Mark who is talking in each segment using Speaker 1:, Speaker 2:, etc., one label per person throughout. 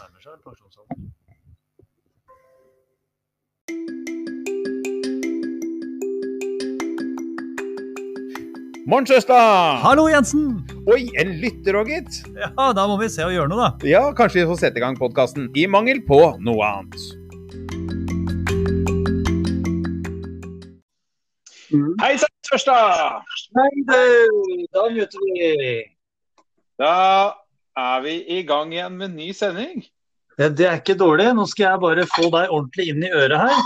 Speaker 1: nærmer seg pensjonsalderen.
Speaker 2: Morn, søster!
Speaker 1: Hallo, Jensen!
Speaker 2: Oi, en lytter òg, gitt.
Speaker 1: Ja, da må vi se og gjøre noe, da.
Speaker 2: Ja, kanskje vi får sette i gang podkasten i mangel på noe annet. Hei sann, søster!
Speaker 3: Hei, du! Da møter vi.
Speaker 2: Da er vi i gang igjen med ny sending.
Speaker 3: Ja, det er ikke dårlig. Nå skal jeg bare få deg ordentlig inn i øret her.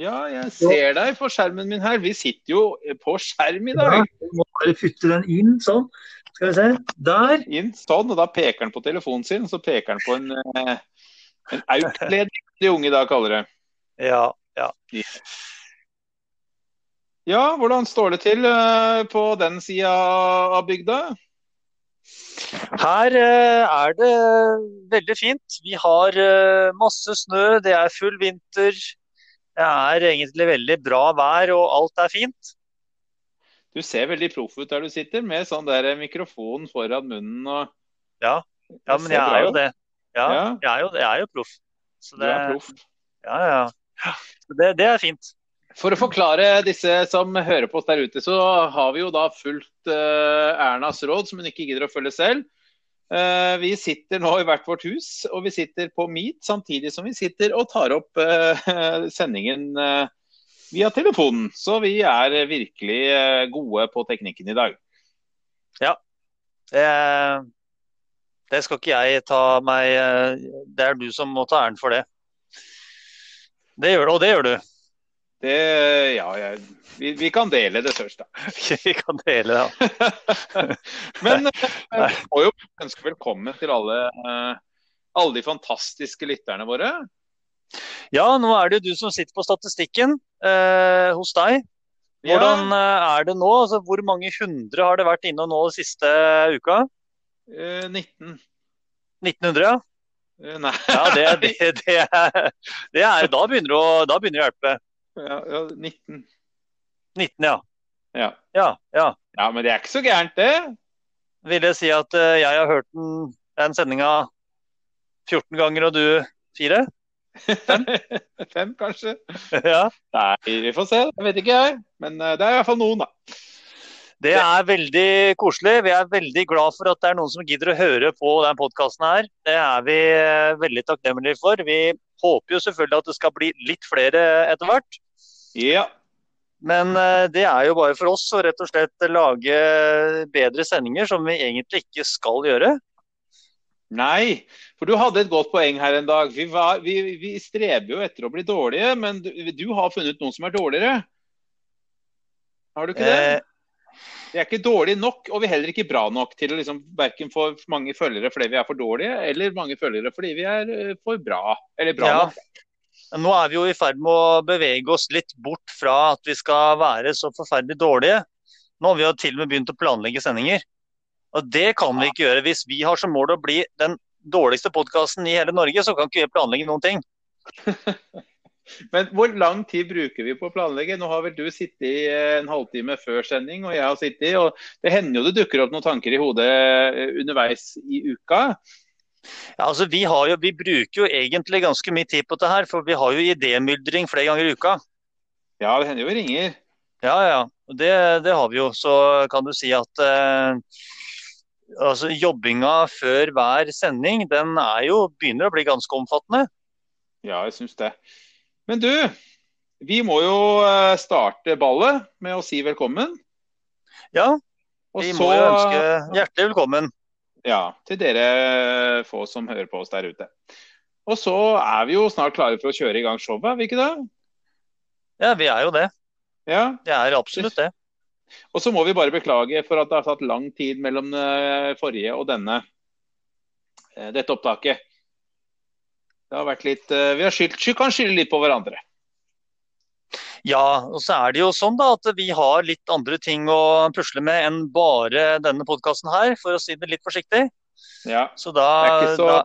Speaker 2: Ja, jeg ser deg på skjermen min her. Vi sitter jo på skjerm i dag.
Speaker 3: Du må bare putte den inn, sånn. Skal vi se. Der.
Speaker 2: Inn sånn, og da peker han på telefonen sin, og så peker han på en, eh, en outledning, som de unge i dag kaller det.
Speaker 3: Ja.
Speaker 2: Ja, hvordan står det til eh, på den sida av bygda?
Speaker 3: Her eh, er det veldig fint. Vi har eh, masse snø, det er full vinter. Det er egentlig veldig bra vær, og alt er fint.
Speaker 2: Du ser veldig proff ut der du sitter, med sånn der mikrofon foran munnen og
Speaker 3: Ja, men jeg er jo det. Ja,
Speaker 2: Ja.
Speaker 3: jeg er jo, jeg er jo proff. Så
Speaker 2: Du
Speaker 3: det,
Speaker 2: er proff.
Speaker 3: ja, ja. Så det, det er fint.
Speaker 2: For å forklare disse som hører på oss der ute, så har vi jo da fulgt eh, Ernas råd, som hun ikke gidder å følge selv. Eh, vi sitter nå i hvert vårt hus, og vi sitter på Meet samtidig som vi sitter og tar opp eh, sendingen eh, via telefonen. Så vi er virkelig eh, gode på teknikken i dag.
Speaker 3: Det, det skal ikke jeg ta meg eh, Det er du som må ta æren for det. Det gjør du, og det gjør du.
Speaker 2: Det, ja, jeg, vi, vi kan dele det først, da.
Speaker 3: Vi kan dele det.
Speaker 2: Men eh, vi må jo ønske velkommen til alle, eh, alle de fantastiske lytterne våre.
Speaker 3: Ja, nå er det jo du som sitter på statistikken eh, hos deg.
Speaker 2: Ja,
Speaker 3: Hvordan eh, er det nå? Altså, hvor mange hundre har det vært innom nå den siste uka?
Speaker 2: eh, 19.
Speaker 3: 1900, ja?
Speaker 2: Eh, Nei.
Speaker 3: Ja, det, det, det, er, det er Da begynner det å, da begynner det å hjelpe.
Speaker 2: Ja, ja, 19.
Speaker 3: 19, ja.
Speaker 2: Ja.
Speaker 3: Ja, ja.
Speaker 2: Ja, men det er ikke så gærent, det.
Speaker 3: Vil jeg si at eh, jeg har hørt den, den sendinga 14 ganger, og du fire?
Speaker 2: Fem, kanskje.
Speaker 3: ja.
Speaker 2: Nei, vi får se. Jeg vet ikke, jeg. Men eh, det er i hvert fall noen, da.
Speaker 3: Det er veldig koselig. Vi er veldig glad for at det er noen som gidder å høre på den podkasten her. Det er vi eh, veldig takknemlige for. Vi håper jo selvfølgelig at det skal bli litt flere etter hvert.
Speaker 2: Ja.
Speaker 3: Men eh, det er jo bare for oss å rett og slett lage bedre sendinger, som vi egentlig ikke skal gjøre.
Speaker 2: Nei, for du hadde et godt poeng her en dag. Vi, var, vi, vi streber jo etter å bli dårlige, men du, du har funnet noen som er dårligere. Har du ikke det?
Speaker 3: Eh,
Speaker 2: Vi er ikke dårlige nok, og vi er heller ikke bra nok til å liksom verken få mange følgere fordi vi er for dårlige, eller mange følgere fordi vi er eh, for bra. Eller bra
Speaker 3: Ja.
Speaker 2: nok.
Speaker 3: Nå er vi jo i ferd med å bevege oss litt bort fra at vi skal være så forferdelig dårlige. Nå har vi jo til og med begynt å planlegge sendinger. Og det kan vi ikke gjøre. Hvis vi har som mål å bli den dårligste podkasten i hele Norge, så kan ikke vi planlegge noen ting.
Speaker 2: Men hvor lang tid bruker vi på å planlegge? Nå har vel du sittet i eh, en halvtime før sending, og jeg har sittet i. Og det hender jo det dukker opp noen tanker i hodet eh, underveis i uka.
Speaker 3: Ja, altså vi, har jo, vi bruker jo egentlig ganske mye tid på dette her, for vi har jo idémyldring flere ganger i uka.
Speaker 2: Ja, det hender jo vi ringer.
Speaker 3: Ja, ja. Og Det, det har vi jo. Så kan du si at eh, altså jobbinga før hver sending, den er jo, begynner å bli ganske omfattende.
Speaker 2: Ja, jeg syns det. Men du, vi må jo eh, starte ballet med å si velkommen.
Speaker 3: Ja,
Speaker 2: Og
Speaker 3: Vi
Speaker 2: så
Speaker 3: må jo ønske hjertelig velkommen.
Speaker 2: Ja, til dere få som hører på oss der ute. Og så er vi jo snart klare for å kjøre i gang showet, er vi ikke det?
Speaker 3: Ja, vi er jo det.
Speaker 2: Ja.
Speaker 3: Det er absolutt det.
Speaker 2: Og så må vi bare beklage for at det har tatt lang tid mellom eh, forrige og denne eh, dette opptaket. Det har vært litt eh, Vi har skyldt, sky- kan skylde litt på hverandre.
Speaker 3: Ja, og så er det jo sånn da at vi har litt andre ting å pusle med enn bare denne podkasten her, for å si det litt forsiktig.
Speaker 2: Ja.
Speaker 3: Så
Speaker 2: Det er
Speaker 3: da,
Speaker 2: ikke så
Speaker 3: da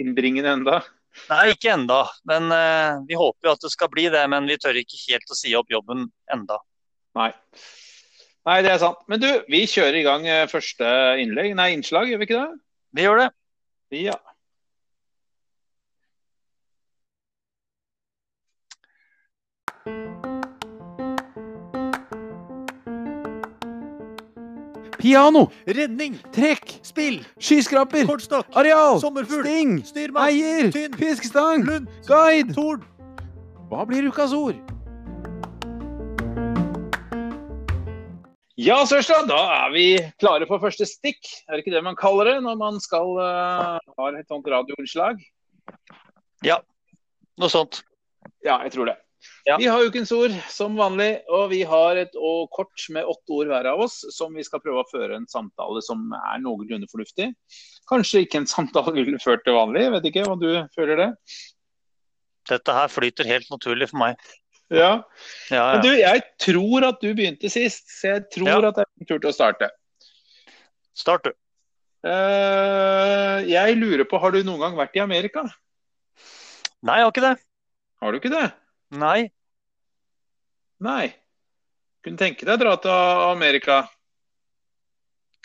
Speaker 2: innbringende enda.
Speaker 3: Nei, ikke enda. Men eh, vi håper jo at det skal bli det. Men vi tør ikke helt å si opp jobben enda.
Speaker 2: Nei. Nei, det er sant. Men du, vi kjører i gang eh, første innlegg, nei, innslag, gjør vi ikke det?
Speaker 3: Vi gjør det.
Speaker 2: Ja.
Speaker 4: Piano,
Speaker 5: Redning,
Speaker 4: trekk,
Speaker 5: spill,
Speaker 4: skyskraper,
Speaker 5: kortstokk,
Speaker 4: areal,
Speaker 5: sommerfugl,
Speaker 4: sting,
Speaker 5: styrmann,
Speaker 4: eier,
Speaker 5: tynn,
Speaker 4: fiskestang,
Speaker 5: lund,
Speaker 4: guide.
Speaker 5: torn.
Speaker 4: Hva blir ukas ord?
Speaker 2: Ja, Sørstad, da er vi klare for første stikk. Er det ikke det man kaller det når man skal eh, ha et sånt radioinnslag?
Speaker 3: Noe sånt.
Speaker 2: Ja, jeg tror det.
Speaker 3: Ja.
Speaker 2: Vi har ukens ord som vanlig, og vi har et og kort med åtte ord hver av oss som vi skal prøve å føre en samtale som er noenlunde fornuftig. Kanskje ikke en samtale vi ville ført til vanlig, jeg vet ikke om du føler det?
Speaker 3: Dette her flyter helt naturlig for meg.
Speaker 2: Ja.
Speaker 3: Ja, ja.
Speaker 2: Men du, jeg tror at du begynte sist, så jeg tror
Speaker 3: Ja.
Speaker 2: at det er din tur til å starte.
Speaker 3: Start, du.
Speaker 2: Eh, jeg lurer på, har du noen gang vært i Amerika?
Speaker 3: Nei, jeg har ikke det.
Speaker 2: Har du ikke det?
Speaker 3: Nei.
Speaker 2: Nei. Kunne tenke deg å dra til Amerika.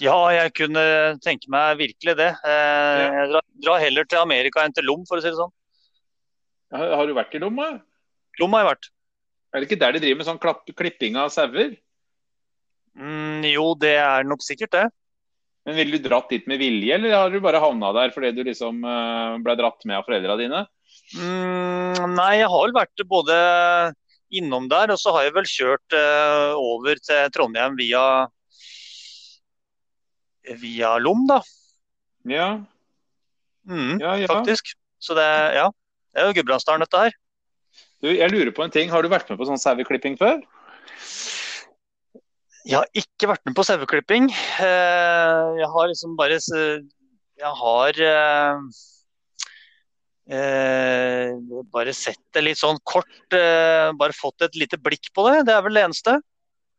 Speaker 3: Ja, jeg kunne tenke meg virkelig det. Eh,
Speaker 2: Ja.
Speaker 3: Jeg drar, drar heller til Amerika enn til Lom, for å si det sånn.
Speaker 2: Har har du vært i Lomma?
Speaker 3: Lom har jeg vært.
Speaker 2: Er det ikke der de driver med sånn klapp, klipping av sauer?
Speaker 3: Mm, jo, det er nok sikkert det.
Speaker 2: Men ville du dratt dit med vilje, eller har du bare havna der fordi du liksom eh, ble dratt med av foreldra dine?
Speaker 3: Mm, nei, jeg har vel vært både innom der, og så har jeg vel kjørt eh, over til Trondheim via via Lom, da.
Speaker 2: Ja,
Speaker 3: Mm,
Speaker 2: ja, ja.
Speaker 3: faktisk. Så det, ja. Det er jo Gudbrandsdalen, dette her.
Speaker 2: Du, jeg lurer på en ting. Har du vært med på sånn saueklipping før?
Speaker 3: Jeg har ikke vært med på saueklipping. Eh, Jeg har liksom bare s- Jeg har eh, eh, bare sett det litt sånn kort. eh, Bare fått et lite blikk på det. Det er vel det eneste.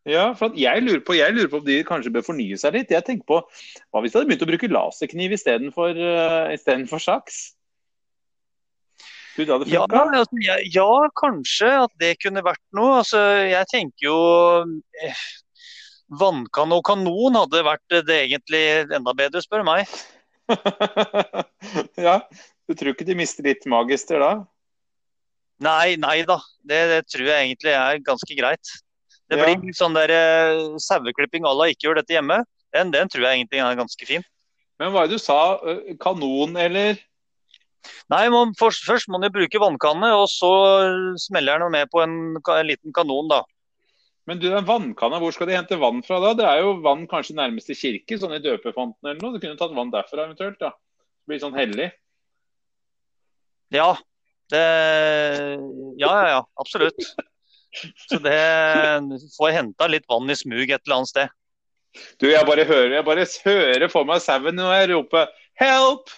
Speaker 2: Ja, for at jeg, lurer på, jeg lurer på om de kanskje bør fornye seg litt. Jeg tenker på, Hva hvis de hadde begynt å bruke laserkniv istedenfor uh, for saks? Du, det hadde
Speaker 3: Ja,
Speaker 2: funka?
Speaker 3: altså, ja, ja, kanskje at det kunne vært noe. Altså, jeg tenker jo eh, Vannkanne og kanon hadde vært det egentlig enda bedre, spør du meg.
Speaker 2: ja. Du tror ikke de mister litt magister da?
Speaker 3: Nei, nei da. Det, det tror jeg egentlig er ganske greit. Det
Speaker 2: Ja.
Speaker 3: blir litt sånn der eh, saueklipping à la ikke gjør dette hjemme. Den, den tror jeg egentlig er ganske fin.
Speaker 2: Men hva er det du sa? Eh, Kanon eller
Speaker 3: Nei, man, først, først må man jo bruke vannkanne, og så eh, smeller den med på en, ka- en liten kanon, da.
Speaker 2: Men du, den vannkanna, hvor skal de hente vann fra da? Det er jo vann kanskje nærmeste kirke, sånn i døpefonten eller noe. Du kunne tatt vann derfra eventuelt, da. Det blir sånn hellig.
Speaker 3: Ja. Det, ja, ja, ja. Absolutt. Så det får jeg henta litt vann i smug et eller annet sted.
Speaker 2: Du, jeg bare hører, jeg bare hører for meg sauen når jeg roper Help!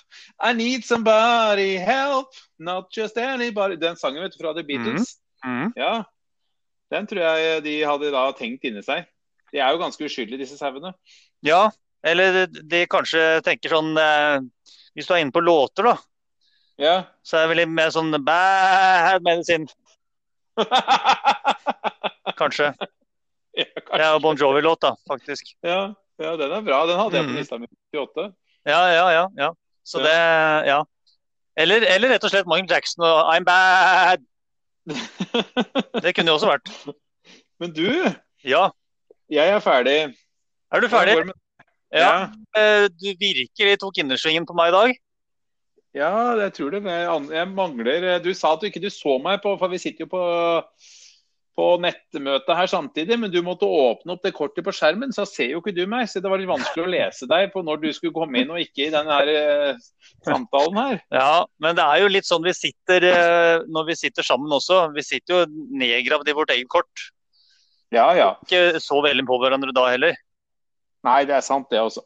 Speaker 2: I need somebody! Help! Not just anybody! Den sangen vet du fra The Beatles.
Speaker 3: Mhm.
Speaker 2: Ja. Den tror jeg de hadde da tenkt inni seg. De er jo ganske uskyldige, disse sauene.
Speaker 3: Ja. Eller de, de kanskje tenker sånn eh, Hvis du er inne på låter, da,
Speaker 2: Ja.
Speaker 3: så er det vel litt mer sånn bad medisin. Kanskje.
Speaker 2: ja,
Speaker 3: Det
Speaker 2: kanskje.
Speaker 3: er jo Bon Jovi-låt, da, faktisk.
Speaker 2: ja, ja, den er bra. Den hadde jeg
Speaker 3: Mhm.
Speaker 2: på lista mi. 28.
Speaker 3: Ja, ja, ja. ja. Så
Speaker 2: Ja.
Speaker 3: det Ja. Eller, eller rett og slett Michael Jackson og I'm bad. Det kunne jo også vært.
Speaker 2: Men du,
Speaker 3: Ja.
Speaker 2: jeg er ferdig.
Speaker 3: Er du ferdig?
Speaker 2: Hvordan går det med-
Speaker 3: Ja. Eh, Du virkelig tok innersvingen på meg i dag.
Speaker 2: Ja, jeg tror det. men Jeg an- jeg mangler eh, Du sa at du ikke du så meg, på, for vi sitter jo på, på nettmøte her samtidig. Men du måtte åpne opp det kortet på skjermen, så ser jo ikke du meg. Så det var litt vanskelig å lese deg på når du skulle komme inn og ikke i den her eh, samtalen her.
Speaker 3: Ja, men det er jo litt sånn vi sitter eh, når vi sitter sammen også. Vi sitter jo nedgravd i vårt eget kort.
Speaker 2: Ja, ja.
Speaker 3: Ikke så veldig på hverandre da heller.
Speaker 2: Nei, det er sant, det også.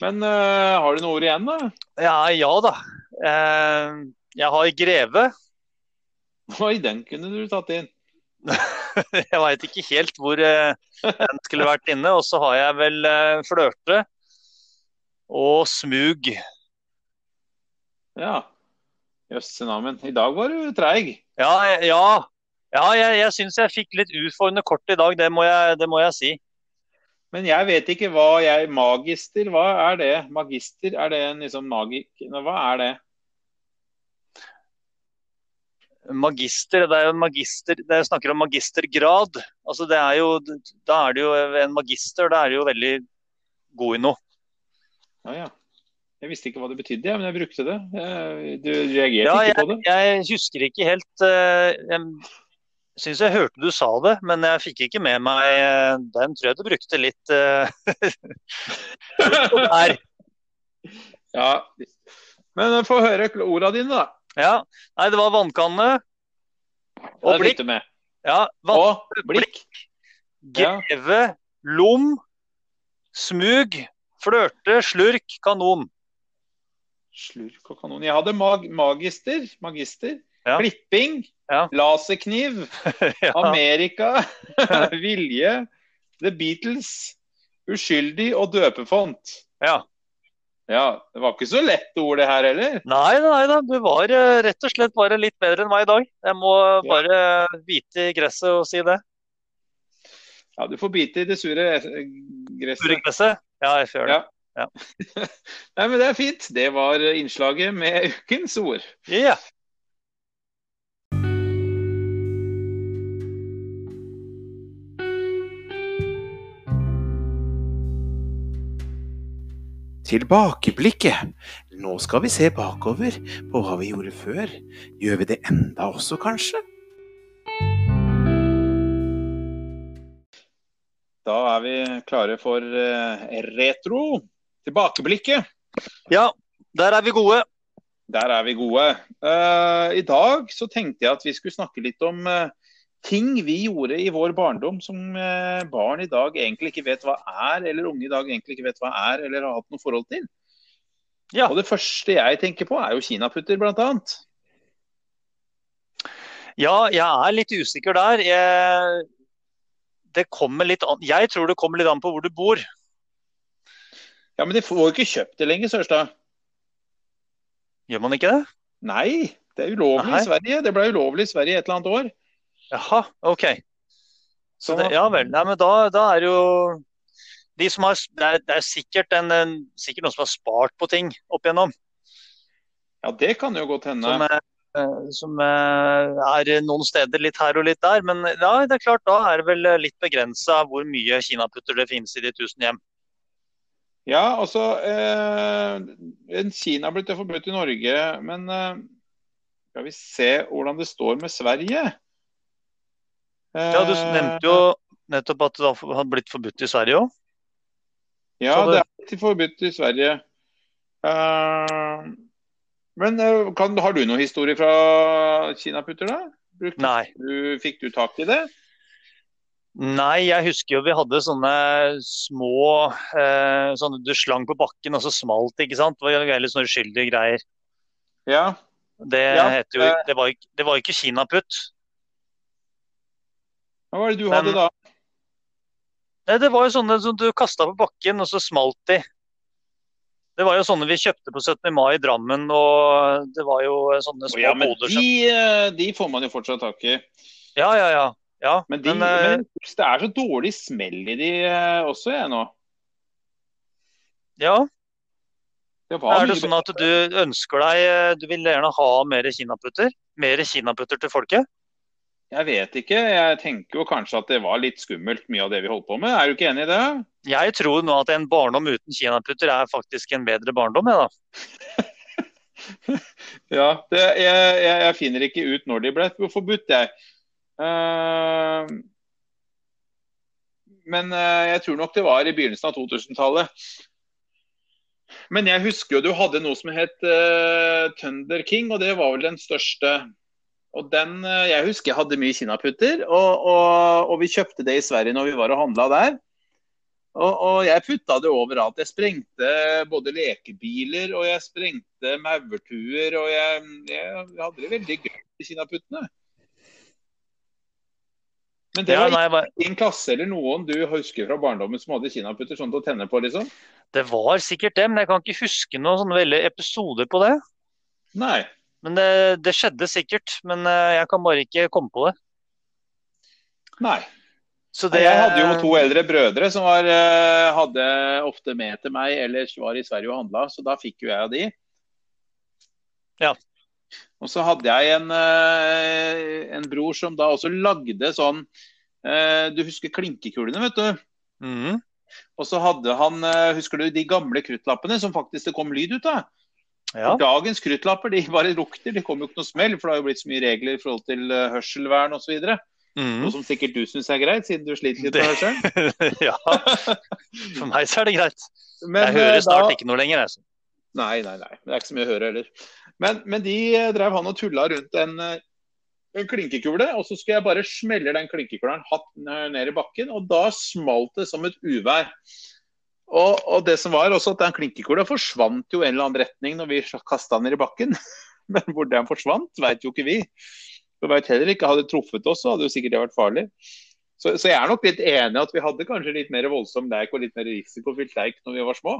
Speaker 2: Men eh, har du noe ord igjen, da?
Speaker 3: Ja, ja da. Eh, Jeg har greve.
Speaker 2: Oi, den kunne du tatt inn.
Speaker 3: Jeg veit ikke helt hvor eh, den skulle vært inne. Og så har jeg vel eh, flørte og smug.
Speaker 2: Ja. Jøsse navn. I dag var du treig.
Speaker 3: Ja, jeg- ja. ja jeg, jeg syns jeg fikk litt ufo under kortet i dag, det må jeg, det må jeg si.
Speaker 2: Men jeg vet ikke hva jeg Magister, hva er det? Magister, er det en liksom magik... Nei, Hva er det?
Speaker 3: Magister, det er jo en magister det er, snakker om magistergrad. Altså det er jo, da er det jo en magister, da er det jo veldig god i noe.
Speaker 2: Ja, ja. Jeg visste ikke hva det betydde, jeg, men jeg brukte det. Eh, Du reagerte
Speaker 3: Ja,
Speaker 2: ikke på det?
Speaker 3: Jeg husker ikke helt eh, Jeg syns jeg hørte du sa det, men jeg fikk ikke med meg eh, Den tror jeg du brukte litt eh, der.
Speaker 2: ja. Men eh, få høre kl- orda dine, da.
Speaker 3: Ja. Nei, det var vannkanne.
Speaker 2: Og
Speaker 3: Og blikk.
Speaker 2: blikk. Med.
Speaker 3: Ja, vann,
Speaker 2: Og blikk. ja.
Speaker 3: greve, lom, smug, flørte, slurk, kanon.
Speaker 2: Slurk og kanon. Jeg hadde mag magister. Magister.
Speaker 3: Ja.
Speaker 2: Klipping.
Speaker 3: Ja.
Speaker 2: Laserkniv.
Speaker 3: Ja.
Speaker 2: Amerika. Vilje. The Beatles. Uskyldig og døpefont.
Speaker 3: ja.
Speaker 2: Ja, det var ikke så lett ord det her heller.
Speaker 3: Nei da, nei da. Du var eh, rett og slett bare litt bedre enn meg i dag. Jeg må
Speaker 2: Ja.
Speaker 3: bare bite i gresset og si det.
Speaker 2: Ja, du får bite i det sure eh,
Speaker 3: Sure
Speaker 2: gresset.
Speaker 3: gresset. Ja, jeg gjør det.
Speaker 2: Nei, men det er fint. Det var innslaget med ukens ord.
Speaker 3: Ja.
Speaker 4: Tilbakeblikket. Nå skal vi se bakover på hva vi gjorde før. Gjør vi det enda også, kanskje?
Speaker 2: Da er vi klare for eh, retro. Tilbakeblikket.
Speaker 3: ja, der er vi gode.
Speaker 2: Der er vi gode. Eh, I dag så tenkte jeg at vi skulle snakke litt om eh, ting vi gjorde i vår barndom som eh, barn i dag egentlig ikke vet hva er, eller unge i dag egentlig ikke vet hva er, eller har hatt noe forhold til.
Speaker 3: Ja.
Speaker 2: Og det første jeg tenker på, er jo kinaputter, blant annet.
Speaker 3: Ja, jeg er litt usikker der. Jeg, det kommer litt an Jeg tror det kommer litt an på hvor du bor.
Speaker 2: Ja, men de får jo ikke kjøpt det lenger, Sørstad.
Speaker 3: Gjør man ikke det?
Speaker 2: Nei, det er ulovlig
Speaker 3: Nei.
Speaker 2: i Sverige. Det ble ulovlig i Sverige et eller annet år.
Speaker 3: Jaha, OK. Så det, ja vel. Nei, men da, da er jo de som har, det, er, det er sikkert, en, en, sikkert noen som har spart på ting opp igjennom.
Speaker 2: Ja, det kan jo godt hende.
Speaker 3: som, eh, som eh, er noen steder litt her og litt der. Men ja, det er klart, da er det vel eh, litt begrensa hvor mye kinaputter det finnes i de tusen hjem.
Speaker 2: Ja, altså eh, en Kina ble det forbudt i Norge, men eh, skal vi se hvordan det står med Sverige?
Speaker 3: Ja, Du nevnte jo nettopp at det har har blitt forbudt i Sverige òg.
Speaker 2: Eh, Ja,
Speaker 3: så
Speaker 2: det
Speaker 3: det-
Speaker 2: er ikke forbudt i Sverige. Eh, men eh, kan, har du noen historie fra kinaputter, da? Brukte
Speaker 3: Nei.
Speaker 2: Du, fikk du tak i det?
Speaker 3: Nei, jeg husker jo vi hadde sånne små eh, sånne Du slang på bakken, og så smalt det, ikke sant? Det var jo litt sånne uskyldige greier.
Speaker 2: Ja.
Speaker 3: Det,
Speaker 2: Ja,
Speaker 3: heter jo, det, var, ikke- det var ikke kinaputt.
Speaker 2: Hva var det du
Speaker 3: Men-
Speaker 2: hadde da?
Speaker 3: Nei, det var jo sånne som du kasta på bakken, og så smalt de. Det var jo sånne vi kjøpte på 17. mai i Drammen, og det var jo sånne
Speaker 2: Å,
Speaker 3: små
Speaker 2: ja, men
Speaker 3: boder
Speaker 2: de,
Speaker 3: som
Speaker 2: eh, de får man jo fortsatt tak i.
Speaker 3: Ja, ja, ja. ja.
Speaker 2: Men, de,
Speaker 3: eh,
Speaker 2: men det er så dårlig smell i de eh, også, jeg nå.
Speaker 3: ja.
Speaker 2: Det var
Speaker 3: Er det
Speaker 2: mye
Speaker 3: sånn at du ønsker deg eh, Du vil gjerne ha mer kinaputter? Mer kinaputter til folket?
Speaker 2: bedre. Jeg vet ikke. Jeg tenker jo kanskje at det var litt skummelt mye av det vi holdt på med. Er du ikke enig i det?
Speaker 3: Jeg tror nå at en barndom uten kinaputter er faktisk en bedre barndom, jeg, da.
Speaker 2: Ja. Det, jeg, jeg, jeg finner ikke ut når de ble forbudt, jeg. Eh, men eh, jeg tror nok det var i begynnelsen av 2000-tallet. Men jeg husker jo du hadde noe som het eh, Thunder King, og det var vel den største. Og den, eh, Jeg husker jeg hadde mye kinaputter, og, og, og vi kjøpte det i Sverige når vi var og handla der. Og, og jeg putta det overalt. Jeg sprengte både lekebiler og jeg sprengte maurtuer. Og jeg, jeg hadde det veldig gøy i kinaputtene. Men det
Speaker 3: Ja,
Speaker 2: var
Speaker 3: nei, jeg var-
Speaker 2: din klasse eller noen du husker fra barndommen som hadde kinaputter sånn til å tenne på, liksom?
Speaker 3: det var sikkert det, men jeg kan ikke huske noen sånne veldig episoder på det.
Speaker 2: Nei.
Speaker 3: Men det, det skjedde sikkert. Men eh, jeg kan bare ikke komme på det.
Speaker 2: Nei.
Speaker 3: Så det
Speaker 2: Jeg hadde jo to eldre brødre som var, eh, hadde ofte med til meg, ellers var i Sverige og handla, så da fikk jo jeg av de.
Speaker 3: Ja.
Speaker 2: Og så hadde jeg en, eh, en bror som da også lagde sånn eh, Du husker klinkekulene, vet du?
Speaker 3: Mhm.
Speaker 2: Og så hadde han, eh, husker du de gamle kruttlappene som faktisk det kom lyd ut av?
Speaker 3: Ja.
Speaker 2: For Dagens kruttlapper de bare lukter, det kommer jo ikke noe smell. For det har jo blitt så mye regler i forhold til eh, hørselvern osv. videre Noe
Speaker 3: Mm.
Speaker 2: som sikkert du syns er greit, siden du sliter litt
Speaker 3: Det-
Speaker 2: med hørselen.
Speaker 3: ja. For meg så er det greit.
Speaker 2: Men,
Speaker 3: Jeg hører
Speaker 2: eh, da-
Speaker 3: snart ikke noe lenger. Altså.
Speaker 2: Nei, nei, nei. Det er ikke så mye å høre heller. Men, men de eh, drev han og tulla rundt en, eh, en klinkekule, og så skulle jeg bare smelle den klinkekulen hatt n- ned i bakken, og da smalt det som et uvær. Og, og det som var også at den klinkekula forsvant jo i en eller annen retning når vi kasta den ned i bakken. Men hvor den forsvant, veit jo ikke vi. Vi veit heller ikke. Hadde det truffet oss, så hadde jo sikkert det vært farlig. Så, så jeg er nok litt enig i at vi hadde kanskje litt mer voldsom leik og litt mer risikofylt leik når vi var små.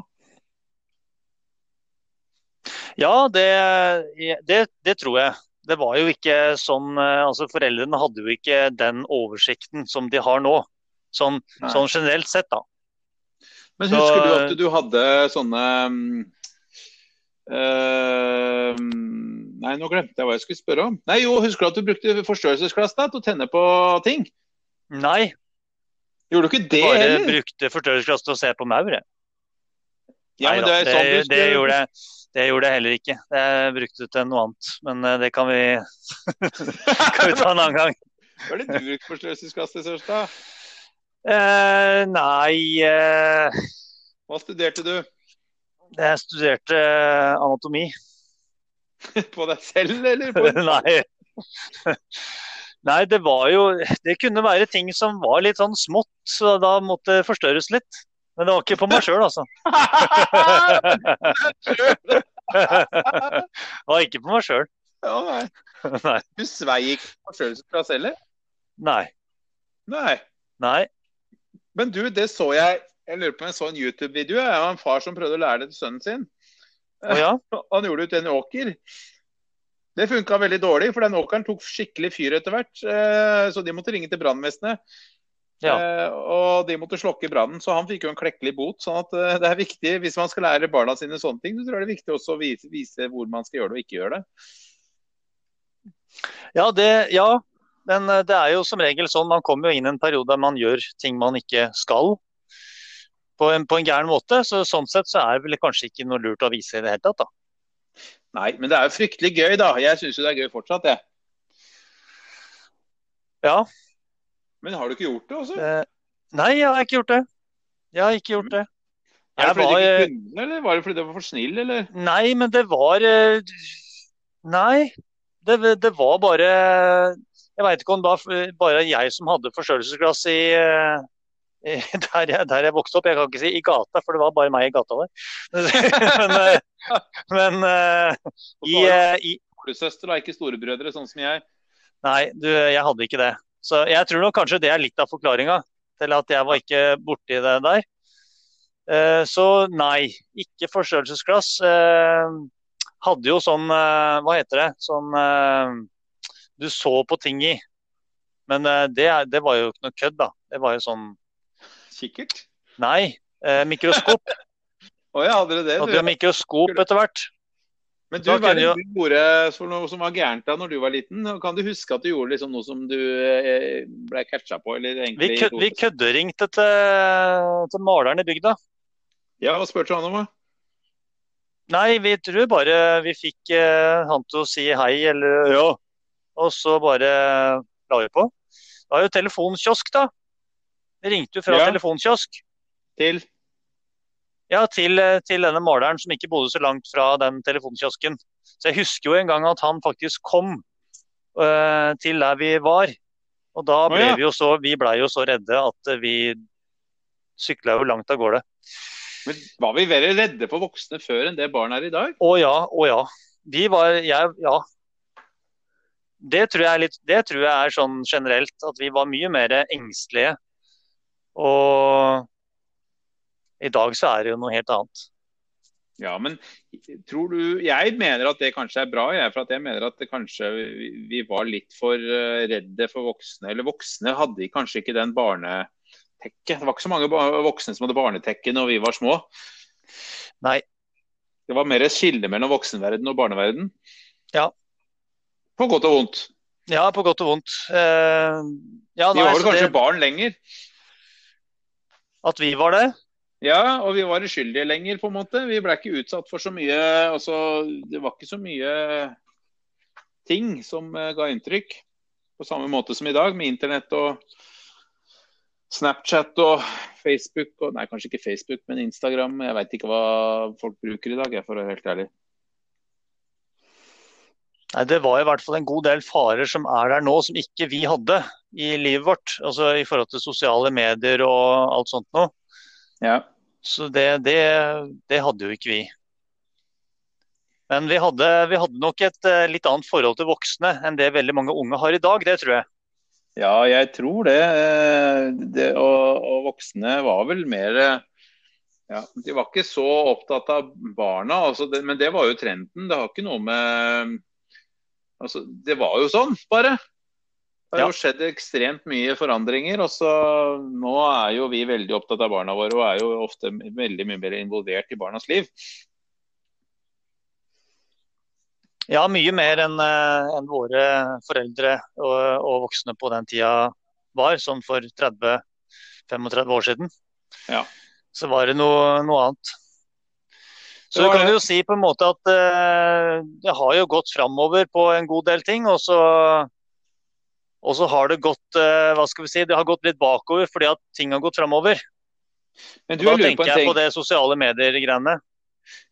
Speaker 3: Ja, det, eh, det, det tror jeg. Det var jo ikke sånn eh, Altså, foreldrene hadde jo ikke den oversikten som de har nå. Sånn,
Speaker 2: Nei.
Speaker 3: sånn generelt sett, da.
Speaker 2: Men
Speaker 3: Så- eh,
Speaker 2: husker du at du hadde sånne mm, eh, Nei, nå glemte jeg hva jeg skulle spørre om. Nei, jo, husker du at du brukte forstørrelsesglass da, til å tenne på ting?
Speaker 3: Nei,
Speaker 2: Gjorde du ikke det
Speaker 3: bare
Speaker 2: heller?
Speaker 3: brukte forstørrelsesglass til å se på maur, jeg.
Speaker 2: Ja, men
Speaker 3: Neida,
Speaker 2: det er sånn du
Speaker 3: det, det
Speaker 2: skulle-
Speaker 3: gjorde jeg. Det gjorde jeg heller ikke. Jeg brukte det til noe annet. Men eh, det kan vi, kan vi ta en annen gang.
Speaker 2: Hva er det du brukte forstørrelsesglass til, Sørstad?
Speaker 3: Eh, nei eh,
Speaker 2: Hva studerte du?
Speaker 3: Jeg studerte eh, anatomi.
Speaker 2: På deg selv, eller? På...
Speaker 3: Nei. Nei, det var jo Det kunne være ting som var litt sånn smått, så da måtte det forstørres litt. Men det var ikke på meg sjøl, altså. Det var ikke på meg sjøl.
Speaker 2: ja, nei.
Speaker 3: Nei.
Speaker 2: Du svei ikke forstørrelsesglass heller?
Speaker 3: Nei.
Speaker 2: Nei.
Speaker 3: Nei.
Speaker 2: Men du, det så jeg Jeg lurer på om jeg så en YouTube-video jeg, av en far som prøvde å lære det til sønnen sin.
Speaker 3: Å ja.
Speaker 2: Han gjorde ut en åker. Det funka veldig dårlig, for den åkeren tok skikkelig fyr etter hvert. eh, Så de måtte ringe til brannvesenet.
Speaker 3: Ja.
Speaker 2: Eh, Og de måtte slokke brannen, så han fikk jo en klekkelig bot. sånn at eh, det er viktig, Hvis man skal lære barna sine sånne ting, så tror jeg det er viktig også å vise, vise hvor man skal gjøre det og ikke gjøre det.
Speaker 3: Ja, det, ja. Men eh, det er jo som regel sånn, man kommer jo inn i en periode der man gjør ting man ikke skal. På en, på en gæren måte. Så sånn sett så er det vel kanskje ikke noe lurt å vise i det hele tatt, da.
Speaker 2: Nei, men det er jo fryktelig gøy, da. Jeg syns jo det er gøy fortsatt, jeg.
Speaker 3: Ja.
Speaker 2: Men har du ikke gjort det altså? også?
Speaker 3: Eh, Nei, jeg har ikke gjort det. Jeg har ikke gjort det.
Speaker 2: er det
Speaker 3: Jeg
Speaker 2: fordi
Speaker 3: var,
Speaker 2: du
Speaker 3: eh,
Speaker 2: ikke kunne, eller var det fordi du var for snill, eller?
Speaker 3: Nei, men det var eh, Nei, det, det var bare Jeg veit ikke om det var bare jeg som hadde forstørrelsesglass i, eh, i der, jeg, der jeg vokste opp. Jeg kan ikke si i gata, for det var bare meg i gata der. Men, eh, men eh,
Speaker 2: Og
Speaker 3: i,
Speaker 2: så har
Speaker 3: eh, i
Speaker 2: du storesøster, da, ikke storebrødre, sånn som jeg.
Speaker 3: Nei, du, jeg hadde ikke det. Så jeg tror nok kanskje det er litt av forklaringa til at jeg var ikke borti det der. Eh, Så nei, ikke forstørrelsesglass. Eh, Hadde jo sånn, eh, hva heter det, sånn eh, du så på ting i. Men eh, det, er- det var jo ikke noe kødd, da. Det var jo sånn
Speaker 2: Kikkert?
Speaker 3: Nei. eh, Mikroskop.
Speaker 2: Å ja, hadde dere det?
Speaker 3: Hadde
Speaker 2: du?
Speaker 3: jo mikroskop etter hvert.
Speaker 2: Men du,
Speaker 3: Da
Speaker 2: hva er det
Speaker 3: kunne
Speaker 2: du gjorde for noe som var gærent da når du var liten? Kan du huske at du gjorde liksom noe som du eh, ble catcha på? Eller
Speaker 3: Vi,
Speaker 2: egentlig
Speaker 3: kød, vi kødderingte til, til maleren i bygda.
Speaker 2: Ja, hva spurte han om? da?
Speaker 3: Nei, vi tror bare vi fikk eh, han til å si hei eller ja, og så bare la vi på. Det var jo telefonkiosk, da. Vi ringte jo fra
Speaker 2: Ja.
Speaker 3: telefonkiosk
Speaker 2: Til
Speaker 3: ja, til, eh, til denne maleren som ikke bodde så langt fra den telefonkiosken. Så jeg husker jo en gang at han faktisk kom eh, til der vi var. Og da
Speaker 2: Å,
Speaker 3: ble
Speaker 2: ja.
Speaker 3: vi jo så, vi ble jo så redde at eh, vi sykla jo langt av gårde.
Speaker 2: Men var vi veldig redde for voksne før enn det barn er i dag?
Speaker 3: Å ja, å ja. Vi var jeg, Ja. Det tror jeg er litt Det tror jeg er sånn generelt, at vi var mye mer engstelige. Og i dag så er det jo noe helt annet.
Speaker 2: Ja, men tror du Jeg mener at det kanskje er bra, jeg. For at jeg mener at det kanskje vi, vi var litt for eh, redde for voksne. Eller voksne hadde kanskje ikke den barnetekket. Det var ikke så mange ba- voksne som hadde barnetekke når vi var små.
Speaker 3: Nei.
Speaker 2: Det var mer et skille mellom voksenverden og barneverden.
Speaker 3: Ja.
Speaker 2: På godt og vondt.
Speaker 3: Ja, på godt og vondt. Eh, ja,
Speaker 2: De
Speaker 3: nei,
Speaker 2: var vel
Speaker 3: så
Speaker 2: kanskje
Speaker 3: det,
Speaker 2: barn lenger.
Speaker 3: at vi var det.
Speaker 2: Ja, og vi var uskyldige lenger, på en måte. Vi ble ikke utsatt for så mye altså, Det var ikke så mye ting som eh, ga inntrykk. På samme måte som i dag, med internett og Snapchat og Facebook og Nei, kanskje ikke Facebook, men Instagram. Jeg veit ikke hva folk bruker i dag, jeg, for å være helt ærlig.
Speaker 3: Nei, Det var i hvert fall en god del farer som er der nå, som ikke vi hadde i livet vårt. Altså i forhold til sosiale medier og alt sånt noe.
Speaker 2: Ja.
Speaker 3: Så det, det, det hadde jo ikke vi. Men vi hadde, vi hadde nok et eh, litt annet forhold til voksne enn det veldig mange unge har i dag, det tror jeg.
Speaker 2: Ja, jeg tror det. Eh, det og, og voksne var vel mer eh, ja, De var ikke så opptatt av barna, altså det, men det var jo trenden. Det har ikke noe med Altså, det var jo sånn, bare. Det har
Speaker 3: Ja.
Speaker 2: jo skjedd ekstremt mye forandringer. Og så nå er jo vi veldig opptatt av barna våre, og er jo ofte veldig mye mer involvert i barnas liv.
Speaker 3: Ja, mye mer enn eh, enn våre foreldre og, og voksne på den tida var, sånn for 30-35 år siden.
Speaker 2: Ja.
Speaker 3: Så var det noe, noe annet. Så
Speaker 2: Det var
Speaker 3: kan
Speaker 2: det.
Speaker 3: vi jo si på en måte at eh, det har jo gått framover på en god del ting, og så, og så har det gått eh, hva skal vi si, det har gått litt bakover fordi at ting har gått framover.
Speaker 2: Men
Speaker 3: Og
Speaker 2: du
Speaker 3: Da
Speaker 2: lurer på
Speaker 3: tenker
Speaker 2: en
Speaker 3: jeg
Speaker 2: ting.
Speaker 3: på det sosiale medier-greiene.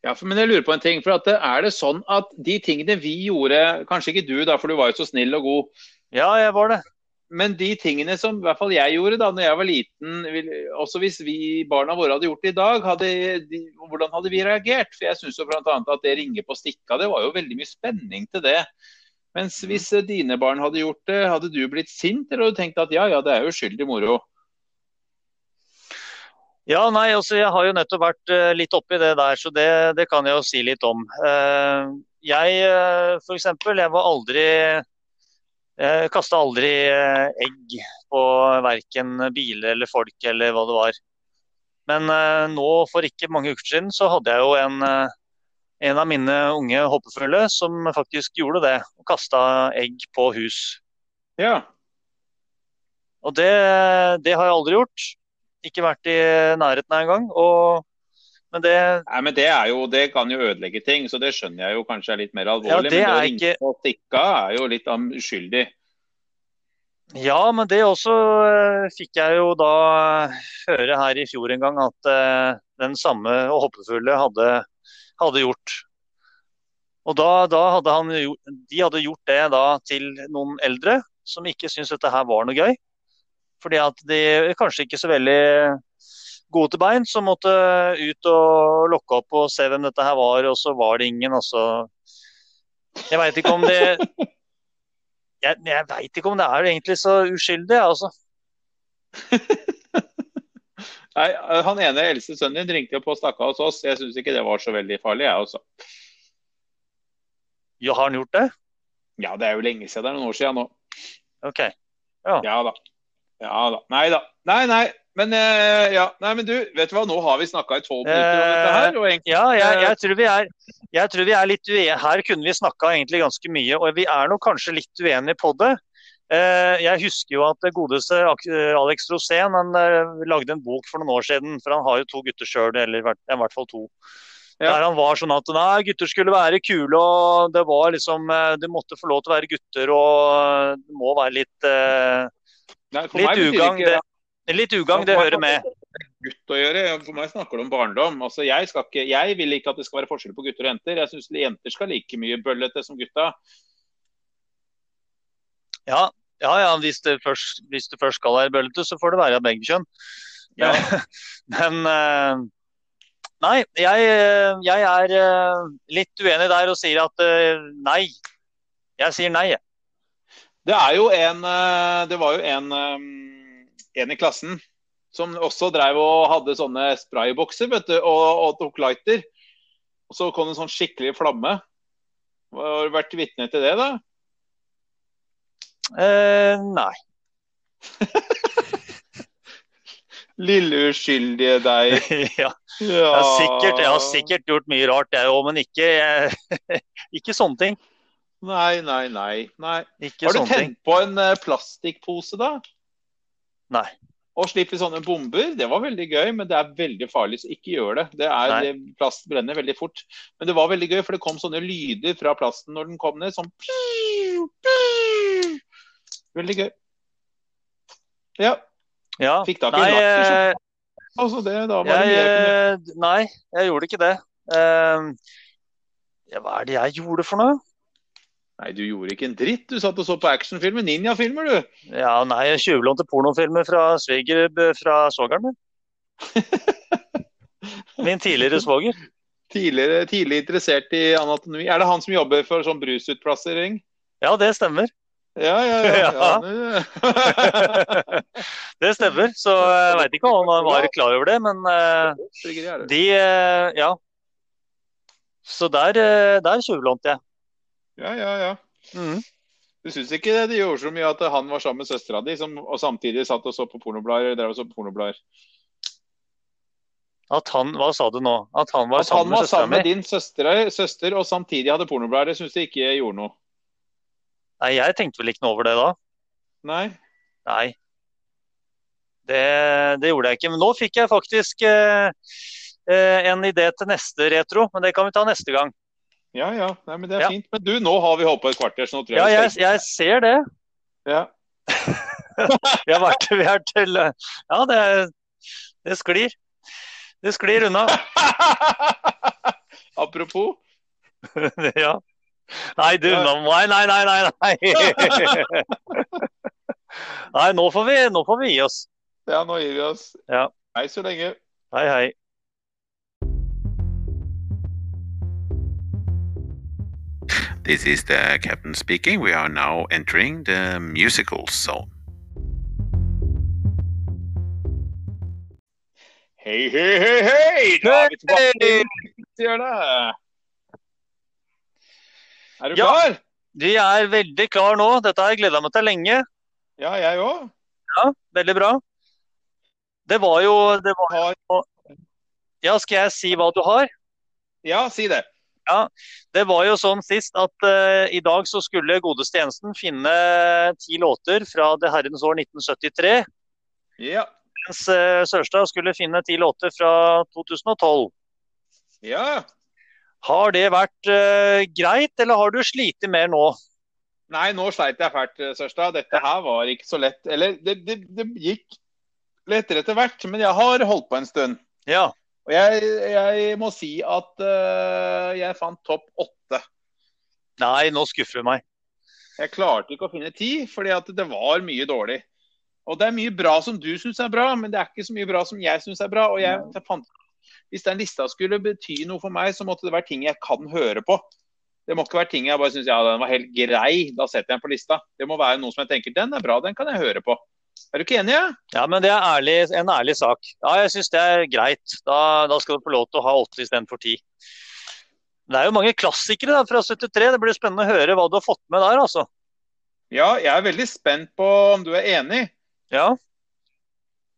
Speaker 2: Ja, for, men jeg lurer på en ting. for at, eh, Er det sånn at de tingene vi gjorde Kanskje ikke du, da, for du var jo så snill og god.
Speaker 3: Ja, jeg var det.
Speaker 2: Men de tingene som i hvert fall jeg gjorde da når jeg var liten, vil- også hvis vi barna våre hadde gjort det i dag, hadde de, hvordan hadde vi reagert? For jeg syns bl.a. at det ringe på stikka, det var jo veldig mye spenning til det. Mens
Speaker 3: Mm.
Speaker 2: hvis eh, dine barn hadde gjort det, hadde du blitt sint, eller hadde du tenkt at ja, ja, det er jo uskyldig moro?
Speaker 3: Ja, nei, altså jeg har jo nettopp vært eh, litt oppi det der, så det, det kan jeg jo si litt om. Eh, jeg eh, for eksempel, jeg var aldri Jeg kasta aldri eh, egg på verken biler eller folk eller hva det var. Men eh, nå for ikke mange uker siden så hadde jeg jo en, eh, en av mine unge hoppefulle som faktisk gjorde det. Og kasta egg på hus.
Speaker 2: Ja.
Speaker 3: Og det, det har jeg aldri gjort. Ikke vært i nærheten av engang. og- Men det,
Speaker 2: Nei, men det er jo Det kan jo ødelegge ting, så det skjønner jeg jo kanskje er litt mer
Speaker 3: Ja, det
Speaker 2: alvorlig. men det
Speaker 3: er
Speaker 2: å ringe
Speaker 3: ikke-
Speaker 2: på stikka er jo litt um, uskyldig.
Speaker 3: ja, men det også eh, fikk jeg jo da eh, høre her i fjor en gang at eh, den samme og hoppefulle hadde, hadde gjort. Og da, da hadde han jo- de hadde gjort det da til noen eldre som ikke syntes dette her var noe gøy. Fordi at de kanskje ikke så veldig gode til bein, som måtte ut og lokke opp og se hvem dette her var, og så var det ingen, altså. Jeg veit ikke om det Jeg, jeg veit ikke om det er egentlig så uskyldig, jeg, altså.
Speaker 2: Nei, eh, Han ene eldste sønnen din ringte jo på og stakk av hos oss. Jeg syns ikke det var så veldig farlig, jeg også.
Speaker 3: Jo, har han gjort det?
Speaker 2: Ja, det er jo lenge siden. Det er noen år siden nå.
Speaker 3: OK.
Speaker 2: Ja da. Ja da. Nei da. Nei, nei. Men, eh, ja. nei, men du, vet du hva, nå har vi snakka i tolv minutter om dette her. Og egentlig,
Speaker 3: Ja, jeg, jeg, tror vi er, jeg tror vi er litt uenige. Her kunne vi snakka egentlig ganske mye, og vi er nok kanskje litt uenige på det. Eh, Jeg husker jo at det godeste Ak- Alex Rosén han eh, lagde en bok for noen år siden, for han har jo to gutter sjøl, eller i hvert- ja, i hvert fall to.
Speaker 2: Ja.
Speaker 3: Der han var sånn at nei, gutter skulle være kule, og det var liksom eh, De måtte få lov til å være gutter, og eh, det må være litt eh,
Speaker 2: nei, for meg
Speaker 3: Litt
Speaker 2: betyr
Speaker 3: ugang,
Speaker 2: ikke
Speaker 3: det, litt ugang, det hører med.
Speaker 2: gutt å gjøre. For meg snakker det om barndom. Altså, jeg, skal ikke, jeg vil ikke at det skal være forskjell på gutter og jenter. Jeg syns jenter skal like mye bøllete som gutta.
Speaker 3: Ja, ja, ja hvis, det først, hvis det først skal være bøllete, så får det være av begge kjønn.
Speaker 2: Ja.
Speaker 3: Men eh, Nei, jeg, eh, jeg er eh, litt uenig der og sier at eh, nei. Jeg sier nei, jeg.
Speaker 2: Det er jo en eh, Det var jo en eh, En i klassen som også drev og hadde sånne spraybokser vet du, og, og tok lighter. Og så kom det en sånn skikkelig flamme. Har du vært vitne til det, da?
Speaker 3: Eh, nei.
Speaker 2: Lille uskyldige deg.
Speaker 3: ja, jeg,
Speaker 2: Ja,
Speaker 3: har sikkert, jeg har sikkert gjort mye rart, jeg òg, men ikke, eh, ikke sånne ting.
Speaker 2: Nei, nei, nei. nei.
Speaker 3: Ikke
Speaker 2: Har du
Speaker 3: sånne ting.
Speaker 2: tent på en eh, plastikkpose, da?
Speaker 3: Nei.
Speaker 2: Og slipper sånne bomber. Det var veldig gøy, men det er veldig farlig, så ikke gjør det. det, er,
Speaker 3: Nei.
Speaker 2: det plast brenner veldig fort. Men det var veldig gøy, for det kom sånne lyder fra plasten når den kom ned. Sånn Veldig gøy. Ja.
Speaker 3: Ja.
Speaker 2: Fikk tak i
Speaker 3: Nei,
Speaker 2: en
Speaker 3: eh,
Speaker 2: rakkersjokk. Altså det, da var det
Speaker 3: jeg,
Speaker 2: mye jeg kunne
Speaker 3: eh, nei, jeg gjorde ikke det. Ehm, ja, hva er det jeg gjorde for noe?
Speaker 2: Nei, du gjorde ikke en dritt. Du satt og så på actionfilmer. Ninjafilmer, du.
Speaker 3: Ja, nei, jeg tjuvlånte pornofilmer fra sviger fra svogeren min. Min tidligere svoger.
Speaker 2: Tidligere, tidlig interessert i anatomi. Er det han som jobber for sånn brusutplassering?
Speaker 3: Ja, det stemmer.
Speaker 2: Ja, ja, ja. ja. eh, ja.
Speaker 3: det stemmer. Så eh, jeg veit ikke om han var klar over det, men eh,
Speaker 2: Bryggeri er det.
Speaker 3: de eh, Ja. Så der, eh, der tjuvlånte jeg.
Speaker 2: Ja, ja, ja. Mm.
Speaker 3: Mhm.
Speaker 2: Du syns ikke det, det gjorde så mye at han var sammen med søstera di, som, og samtidig satt og så på pornoblader? Drev og så på pornoblader.
Speaker 3: At han Hva sa du nå? At han var
Speaker 2: At
Speaker 3: sammen
Speaker 2: han
Speaker 3: med
Speaker 2: var
Speaker 3: søstera mi?
Speaker 2: sammen med din søster, søster og samtidig hadde pornoblader, det syns du ikke gjorde noe?
Speaker 3: Nei, jeg tenkte vel ikke noe over det da.
Speaker 2: Nei?
Speaker 3: Nei. Det, det gjorde jeg ikke. Men nå fikk jeg faktisk eh, eh, en idé til neste retro, men det kan vi ta neste gang.
Speaker 2: Ja ja, Nei, men det er
Speaker 3: Ja.
Speaker 2: fint. Men du, nå har vi holdt på et kvarter, så nå tror jeg
Speaker 3: Ja,
Speaker 2: vi
Speaker 3: jeg,
Speaker 2: skal-
Speaker 3: jeg ser det.
Speaker 2: ja.
Speaker 3: Vi har vært vi er til eh, Ja, det, det sklir. Det sklir unna.
Speaker 2: Apropos.
Speaker 3: ja. Nei, du, nå Nei, nei, nei, nei. Nei, nei nå, får vi, nå får vi gi oss.
Speaker 2: Ja, nå gir vi oss.
Speaker 3: Ja.
Speaker 2: Hei så lenge.
Speaker 3: Hei, hei.
Speaker 4: This is the captain speaking. We are now entering the musical zone.
Speaker 2: Hei, hei, hei, hei! Da er vi tilbake. Gjør det. Er du
Speaker 3: Ja.
Speaker 2: klar?
Speaker 3: Vi er veldig klar nå. Dette har jeg gleda meg til lenge.
Speaker 2: Ja, jeg òg.
Speaker 3: Veldig bra. Det var jo det var,
Speaker 2: Har...
Speaker 3: Ja, skal jeg si hva du har?
Speaker 2: Ja, si det.
Speaker 3: Det var jo sånn sist at eh, i dag så skulle godeste Jensen finne eh, ti låter fra det herrens år 1973,
Speaker 2: Ja.
Speaker 3: mens eh, Sørstad skulle finne ti låter fra 2012.
Speaker 2: Ja.
Speaker 3: Har det vært eh, greit, eller har du slitt mer nå?
Speaker 2: Nei, nå sleit jeg fælt, eh, Sørstad. Dette her var ikke så lett. Eller, det, det, det gikk lettere etter hvert, men jeg har holdt på en stund.
Speaker 3: Ja.
Speaker 2: Og jeg, jeg må si at øh, jeg fant topp åtte.
Speaker 3: Nei, nå skuffer du meg.
Speaker 2: Jeg klarte ikke å finne ti, fordi at det var mye dårlig. Og det er mye bra som du syns er bra, men det er ikke så mye bra som jeg syns er bra. Og jeg fant Hvis den lista skulle bety noe for meg, så måtte det være ting jeg kan høre på. Det må ikke være ting jeg bare syns ja, den var helt grei, da setter jeg den på lista. Det må være noe som jeg tenker den er bra, den kan jeg høre på. Er du ikke enig? Ja?
Speaker 3: Ja, men det er ærlig, en ærlig sak. Ja, jeg syns det er greit. Da, da skal du få lov til å ha åtte istedenfor ti. Det er jo mange klassikere da, fra 73. Det blir spennende å høre hva du har fått med der, altså.
Speaker 2: ja, jeg er veldig spent på om du er enig.
Speaker 3: Ja.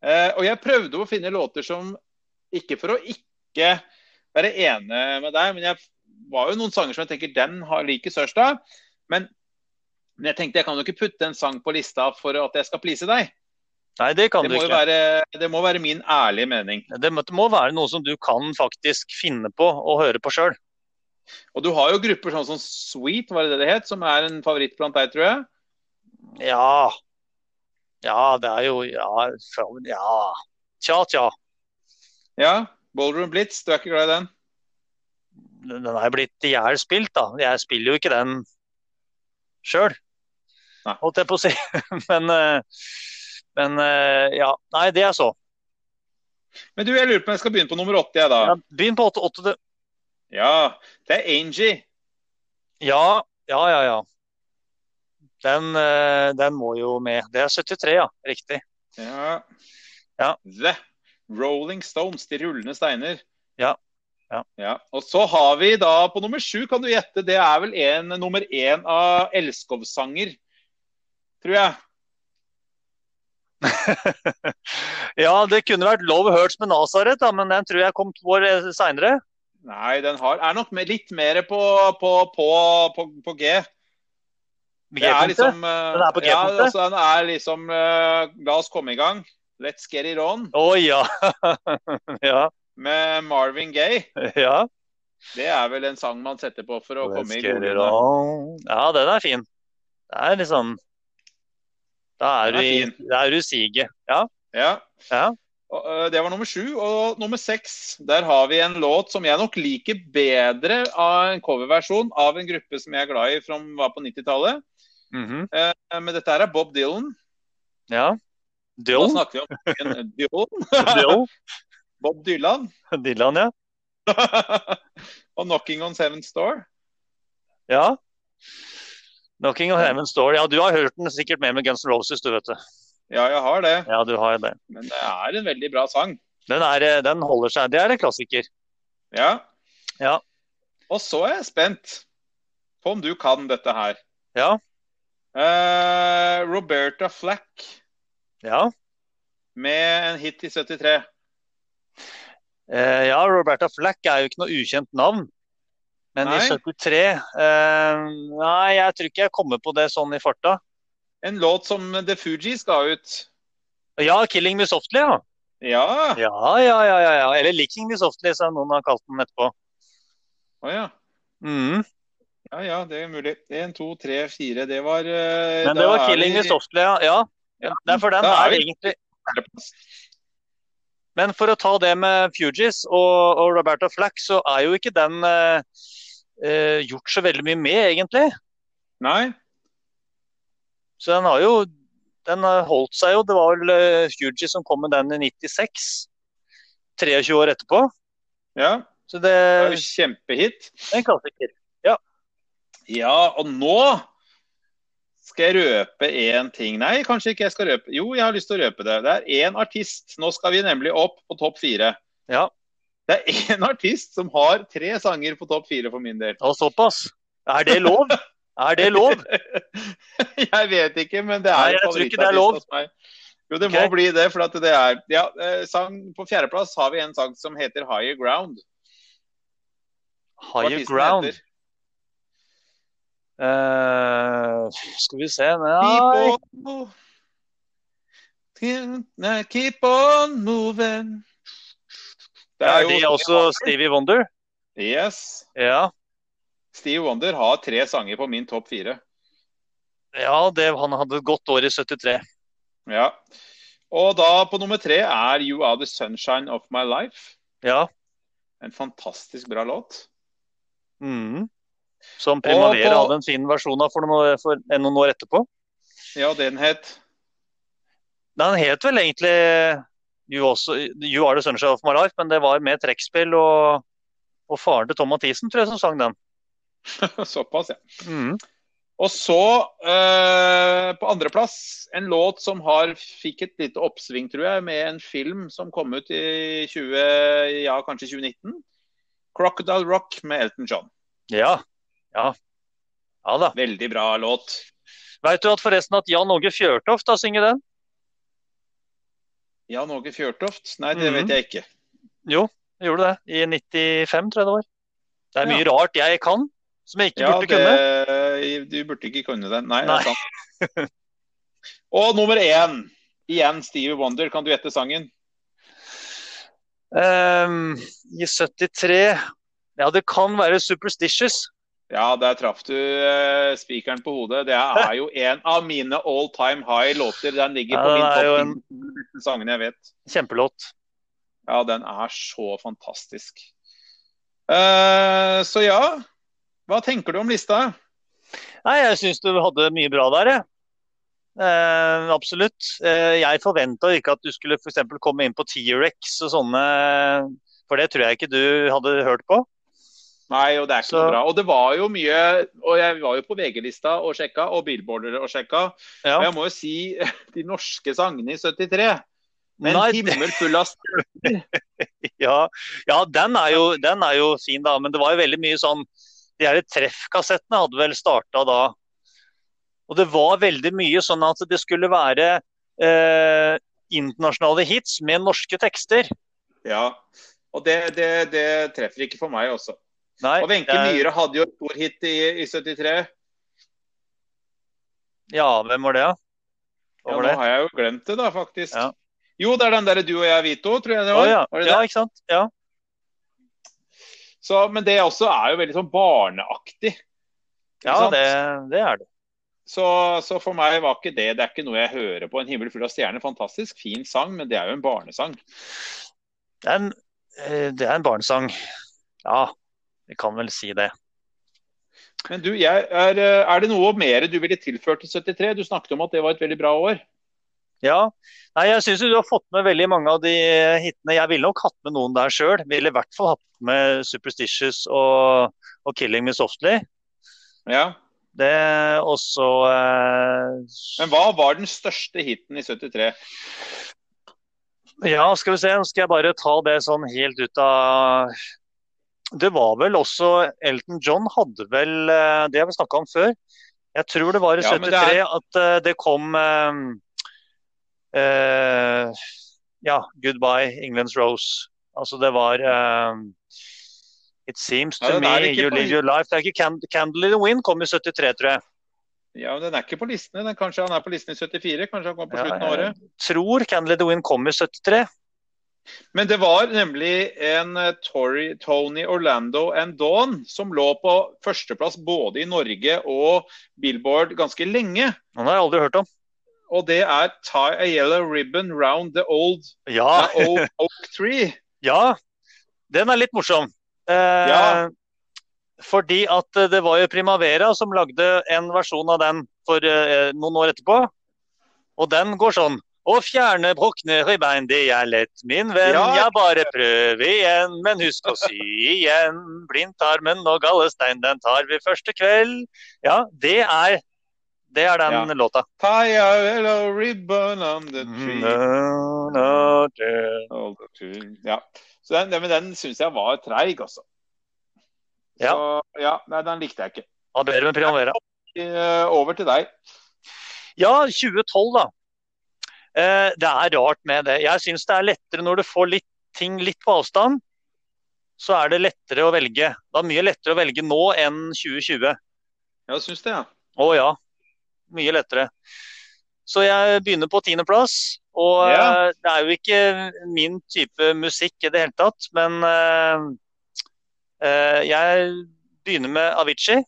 Speaker 2: Eh, og jeg prøvde å finne låter som Ikke for å ikke være ene med deg, men jeg var jo noen sanger som jeg tenker den har like Sørstad. Men, men jeg tenkte jeg kan jo ikke putte en sang på lista for at jeg skal please deg.
Speaker 3: Nei, det kan
Speaker 2: Det
Speaker 3: du
Speaker 2: må, jo
Speaker 3: ikke.
Speaker 2: være, det må være min ærlige mening.
Speaker 3: Det må, det må være noe som du kan faktisk finne på og høre på sjøl.
Speaker 2: Og du har jo grupper sånn som Sweet, var det det det het, som er en favoritt blant deg, tror jeg.
Speaker 3: Ja. Ja, det er jo Ja. fra- ja. Tja, tja.
Speaker 2: Ja, Ballroom Blitz, du er ikke glad i den?
Speaker 3: Den den er blitt i hjel spilt, da. Jeg spiller jo ikke den sjøl,
Speaker 2: Nei.
Speaker 3: holdt jeg på å si. Men, eh, men eh, ja. Nei, det er så.
Speaker 2: Men du, jeg lurer på om jeg skal begynne på nummer åtte, jeg da.
Speaker 3: Ja, Begynn på åtte- åtte. du.
Speaker 2: Ja, det er Angie.
Speaker 3: Ja, ja, ja. ja. Den, eh, den må jo med. Det er 73, ja. Riktig.
Speaker 2: Ja.
Speaker 3: Ja.
Speaker 2: The Rolling Stones, De rullende steiner.
Speaker 3: Ja. Ja.
Speaker 2: Og så har vi da på nummer sju, kan du gjette, det er vel en nummer én av Elskov-sanger, tror jeg.
Speaker 3: Ja, det kunne vært Love Hurts med Nazaret, da, men den tror jeg kom to år eh, seinere.
Speaker 2: Nei, den har, er nok med, litt mer på, på, på, på, på G. Det er
Speaker 3: G-punktet.
Speaker 2: liksom, eh,
Speaker 3: Den er på
Speaker 2: Ja,
Speaker 3: G-punktet?
Speaker 2: altså, den er liksom eh, La oss komme i gang. Let's Get It On
Speaker 3: Å ja. ja.
Speaker 2: med Marvin Gaye.
Speaker 3: Ja.
Speaker 2: Det er vel en sang man setter på for å komme i
Speaker 3: Let's get it
Speaker 2: godene.
Speaker 3: on. Ja, den er fin. Det er liksom Da er du
Speaker 2: Den er
Speaker 3: i Da er du i siget. Ja.
Speaker 2: Ja.
Speaker 3: Ja.
Speaker 2: Og, ø, det var nummer sju. Og nummer seks, der har vi en låt som jeg nok liker bedre av en coverversjon av en gruppe som jeg er glad i, som var på 90-tallet.
Speaker 3: Mhm.
Speaker 2: Eh, Men dette her er Bob Dylan.
Speaker 3: ja.
Speaker 2: Da
Speaker 3: Dylan.
Speaker 2: snakker vi om en Dylan.
Speaker 3: Dylan.
Speaker 2: Bob Dylan.
Speaker 3: Dylan, ja.
Speaker 2: og 'Knocking on Seventh Door'.
Speaker 3: ja. Knocking on Heaven's Door. Ja, du har hørt den sikkert mer med Guns N' Roses, du vet det.
Speaker 2: Ja, jeg har det.
Speaker 3: Ja, du har det.
Speaker 2: Men det er en veldig bra sang.
Speaker 3: Den, er, eh, den holder seg. Det er en klassiker.
Speaker 2: Ja.
Speaker 3: Ja.
Speaker 2: Og så er jeg spent på om du kan dette her.
Speaker 3: Ja.
Speaker 2: Eh, Roberta Flack
Speaker 3: Ja.
Speaker 2: med en hit i 73.
Speaker 3: Eh, ja, Roberta Flack er jo ikke noe ukjent navn. Men i
Speaker 2: Nei.
Speaker 3: 73 eh, Nei, jeg tror ikke jeg kommer på det sånn i farta.
Speaker 2: En låt som The Fugees ga ut.
Speaker 3: Ja, 'Killing Me Softly', ja.
Speaker 2: Ja.
Speaker 3: Ja, ja, ja. ja, ja. Eller 'Licking Me Softly', som noen har kalt den etterpå.
Speaker 2: Å ja.
Speaker 3: Mhm.
Speaker 2: Ja ja, det er mulig. Én, to, tre, fire. Det var eh,
Speaker 3: Men
Speaker 2: da
Speaker 3: det var
Speaker 2: er
Speaker 3: 'Killing
Speaker 2: vi-
Speaker 3: Me Softly', ja. ja. ja. Det er for den
Speaker 2: Da er
Speaker 3: er
Speaker 2: vi-
Speaker 3: egentlig Men for å ta det med Fugees og, og Roberta Flack, så er jo ikke den eh, eh, gjort så veldig mye med, egentlig.
Speaker 2: Nei.
Speaker 3: Så den har jo Den har holdt seg jo. Det var vel eh, Fuji som kom med den i 96. 23 år etterpå.
Speaker 2: Ja.
Speaker 3: Så det
Speaker 2: Det
Speaker 3: er
Speaker 2: er jo kjempehit.
Speaker 3: en klassiker.
Speaker 2: Ja, og nå skal jeg røpe én ting. Nei, kanskje ikke jeg skal røpe. Jo, jeg har lyst til å røpe det. Det er én artist. Nå skal vi nemlig opp på topp fire.
Speaker 3: Ja.
Speaker 2: Det er én artist som har tre sanger på topp fire for min del.
Speaker 3: Og såpass. Er det lov? Er det lov?
Speaker 2: Jeg vet ikke, men det
Speaker 3: Nei,
Speaker 2: er
Speaker 3: jeg tror ikke det er lov.
Speaker 2: hos meg. Jo, det
Speaker 3: Ok.
Speaker 2: må bli det, for at det er Ja, eh, sang På fjerdeplass har vi en sang som heter 'Higher Ground'. Hva
Speaker 3: Higher
Speaker 2: artisten
Speaker 3: ground.
Speaker 2: heter.
Speaker 3: Eh, skal vi se Nei.
Speaker 2: Keep on, keep, nei, keep on moving. Det
Speaker 3: Er det også Stevie Wonder?
Speaker 2: Yes.
Speaker 3: Ja.
Speaker 2: Steve Wonder har tre sanger på min topp fire.
Speaker 3: ja det, han hadde et godt år i 73.
Speaker 2: Ja. Og da på nummer tre er 'You Are The Sunshine Of My Life'.
Speaker 3: Ja.
Speaker 2: En fantastisk bra låt.
Speaker 3: Mhm. Som Primavera
Speaker 2: på-
Speaker 3: hadde en fin versjon av for noen, år- for noen år etterpå.
Speaker 2: Ja, den het
Speaker 3: Den het vel egentlig eh, you, also, you Are The Sunshine Of My Life, men det var med trekkspill og, og faren til Tom Mathisen, tror jeg, som sang den.
Speaker 2: Såpass, ja.
Speaker 3: Mhm.
Speaker 2: Og så, eh, på andreplass, en låt som har fikk et lite oppsving, tror jeg, med en film som kom ut i 20, ja, kanskje 2019. 'Crocodile Rock' med Elton John.
Speaker 3: Ja. Ja. Ja da.
Speaker 2: Veldig bra låt.
Speaker 3: Veit du at forresten at Jan Åge Fjørtoft har synget den?
Speaker 2: Jan Åge Fjørtoft? Nei, det
Speaker 3: Mhm.
Speaker 2: vet jeg ikke.
Speaker 3: Jo, jeg gjorde det. I 95, tror jeg det var. Det er mye rart jeg kan, som jeg ikke
Speaker 2: Ja,
Speaker 3: burde kunne.
Speaker 2: det, du burde ikke kunne den. Nei,
Speaker 3: Nei.
Speaker 2: det er sant. Og nummer én, igjen Stevie Wonder. Kan du gjette sangen?
Speaker 3: Ehm, I 73 Ja, det kan være Superstitious.
Speaker 2: Ja, der traff du eh, spikeren på hodet. Det er jo en av mine all time high låter. Den ligger
Speaker 3: Ja,
Speaker 2: på
Speaker 3: den
Speaker 2: min
Speaker 3: er jo en-
Speaker 2: topp 10 sangene jeg vet.
Speaker 3: Kjempelåt.
Speaker 2: Ja, den er så fantastisk. Eh, så ja, hva tenker du om lista?
Speaker 3: Nei, jeg syns du hadde mye bra der, jeg. Ehm, absolutt. Eh, jeg forventa ikke at du skulle for eksempel komme inn på T-rex og sånne, for det tror jeg ikke du hadde hørt på.
Speaker 2: Nei, og det er ikke
Speaker 3: Så-
Speaker 2: noe bra. Og det var jo mye Og jeg var jo på VG-lista og sjekka, og Billboarder og sjekka. Og
Speaker 3: Ja.
Speaker 2: jeg må jo si de norske sangene i 73. Med
Speaker 3: Nei,
Speaker 2: en
Speaker 3: det-
Speaker 2: himmel full av stjerner.
Speaker 3: Ja, ja den, er jo, den er jo fin, da. Men det var jo veldig mye sånn De her treffkassettene hadde vel starta da. Og det var veldig mye sånn at det skulle være eh, internasjonale hits med norske tekster.
Speaker 2: Ja. Og det, det, det treffer ikke for meg altså. også.
Speaker 3: Nei,
Speaker 2: Og Wenche
Speaker 3: det er-
Speaker 2: Myhre hadde jo et stor hit i, i 73.
Speaker 3: Ja, hvem var det, da? Hva
Speaker 2: Ja,
Speaker 3: var
Speaker 2: nå
Speaker 3: det?
Speaker 2: har jeg jo glemt det, da, faktisk.
Speaker 3: Ja.
Speaker 2: Jo, det er den derre du og jeg, Vito, tror jeg det
Speaker 3: Å
Speaker 2: var.
Speaker 3: ja.
Speaker 2: var det det?
Speaker 3: ja, ikke sant? Ja.
Speaker 2: Så, men det også er jo veldig sånn barneaktig.
Speaker 3: Ja,
Speaker 2: sant?
Speaker 3: det, det er det.
Speaker 2: Så, så for meg var ikke det Det er ikke noe jeg hører på. 'En himmel full av stjerner', fantastisk fin sang, men det er jo en barnesang.
Speaker 3: Det er en, eh, det er en barnesang. Ja, vi kan vel si det.
Speaker 2: Men du, jeg er, eh, er det noe mer du ville tilført til 73? Du snakket om at det var et veldig bra år.
Speaker 3: Ja. Nei, jeg syns du har fått med veldig mange av de eh, hitene. Jeg ville nok hatt med noen der sjøl. Ville i hvert fall hatt med 'Superstitious' og, og 'Killing Me Softly'.
Speaker 2: Ja.
Speaker 3: Det også eh,
Speaker 2: Men hva var den største hiten i 73?
Speaker 3: Ja, skal vi se. Nå skal jeg bare ta det sånn helt ut av Det var vel også Elton John hadde vel eh, Det har vi snakka om før. Jeg tror det var i
Speaker 2: Ja, men det
Speaker 3: 73 at eh, det kom eh, eh, Ja, 'Goodbye England's Rose'. Altså det var eh, It seems to
Speaker 2: Ja, den er
Speaker 3: me
Speaker 2: ikke
Speaker 3: you
Speaker 2: på-
Speaker 3: live your life. Det er ikke Can- 'Candle in the Wind' kom i 73, tror jeg.
Speaker 2: Ja, men Den er ikke på listene. Den, kanskje han er på listen i 74? Kanskje han kom på
Speaker 3: Ja,
Speaker 2: slutten
Speaker 3: ja.
Speaker 2: av året?
Speaker 3: Tror 'Candle in the Wind' kom i 73.
Speaker 2: Men det var nemlig en eh, Tori, Tony Orlando and Dawn som lå på førsteplass både i Norge og Billboard ganske lenge.
Speaker 3: Den har jeg aldri hørt om.
Speaker 2: Og det er 'Tie a Yellow Ribbon Round the Old
Speaker 3: Ja,
Speaker 2: the old Oak Tree'.
Speaker 3: Ja, den er litt morsom. Eh,
Speaker 2: Ja.
Speaker 3: Fordi at eh, det var jo Primavera som lagde en versjon av den for eh, noen år etterpå. Og den går sånn. Å fjerne brukne ribbein, det er lett, min venn.
Speaker 2: Ja.
Speaker 3: Jeg bare prøv igjen, men husk å sy igjen. Blindtarmen og gallestein, den tar vi første kveld. Ja, det er, det er den låta.
Speaker 2: Tie a eh, yellow ribbon on the
Speaker 3: Mm,
Speaker 2: tree.
Speaker 3: No, no, no.
Speaker 2: Old Oak Tree. Ja. Så den, den, men den syns jeg var treig, altså.
Speaker 3: Ja.
Speaker 2: Så, ja, nei, den likte jeg ikke.
Speaker 3: Ha bedre med Primavera.
Speaker 2: Eh, Over til deg.
Speaker 3: Ja, 2012, da. Eh, det er rart med det. Jeg syns det er lettere når du får litt, ting litt på avstand. Så er det lettere å velge. Det er mye lettere å velge nå enn 2020.
Speaker 2: Ja, jeg syns det, ja.
Speaker 3: Å ja. Mye lettere. Så jeg begynner på tiendeplass. Og
Speaker 2: Ja.
Speaker 3: eh, det er jo ikke min type musikk i det hele tatt, men eh, eh, jeg begynner med Avicii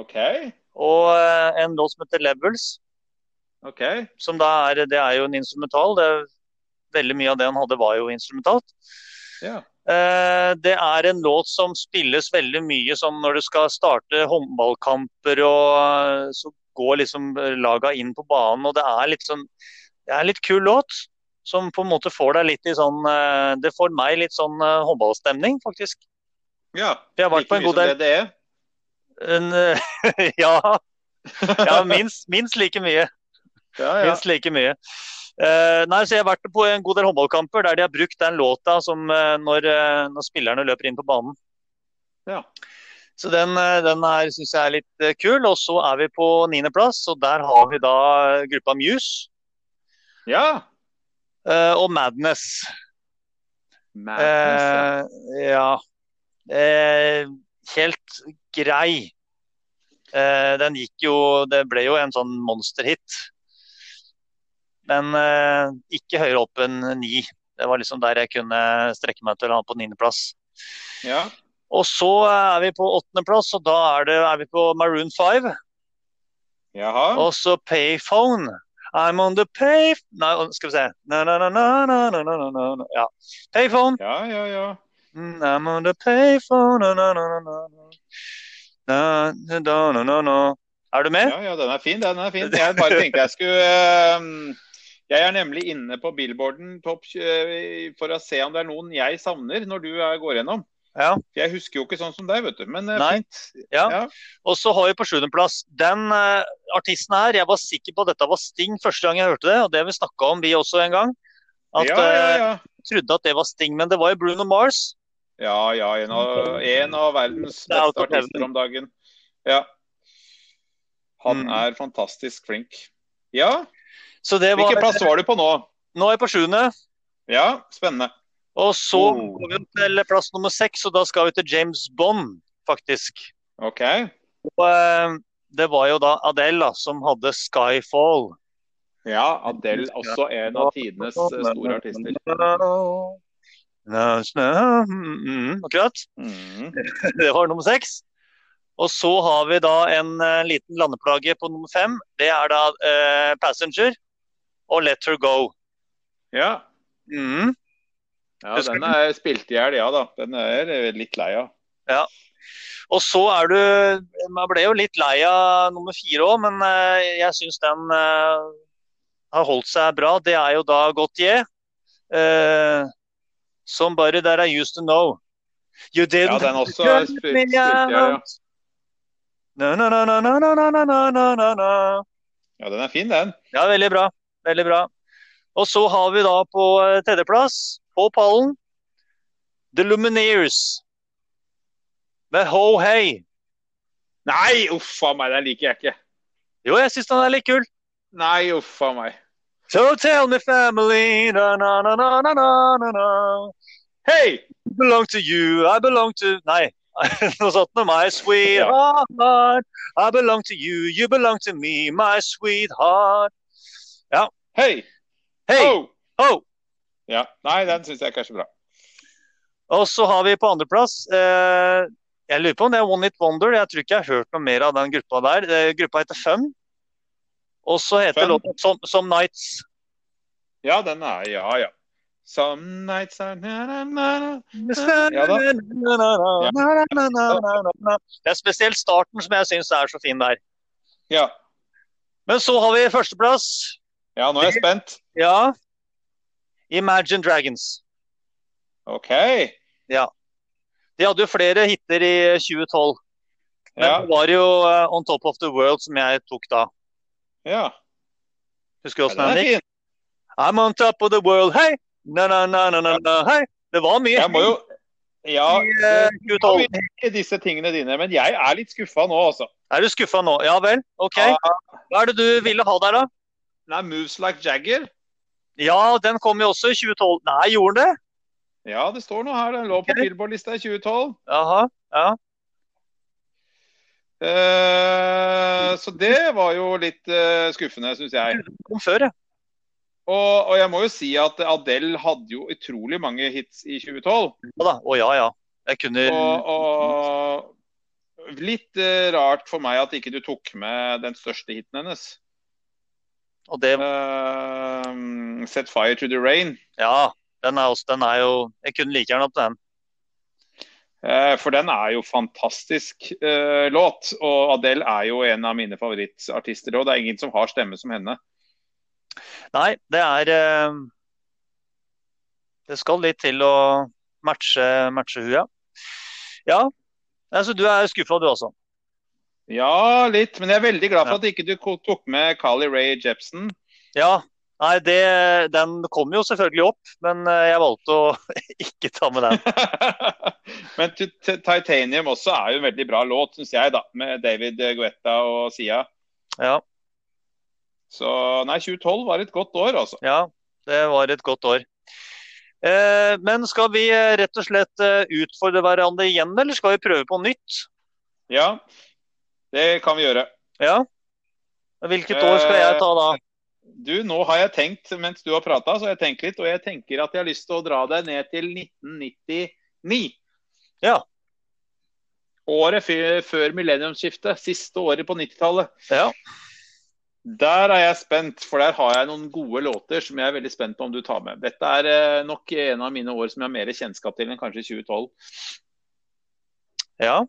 Speaker 2: OK.
Speaker 3: og eh, en låt som heter 'Levels'.
Speaker 2: ok.
Speaker 3: som da er, det er jo en instrumental. Det er, veldig mye av det han hadde var jo instrumentalt.
Speaker 2: Ja.
Speaker 3: Eh, det er en låt som spilles veldig mye som når du skal starte håndballkamper og eh, så går liksom laga inn på banen, og det er litt sånn Det er en litt kul låt som på en måte får deg litt i sånn eh, Det får meg litt sånn eh, håndballstemning, faktisk.
Speaker 2: Ja.
Speaker 3: For jeg har vært på en god del
Speaker 2: Like mye som E. det det er.
Speaker 3: en, eh, Ja, ja minst, minst like mye.
Speaker 2: Ja, ja.
Speaker 3: Minst like mye. Eh, nei, så Jeg har vært på en god del håndballkamper der de har brukt den låta som eh, når, eh, når spillerne løper inn på banen.
Speaker 2: Ja.
Speaker 3: Så den, eh, den her syns jeg er litt eh, kul. Og så er vi på niendeplass, og der har vi da eh, gruppa Muse
Speaker 2: ja.
Speaker 3: eh, og Madness.
Speaker 2: Madness,
Speaker 3: Eh, ja. Eh, helt grei. Eh, den gikk jo Det ble jo en sånn monsterhit. Men eh, ikke høyere opp enn ni. Det var liksom der jeg kunne strekke meg til å ha på niendeplass.
Speaker 2: ja.
Speaker 3: Og så er vi på åttendeplass, og da er, det, er vi på Maroon 5.
Speaker 2: Jaha.
Speaker 3: Og så Payphone. I'm on the pay... Nei, skal vi se. Na, na, na, na, na, na, na, na, na. Ja. Payphone.
Speaker 2: Ja, ja, ja.
Speaker 3: Mm, I'm on the payphone, no, no, no, no, no, no. No, no, no, no, no, no. Er du med?
Speaker 2: Ja, ja, den er fin, den er fin. Jeg bare tenkte jeg skulle ehm, Jeg er nemlig inne på billboarden topp 20 for å se om det er noen jeg savner når du er- går gjennom.
Speaker 3: Ja.
Speaker 2: For jeg husker jo ikke sånn som deg, vet du. Men eh,
Speaker 3: Nei.
Speaker 2: fint.
Speaker 3: Ja.
Speaker 2: Ja.
Speaker 3: Og så har vi på sjuendeplass den eh, artisten her. Jeg var sikker på at dette var Sting første gang jeg hørte det, og det har vi snakka om vi også en gang. At eh,
Speaker 2: ja, ja, ja.
Speaker 3: jeg trodde at det var Sting, men det var jo Bruno Mars.
Speaker 2: ja, ja en, av, en av verdens
Speaker 3: Det er out
Speaker 2: beste
Speaker 3: of heaven.
Speaker 2: artister om dagen. Ja. Han
Speaker 3: Mm.
Speaker 2: er fantastisk flink. Ja.
Speaker 3: Så det var
Speaker 2: Hvilken plass var du på nå?
Speaker 3: Nå er jeg på sjuende.
Speaker 2: Ja, spennende.
Speaker 3: Og så
Speaker 2: Oh.
Speaker 3: går vi til plass nummer seks, og da skal vi til James Bond, faktisk.
Speaker 2: OK.
Speaker 3: Og eh, det var jo da Adele da, som hadde Skyfall.
Speaker 2: Ja, Adele også en av tidenes eh, store artister.
Speaker 3: Nå, snø, mm, mm, Akkurat.
Speaker 2: Mm.
Speaker 3: Det var nummer seks. Og så har vi da en eh, liten landeplage på nummer fem. Det er da eh, Passenger og Let Her Go.
Speaker 2: Ja.
Speaker 3: Mm.
Speaker 2: ja,
Speaker 3: Husker
Speaker 2: den er spilt i hjel, ja da. Den er jeg litt lei av.
Speaker 3: Og så er du Man ble jo litt lei av nummer fire òg, men eh, jeg syns den eh, har holdt seg bra. Det er jo da Gautier. Uh, Somebody that I used to know. You
Speaker 2: Ja,
Speaker 3: didn't
Speaker 2: den også er spilt, spilt i hjel, ja.
Speaker 3: No, no, no, no, no, no, no, no, no, no, no.
Speaker 2: Ja, den er fin, den.
Speaker 3: Ja, veldig bra. Veldig bra. Og så har vi da på eh, tredjeplass, på pallen, The Lumineers. Med Ho Hey.
Speaker 2: Nei, uff a meg, den liker jeg ikke.
Speaker 3: Jo, jeg syns den er litt kul.
Speaker 2: Nei, uff a meg.
Speaker 3: So tell me family, na na na na na na na na.
Speaker 2: Hei!
Speaker 3: I belong to you, I belong to Nei, noe sånt med my sweetheart. I belong to you, you belong to me, my sweetheart.
Speaker 2: Hei!
Speaker 3: Hey,
Speaker 2: Oh!
Speaker 3: ho!
Speaker 2: Ja, Nei, den syns jeg ikke er så bra.
Speaker 3: Og så har vi på andreplass eh, Jeg lurer på om det er One Hit Wonder. Jeg tror ikke jeg har hørt noe mer av den gruppa der. Eh, gruppa heter Fun. Og så heter
Speaker 2: Fun?
Speaker 3: låten Som, Som Nights.
Speaker 2: Ja, den er Ja, ja. Some nights are na, na, na, na. Ja da.
Speaker 3: Det er spesielt starten som jeg syns er så fin der.
Speaker 2: Ja.
Speaker 3: Men så har vi førsteplass.
Speaker 2: ja, nå er jeg spent.
Speaker 3: Ja. Imagine Dragons.
Speaker 2: OK.
Speaker 3: De hadde jo flere hiter i 2012. Men
Speaker 2: Ja.
Speaker 3: det var jo eh, On Top of the World som jeg tok da.
Speaker 2: ja.
Speaker 3: Husker du
Speaker 2: ja
Speaker 3: åssen
Speaker 2: den
Speaker 3: den
Speaker 2: er
Speaker 3: gikk?
Speaker 2: fin.
Speaker 3: I'm on top of the world, hey! Na, na, na, na, na, na, hey! Det var mye
Speaker 2: Jeg må jo Ja.
Speaker 3: hey i eh,
Speaker 2: det-
Speaker 3: 2012.
Speaker 2: ikke Disse tingene dine. Men jeg er litt skuffa nå, altså.
Speaker 3: Er du skuffa nå? Ja vel, OK.
Speaker 2: Ja.
Speaker 3: Hva er det du ville ha der, da?
Speaker 2: Nei, Moves Like Jagger.
Speaker 3: Ja, den kom jo også i 2012. Nei, gjorde den det?
Speaker 2: Ja, det står noe her. Den lå på
Speaker 3: Ok.
Speaker 2: Billboard-lista i 2012.
Speaker 3: Jaha.
Speaker 2: Eh, så det var jo litt eh, skuffende, syns jeg.
Speaker 3: Den kom før, ja.
Speaker 2: Og, og jeg må jo si at Adele hadde jo utrolig mange hits i 2012.
Speaker 3: Ja da. Å ja, ja. Jeg kunne
Speaker 2: Og, og litt eh, rart for meg at ikke du tok med den største hiten hennes.
Speaker 3: Og det
Speaker 2: Eh, Set fire to the rain.
Speaker 3: Ja. Den er, også, den er jo Jeg kunne like gjerne hatt den.
Speaker 2: Eh, for den er jo fantastisk eh, låt. Og Adele er jo en av mine favorittartister. Og det er ingen som har stemme som henne.
Speaker 3: Nei, det er eh, Det skal litt til å matche, matche hun, ja. Ja. Altså, du er skuffa, du også.
Speaker 2: Ja, litt. Men jeg er veldig glad for at ikke du ko- tok med Carly Rae Jepsen.
Speaker 3: Ja, nei, det, den kom jo selvfølgelig opp, men eh, jeg valgte å ikke ta med den.
Speaker 2: Men Ti- Ti- Titanium også er jo en veldig bra låt, syns jeg, da. Med David Guetta og Sia.
Speaker 3: Ja,
Speaker 2: Så nei, 2012 var et godt år, altså.
Speaker 3: ja, det var et godt år. Eh, men skal vi eh, rett og slett eh, utfordre hverandre igjen, eller skal vi prøve på nytt?
Speaker 2: Ja, det kan vi gjøre.
Speaker 3: Ja. Hvilket år skal jeg ta da?
Speaker 2: Du, nå har jeg tenkt mens du har prata, så har jeg tenkt litt, og jeg tenker at jeg har lyst til å dra deg ned til 1999.
Speaker 3: Ja.
Speaker 2: Året før, før millenniumsskiftet, siste året på 90-tallet.
Speaker 3: Ja.
Speaker 2: Der er jeg spent, for der har jeg noen gode låter som jeg er veldig spent på om du tar med. Dette er eh, nok en av mine år som jeg har mer kjennskap til enn kanskje 2012.
Speaker 3: ja.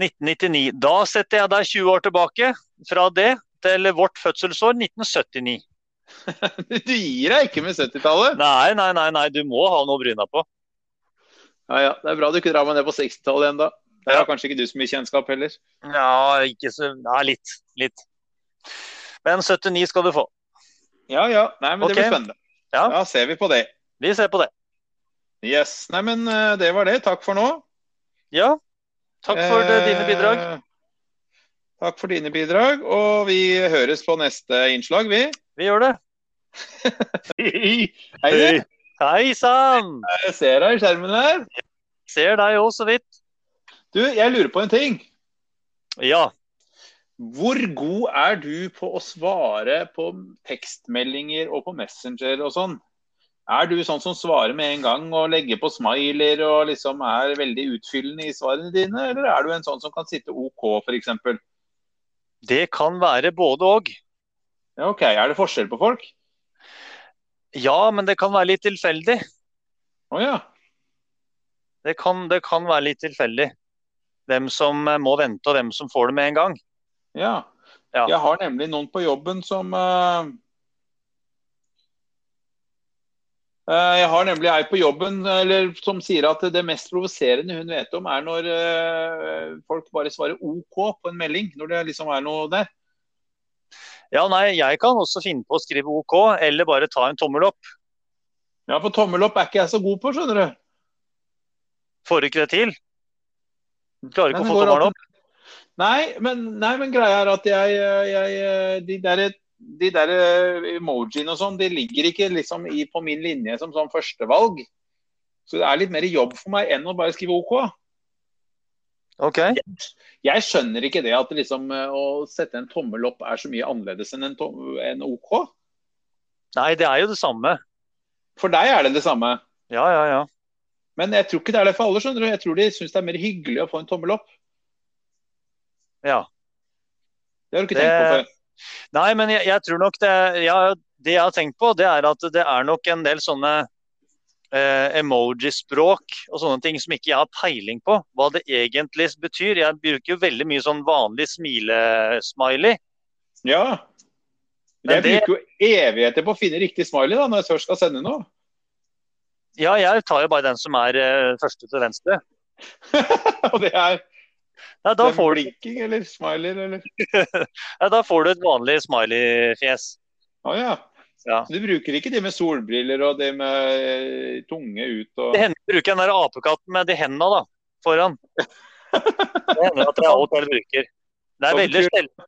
Speaker 3: 1999. Da setter jeg deg 20 år tilbake fra det til vårt fødselsår 1979.
Speaker 2: Du gir deg ikke med 70-tallet.
Speaker 3: Nei, nei, nei, nei, du må ha noe å bryne deg på.
Speaker 2: Ja, ja. Det er bra du ikke drar meg ned på 60-tallet ennå. Der
Speaker 3: Ja.
Speaker 2: har kanskje ikke du så mye kjennskap heller.
Speaker 3: Ja, ikke så Nei, litt. Litt. Men 79 skal du få.
Speaker 2: Ja, ja. Nei, men
Speaker 3: Ok.
Speaker 2: det blir spennende.
Speaker 3: Ja.
Speaker 2: Da ser vi på det.
Speaker 3: Vi ser på det.
Speaker 2: Yes. Nei, men eh, det var det. Takk for nå.
Speaker 3: Ja. Takk for eh, dine bidrag.
Speaker 2: Eh, Takk for dine bidrag, og vi høres på neste innslag, vi.
Speaker 3: Vi gjør det.
Speaker 2: Hei, du.
Speaker 3: Hei sann!
Speaker 2: jeg ser deg i skjermen her.
Speaker 3: Ser deg òg, så vidt.
Speaker 2: Du, jeg lurer på en ting.
Speaker 3: Ja.
Speaker 2: Hvor god er du på å svare på tekstmeldinger og på Messenger og sånn? Er du sånn som svarer med en gang og legger på smiler og liksom er veldig utfyllende i svarene dine, eller er du en sånn som kan sitte OK, f.eks.?
Speaker 3: Det kan være både og.
Speaker 2: Ja, OK, er det forskjell på folk?
Speaker 3: Ja, men det kan være litt tilfeldig.
Speaker 2: Å ja.
Speaker 3: Det kan, det kan være litt tilfeldig. Hvem som eh, må vente, og hvem som får det med en gang.
Speaker 2: ja.
Speaker 3: Ja.
Speaker 2: Jeg har nemlig noen på jobben som eh, eh, Jeg har nemlig ei på jobben eller, som sier at det mest provoserende hun vet om, er når eh, folk bare svarer OK på en melding. Når det liksom er noe der.
Speaker 3: Ja, nei, jeg kan også finne på å skrive OK, eller bare ta en tommel opp.
Speaker 2: Ja, for tommel opp er ikke jeg så god på, skjønner du.
Speaker 3: Får du ikke det til? Klarer ikke å
Speaker 2: Men det
Speaker 3: få
Speaker 2: går
Speaker 3: tommelen opp?
Speaker 2: Nei, men, nei, men greia er at jeg, jeg De der, de der emojiene og sånn, de ligger ikke liksom i, på min linje som sånn førstevalg. Så det er litt mer jobb for meg enn å bare skrive OK.
Speaker 3: OK.
Speaker 2: Jeg skjønner ikke det at liksom, eh, å sette en tommel opp er så mye annerledes enn en, tom- enn OK.
Speaker 3: Nei, det er jo det samme.
Speaker 2: For deg er det det samme.
Speaker 3: Ja, ja, ja.
Speaker 2: Men jeg tror ikke det er det for alle. skjønner du. Jeg tror de syns det er mer hyggelig å få en tommel opp.
Speaker 3: Ja.
Speaker 2: Det har du ikke
Speaker 3: Det-
Speaker 2: tenkt på før.
Speaker 3: Nei, men jeg, jeg tror nok det ja, Det jeg har tenkt på, det er at det er nok en del sånne eh, emoji-språk og sånne ting som ikke jeg har peiling på hva det egentlig betyr. Jeg bruker jo veldig mye sånn vanlig smile-smiley.
Speaker 2: Ja.
Speaker 3: Men
Speaker 2: Jeg
Speaker 3: det-
Speaker 2: bruker jo evigheter på å finne riktig smiley da, når jeg først skal sende noe.
Speaker 3: Ja, jeg tar jo bare den som er eh, første til venstre.
Speaker 2: Og det er
Speaker 3: Ja, da
Speaker 2: det er
Speaker 3: får du,
Speaker 2: blinking eller smiler eller
Speaker 3: ja, da får du et vanlig smiley-fjes.
Speaker 2: Å ja.
Speaker 3: Ja.
Speaker 2: Så du bruker ikke de med solbriller og de med eh, tunge ut og
Speaker 3: Det hender jeg bruker den der apekatten med de hendene da, foran. Det hender at det er alt jeg bruker. Det er
Speaker 2: Som
Speaker 3: veldig
Speaker 2: kul.
Speaker 3: sjelden.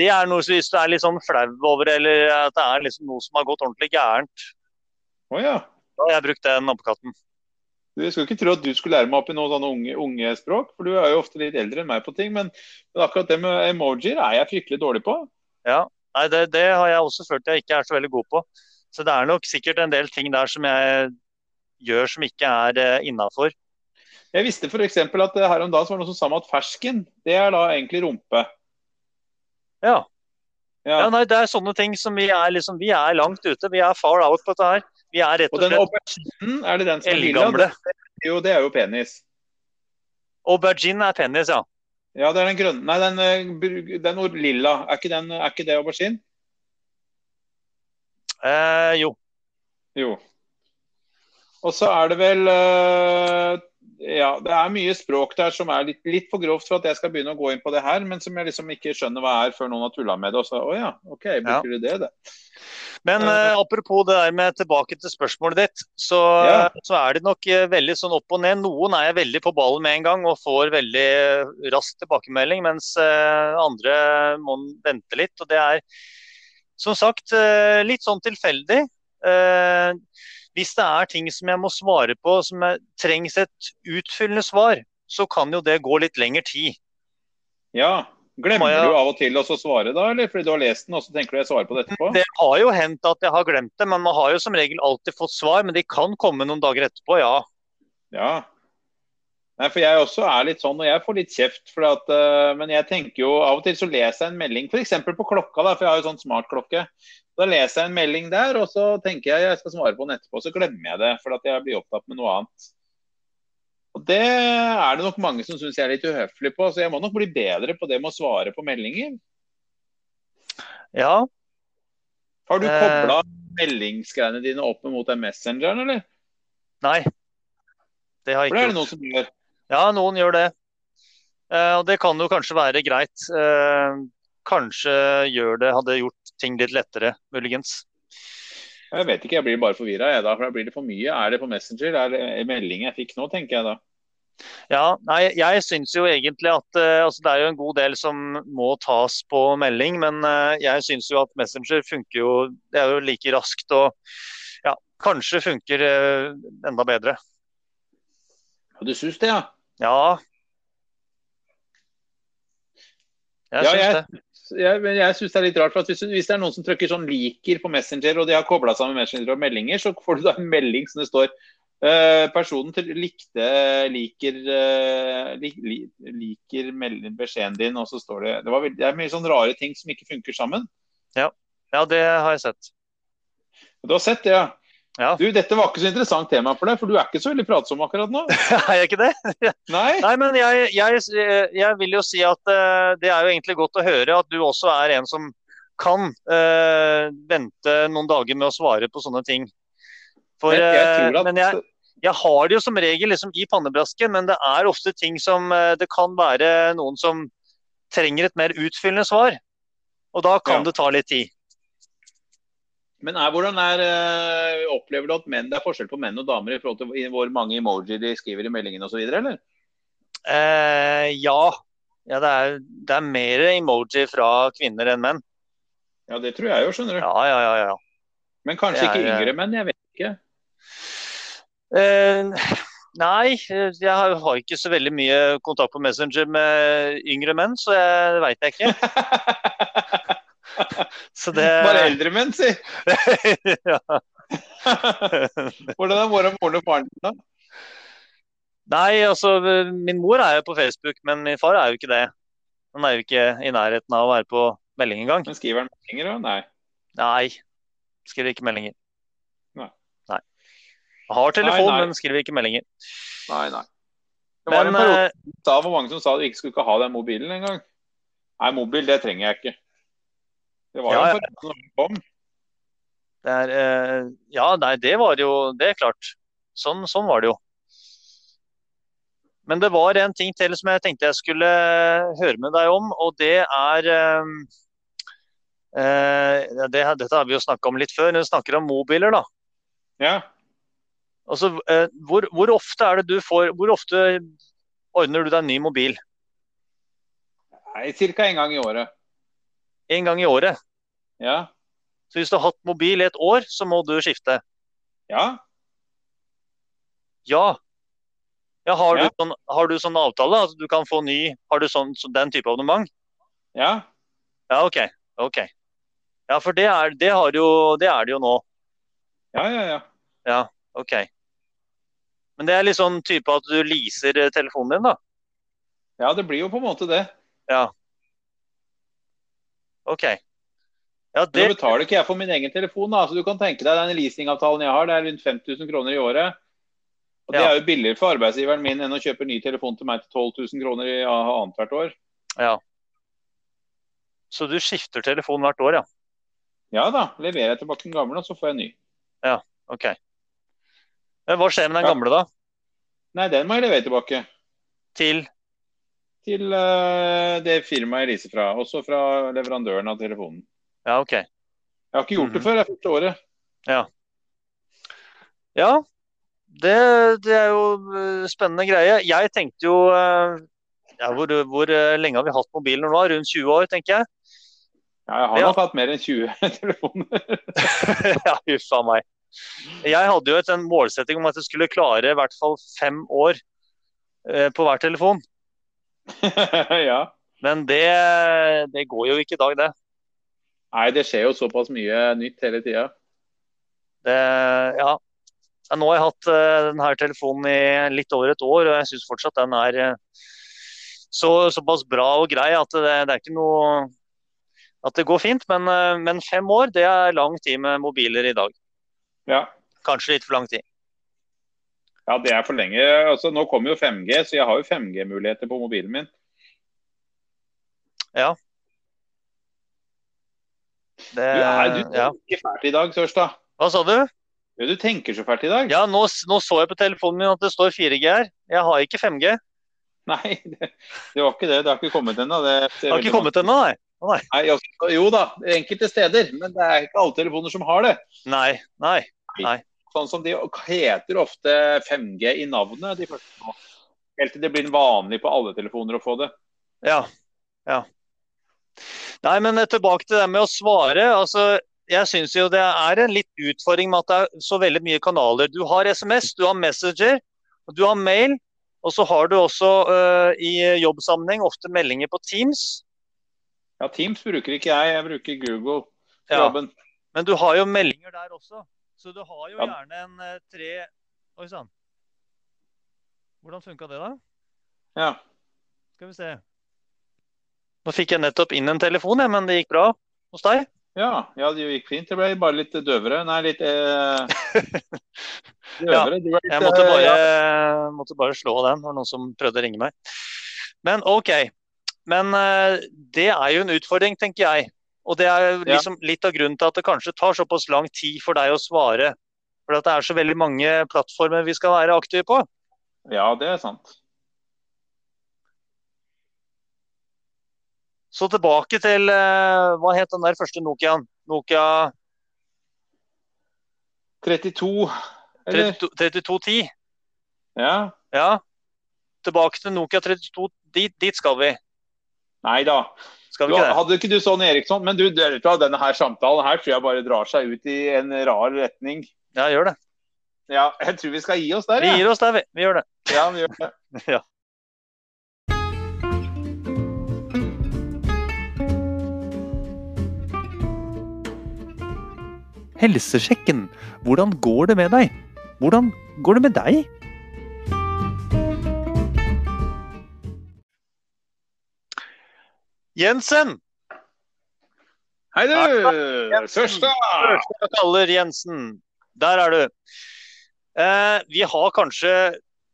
Speaker 3: Det er noe som hvis du er litt sånn flau over, eller at det er liksom noe som har gått ordentlig gærent.
Speaker 2: Å ja.
Speaker 3: Da har jeg brukt den apekatten.
Speaker 2: Du jeg skulle ikke tro at du skulle lære meg opp i noen sånne unge, unge språk, for du er jo ofte litt eldre enn meg på ting, men, men akkurat det med emojier er jeg fryktelig dårlig på.
Speaker 3: Nei, det, det har jeg også følt jeg ikke er så veldig god på. Så det er nok sikkert en del ting der som jeg gjør som ikke er eh, innafor.
Speaker 2: Jeg visste f.eks. at eh, her om dagen så var det noen som sa meg at fersken, det er da egentlig rumpe.
Speaker 3: Ja.
Speaker 2: Ja.
Speaker 3: ja, nei, det er sånne ting som vi er liksom Vi er langt ute. Vi er far out på dette her. Vi er rett
Speaker 2: og
Speaker 3: og
Speaker 2: den
Speaker 3: slett
Speaker 2: auberginen, er det den som er lilla?
Speaker 3: eldgamle.
Speaker 2: Det er Jo, det er jo penis.
Speaker 3: Aubergine er penis, ja.
Speaker 2: Ja, det er den grønne Nei, den, eh, bru- den or- lilla. Er ikke, den, er ikke det aubergine?
Speaker 3: Eh, jo.
Speaker 2: Jo. Og så er det vel eh, Ja, det er mye språk der som er litt, litt for grovt for at jeg skal begynne å gå inn på det her, men som jeg liksom ikke skjønner hva er før noen har tulla med det. Og så, å ja, OK, bruker du det, det?
Speaker 3: Men
Speaker 2: Ja.
Speaker 3: eh, apropos det der med tilbake til spørsmålet ditt, så,
Speaker 2: Ja.
Speaker 3: så er det nok eh, veldig sånn opp og ned. Noen er veldig på ballen med en gang og får veldig eh, rask tilbakemelding, mens eh, andre må vente litt. Og det er som sagt eh, litt sånn tilfeldig. Eh, hvis det er ting som jeg må svare på som jeg, trengs et utfyllende svar, så kan jo det gå litt lengre tid.
Speaker 2: Ja.
Speaker 3: Må
Speaker 2: Glemmer
Speaker 3: jeg-
Speaker 2: du av og til også å svare da, eller fordi du har lest den og så tenker du jeg svarer på det etterpå?
Speaker 3: Det har jo hendt at jeg har glemt det, men man har jo som regel alltid fått svar. Men de kan komme noen dager etterpå, ja.
Speaker 2: Ja. Nei, for jeg også er litt sånn, og jeg får litt kjeft. For at, eh, men jeg tenker jo av og til så leser jeg en melding, f.eks. på klokka, da, for jeg har jo sånn smartklokke. Da leser jeg en melding der, og så tenker jeg jeg skal svare på den etterpå. Så glemmer jeg det, for at jeg blir opptatt med noe annet. Og det er det nok mange som syns jeg er litt uhøflig på, så jeg må nok bli bedre på det med å svare på meldinger.
Speaker 3: Ja,
Speaker 2: Har du
Speaker 3: Eh.
Speaker 2: kobla meldingsgreiene dine opp mot den messengeren, eller?
Speaker 3: nei. Det har jeg
Speaker 2: For
Speaker 3: ikke
Speaker 2: det er det
Speaker 3: gjort.
Speaker 2: noen som gjør.
Speaker 3: Ja, noen gjør det. Eh, og det kan jo kanskje være greit. Eh, kanskje gjør det, hadde gjort ting litt lettere, muligens.
Speaker 2: Jeg vet ikke, jeg blir bare forvirra, jeg da. For da blir det for mye. Er det på Messenger? Er det en melding jeg fikk nå, tenker jeg da.
Speaker 3: Ja, nei, jeg syns jo egentlig at eh, altså Det er jo en god del som må tas på melding, men eh, jeg syns jo at Messenger funker jo Det er jo like raskt og ja, kanskje funker eh, enda bedre.
Speaker 2: Ja, du syns det, ja?
Speaker 3: Ja. Jeg
Speaker 2: Ja,
Speaker 3: syns
Speaker 2: jeg-
Speaker 3: det.
Speaker 2: Jeg, men jeg synes det er litt rart, for at hvis, hvis det er noen som trykker sånn liker på Messenger, og de har kobla sammen Messenger og meldinger, så får du da en melding som det står eh, personen til, likte, liker, eh, lik, li, liker melding, beskjeden din, og så står det Det, var, veld- det er mye sånn rare ting som ikke funker sammen.
Speaker 3: Ja, det har jeg sett.
Speaker 2: Du har sett det, ja?
Speaker 3: Ja.
Speaker 2: Du, dette var ikke så interessant tema for deg, for du er ikke så veldig pratsom akkurat nå.
Speaker 3: er jeg ikke det?
Speaker 2: Nei?
Speaker 3: Nei, men jeg, jeg, jeg vil jo si at eh, det er jo egentlig godt å høre at du også er en som kan eh, vente noen dager med å svare på sånne ting. For,
Speaker 2: Men jeg tror
Speaker 3: eh,
Speaker 2: at-
Speaker 3: men jeg, jeg har det jo som regel liksom i pannebrasken, men det er ofte ting som eh, det kan være noen som trenger et mer utfyllende svar. Og da kan
Speaker 2: Ja.
Speaker 3: det ta litt tid.
Speaker 2: Men er, hvordan er, eh, opplever du at menn, det er forskjell på menn og damer i forhold til i hvor mange emojier de skriver i meldingen osv., eller?
Speaker 3: Eh, ja. ja, det er, det er mer emoji fra kvinner enn menn.
Speaker 2: Ja, det tror jeg jo, skjønner du.
Speaker 3: Ja, ja, ja. ja.
Speaker 2: Men kanskje
Speaker 3: Det er,
Speaker 2: ikke
Speaker 3: eh,
Speaker 2: yngre menn, jeg vet ikke.
Speaker 3: Eh, nei, eh, jeg har har ikke så veldig mye kontakt på Messenger med yngre menn, så jeg det veit jeg ikke. Så det
Speaker 2: Bare eldre menn, si!
Speaker 3: ja.
Speaker 2: Hvordan er mora, moren og faren din, da?
Speaker 3: Nei, altså min mor er jo på Facebook, men min far er jo ikke det. Han er jo ikke i nærheten av å være på melding engang.
Speaker 2: Men skriver han meldinger òg? Nei.
Speaker 3: Nei, skriver ikke meldinger.
Speaker 2: Nei.
Speaker 3: Nei. Har telefon,
Speaker 2: Nei, nei.
Speaker 3: men skriver ikke meldinger.
Speaker 2: nei, nei. Det var
Speaker 3: Men
Speaker 2: en periode
Speaker 3: eh,
Speaker 2: som sa- det var mange som sa at du ikke skulle ikke ha den mobilen engang. Nei, mobil, det trenger jeg ikke. Det var jo
Speaker 3: Ja,
Speaker 2: en periode når den kom.
Speaker 3: det er eh, Ja, nei, det var jo Det er klart. Sånn, sånn var det jo. Men det var en ting til som jeg tenkte jeg skulle høre med deg om, og det er eh, eh, ja, det, Dette har vi jo snakka om litt før, når vi snakker om mobiler, da.
Speaker 2: Ja.
Speaker 3: Altså, eh, hvor, hvor ofte er det du får Hvor ofte ordner du deg en ny mobil?
Speaker 2: Nei, Ca. en gang i året.
Speaker 3: En gang i året.
Speaker 2: Ja.
Speaker 3: Så hvis du har hatt mobil i et år, så må du skifte.
Speaker 2: ja.
Speaker 3: Ja. ja, har,
Speaker 2: Ja.
Speaker 3: Du sånn, har du sånn avtale? Altså, du kan få ny Har du sånn, så den type abonnement?
Speaker 2: Ja.
Speaker 3: Ja, OK. ok. Ja, for det er det, har jo, det, er det jo nå.
Speaker 2: Ja, ja, ja.
Speaker 3: OK. Men det er litt sånn type at du leaser eh, telefonen din, da?
Speaker 2: Ja, det blir jo på en måte det.
Speaker 3: OK. Ja,
Speaker 2: Men
Speaker 3: det
Speaker 2: Nå betaler ikke jeg for min egen telefon, da. Så du kan tenke deg den leasingavtalen jeg har, det er rundt 5000 kroner i året. Og det
Speaker 3: Ja.
Speaker 2: er jo billigere for arbeidsgiveren min enn å kjøpe ny telefon til meg til 12 000 kroner i a- annethvert år.
Speaker 3: Så du skifter telefon hvert år, ja?
Speaker 2: Ja da, leverer jeg tilbake den gamle, og så får jeg en ny.
Speaker 3: OK. Men hva skjer med den
Speaker 2: Ja.
Speaker 3: gamle, da?
Speaker 2: Nei, den må jeg levere tilbake
Speaker 3: Til
Speaker 2: til eh, det firmaet jeg leaser fra. Også fra leverandøren av telefonen.
Speaker 3: Ja, OK.
Speaker 2: Jeg har ikke gjort
Speaker 3: Mhm.
Speaker 2: det før, det er første året.
Speaker 3: Ja, det, det er jo eh, spennende greie. Jeg tenkte jo eh, ja, hvor, hvor eh, lenge har vi hatt mobiler nå? Rundt 20 år, tenker jeg.
Speaker 2: Ja, jeg har
Speaker 3: Ja.
Speaker 2: nok hatt mer enn 20 telefoner.
Speaker 3: ja, huff a meg. Jeg hadde jo et, en målsetting om at jeg skulle klare i hvert fall fem år eh, på hver telefon.
Speaker 2: ja.
Speaker 3: Men det, det går jo ikke i dag, det.
Speaker 2: Nei, det skjer jo såpass mye nytt hele tida.
Speaker 3: det ja. Ja, Nå har jeg hatt eh, denne telefonen i litt over et år, og jeg syns fortsatt den er eh, så, såpass bra og grei at det, det er ikke noe At det går fint. Men, eh, men fem år, det er lang tid med mobiler i dag.
Speaker 2: Ja.
Speaker 3: Kanskje litt for lang tid.
Speaker 2: Ja, det er for lenge. Altså, nå kommer jo 5G, så jeg har jo 5G-muligheter på mobilen min.
Speaker 3: Det,
Speaker 2: Du, nei, du
Speaker 3: Eh, ja.
Speaker 2: tenker fælt i dag, Sørstad.
Speaker 3: Hva sa du?
Speaker 2: Ja, du tenker så fælt i dag.
Speaker 3: Ja, nå, s- nå så jeg på telefonen min at det står 4G her. Jeg har ikke 5G.
Speaker 2: Nei, det, det var ikke det. Det har ikke kommet ennå. Det, det
Speaker 3: Det har ikke kommet ennå, nei.
Speaker 2: Nei, altså, jo da, enkelte steder. Men det er ikke alle telefoner som har det.
Speaker 3: Nei. nei.
Speaker 2: Sånn som de heter ofte 5G i navnet, de første nå. Helt til det blir vanlig på alle telefoner å få det.
Speaker 3: Ja. ja. Nei, men eh, tilbake til det med å svare. altså jeg syns jo det er en litt utfordring med at det er så veldig mye kanaler. Du har SMS, du har Messenger, og du har mail. øh, Og så har du også eh, i jobbsammenheng ofte meldinger på Teams.
Speaker 2: Ja, Teams bruker ikke jeg, jeg bruker Google. for
Speaker 3: Ja.
Speaker 2: jobben.
Speaker 3: Men du har jo meldinger der også. Så du har jo
Speaker 2: Ja.
Speaker 3: gjerne en eh, tre Oi sann. Hvordan funka det, da?
Speaker 2: Ja.
Speaker 3: Skal vi se. Nå fikk jeg nettopp inn en telefon, jeg, men det gikk bra hos deg.
Speaker 2: Ja, ja, det gikk fint. Det ble bare litt døvere. Nei, litt eh...
Speaker 3: Ja,
Speaker 2: døvere. Du var litt,
Speaker 3: Jeg måtte
Speaker 2: eh,
Speaker 3: bare,
Speaker 2: ja.
Speaker 3: måtte bare slå den. Det var noen som prøvde å ringe meg. Men OK. Men eh, det er jo en utfordring, tenker jeg. Og det er jo
Speaker 2: Ja.
Speaker 3: liksom litt av grunnen til at det kanskje tar såpass lang tid for deg å svare. For at det er så veldig mange plattformer vi skal være aktive på.
Speaker 2: ja, det er sant.
Speaker 3: Så tilbake til eh, Hva het den der første Nokiaen? Nokia
Speaker 2: 32, eller?
Speaker 3: 32 3210.
Speaker 2: Ja.
Speaker 3: Ja. Tilbake til Nokia 32. Dit, dit skal vi.
Speaker 2: Nei da.
Speaker 3: Skal
Speaker 2: Du,
Speaker 3: vi ikke det?
Speaker 2: hadde ikke du sånn Eriksson, men du, du, vet du hva, denne her samtalen her tror jeg bare drar seg ut i en rar retning.
Speaker 3: Ja, gjør det.
Speaker 2: Ja, jeg tror vi skal gi oss der.
Speaker 3: Vi
Speaker 2: jeg.
Speaker 3: gir oss der, vi. Vi gjør det.
Speaker 2: Ja, vi gjør det.
Speaker 3: Ja. Helsesjekken. Hvordan går det med deg? Hvordan går det med deg? Jensen!
Speaker 2: Hei,
Speaker 3: Ja.
Speaker 2: du! Første!
Speaker 3: Første kaller Jensen. Der er du. Eh, vi har kanskje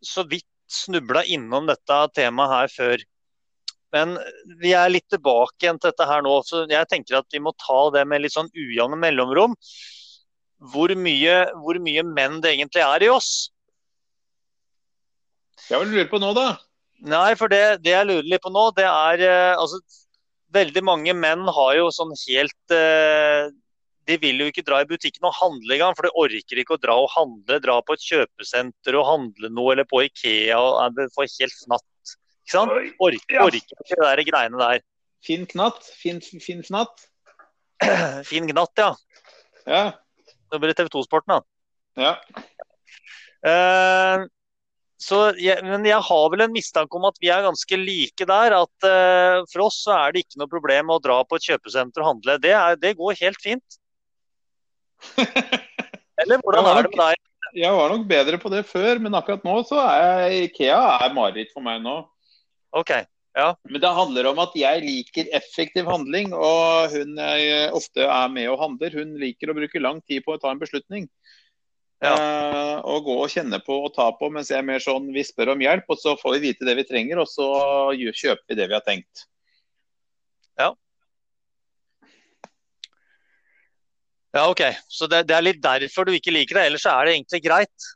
Speaker 3: så vidt snubla innom dette temaet her før. Men vi er litt tilbake igjen til dette her nå, så jeg tenker at vi må ta det med litt sånn ujevne mellomrom. Hvor mye, hvor mye menn det egentlig er i oss.
Speaker 2: Jeg vil lure på nå, da.
Speaker 3: Nei, for det, det jeg lurer litt på nå, det er eh, altså Veldig mange menn har jo sånn helt eh, De vil jo ikke dra i butikken og handle engang, for de orker ikke å dra og handle. Dra på et kjøpesenter og handle noe, eller på Ikea og eh, det får helt fnatt. Ikke sant? Orker,
Speaker 2: Ja.
Speaker 3: orker ikke de der greiene der.
Speaker 2: Finn knatt. Finn, finn fnatt.
Speaker 3: Fin gnatt, ja.
Speaker 2: Ja.
Speaker 3: Det blir TV 2-sporten, da.
Speaker 2: ja.
Speaker 3: Eh, så jeg, men jeg har vel en mistanke om at vi er ganske like der. At eh, for oss så er det ikke noe problem å dra på et kjøpesenter og handle. Det, er, det går helt fint. Eller hvordan
Speaker 2: Ja,
Speaker 3: er det med deg?
Speaker 2: Jeg var nok bedre på det før, men akkurat nå så er Ikea er mareritt for meg nå.
Speaker 3: Ok.
Speaker 2: Men det handler om at jeg liker effektiv handling, og hun jeg ofte er med og handler, hun liker å bruke lang tid på å ta en beslutning.
Speaker 3: Ja.
Speaker 2: Eh, og gå og kjenne på og ta på, mens jeg er mer sånn vi spør om hjelp, og så får vi vite det vi trenger, og så gjør- kjøper vi det vi har tenkt.
Speaker 3: Ja, ok. Så det, det er litt derfor du ikke liker det. Ellers så er det egentlig greit.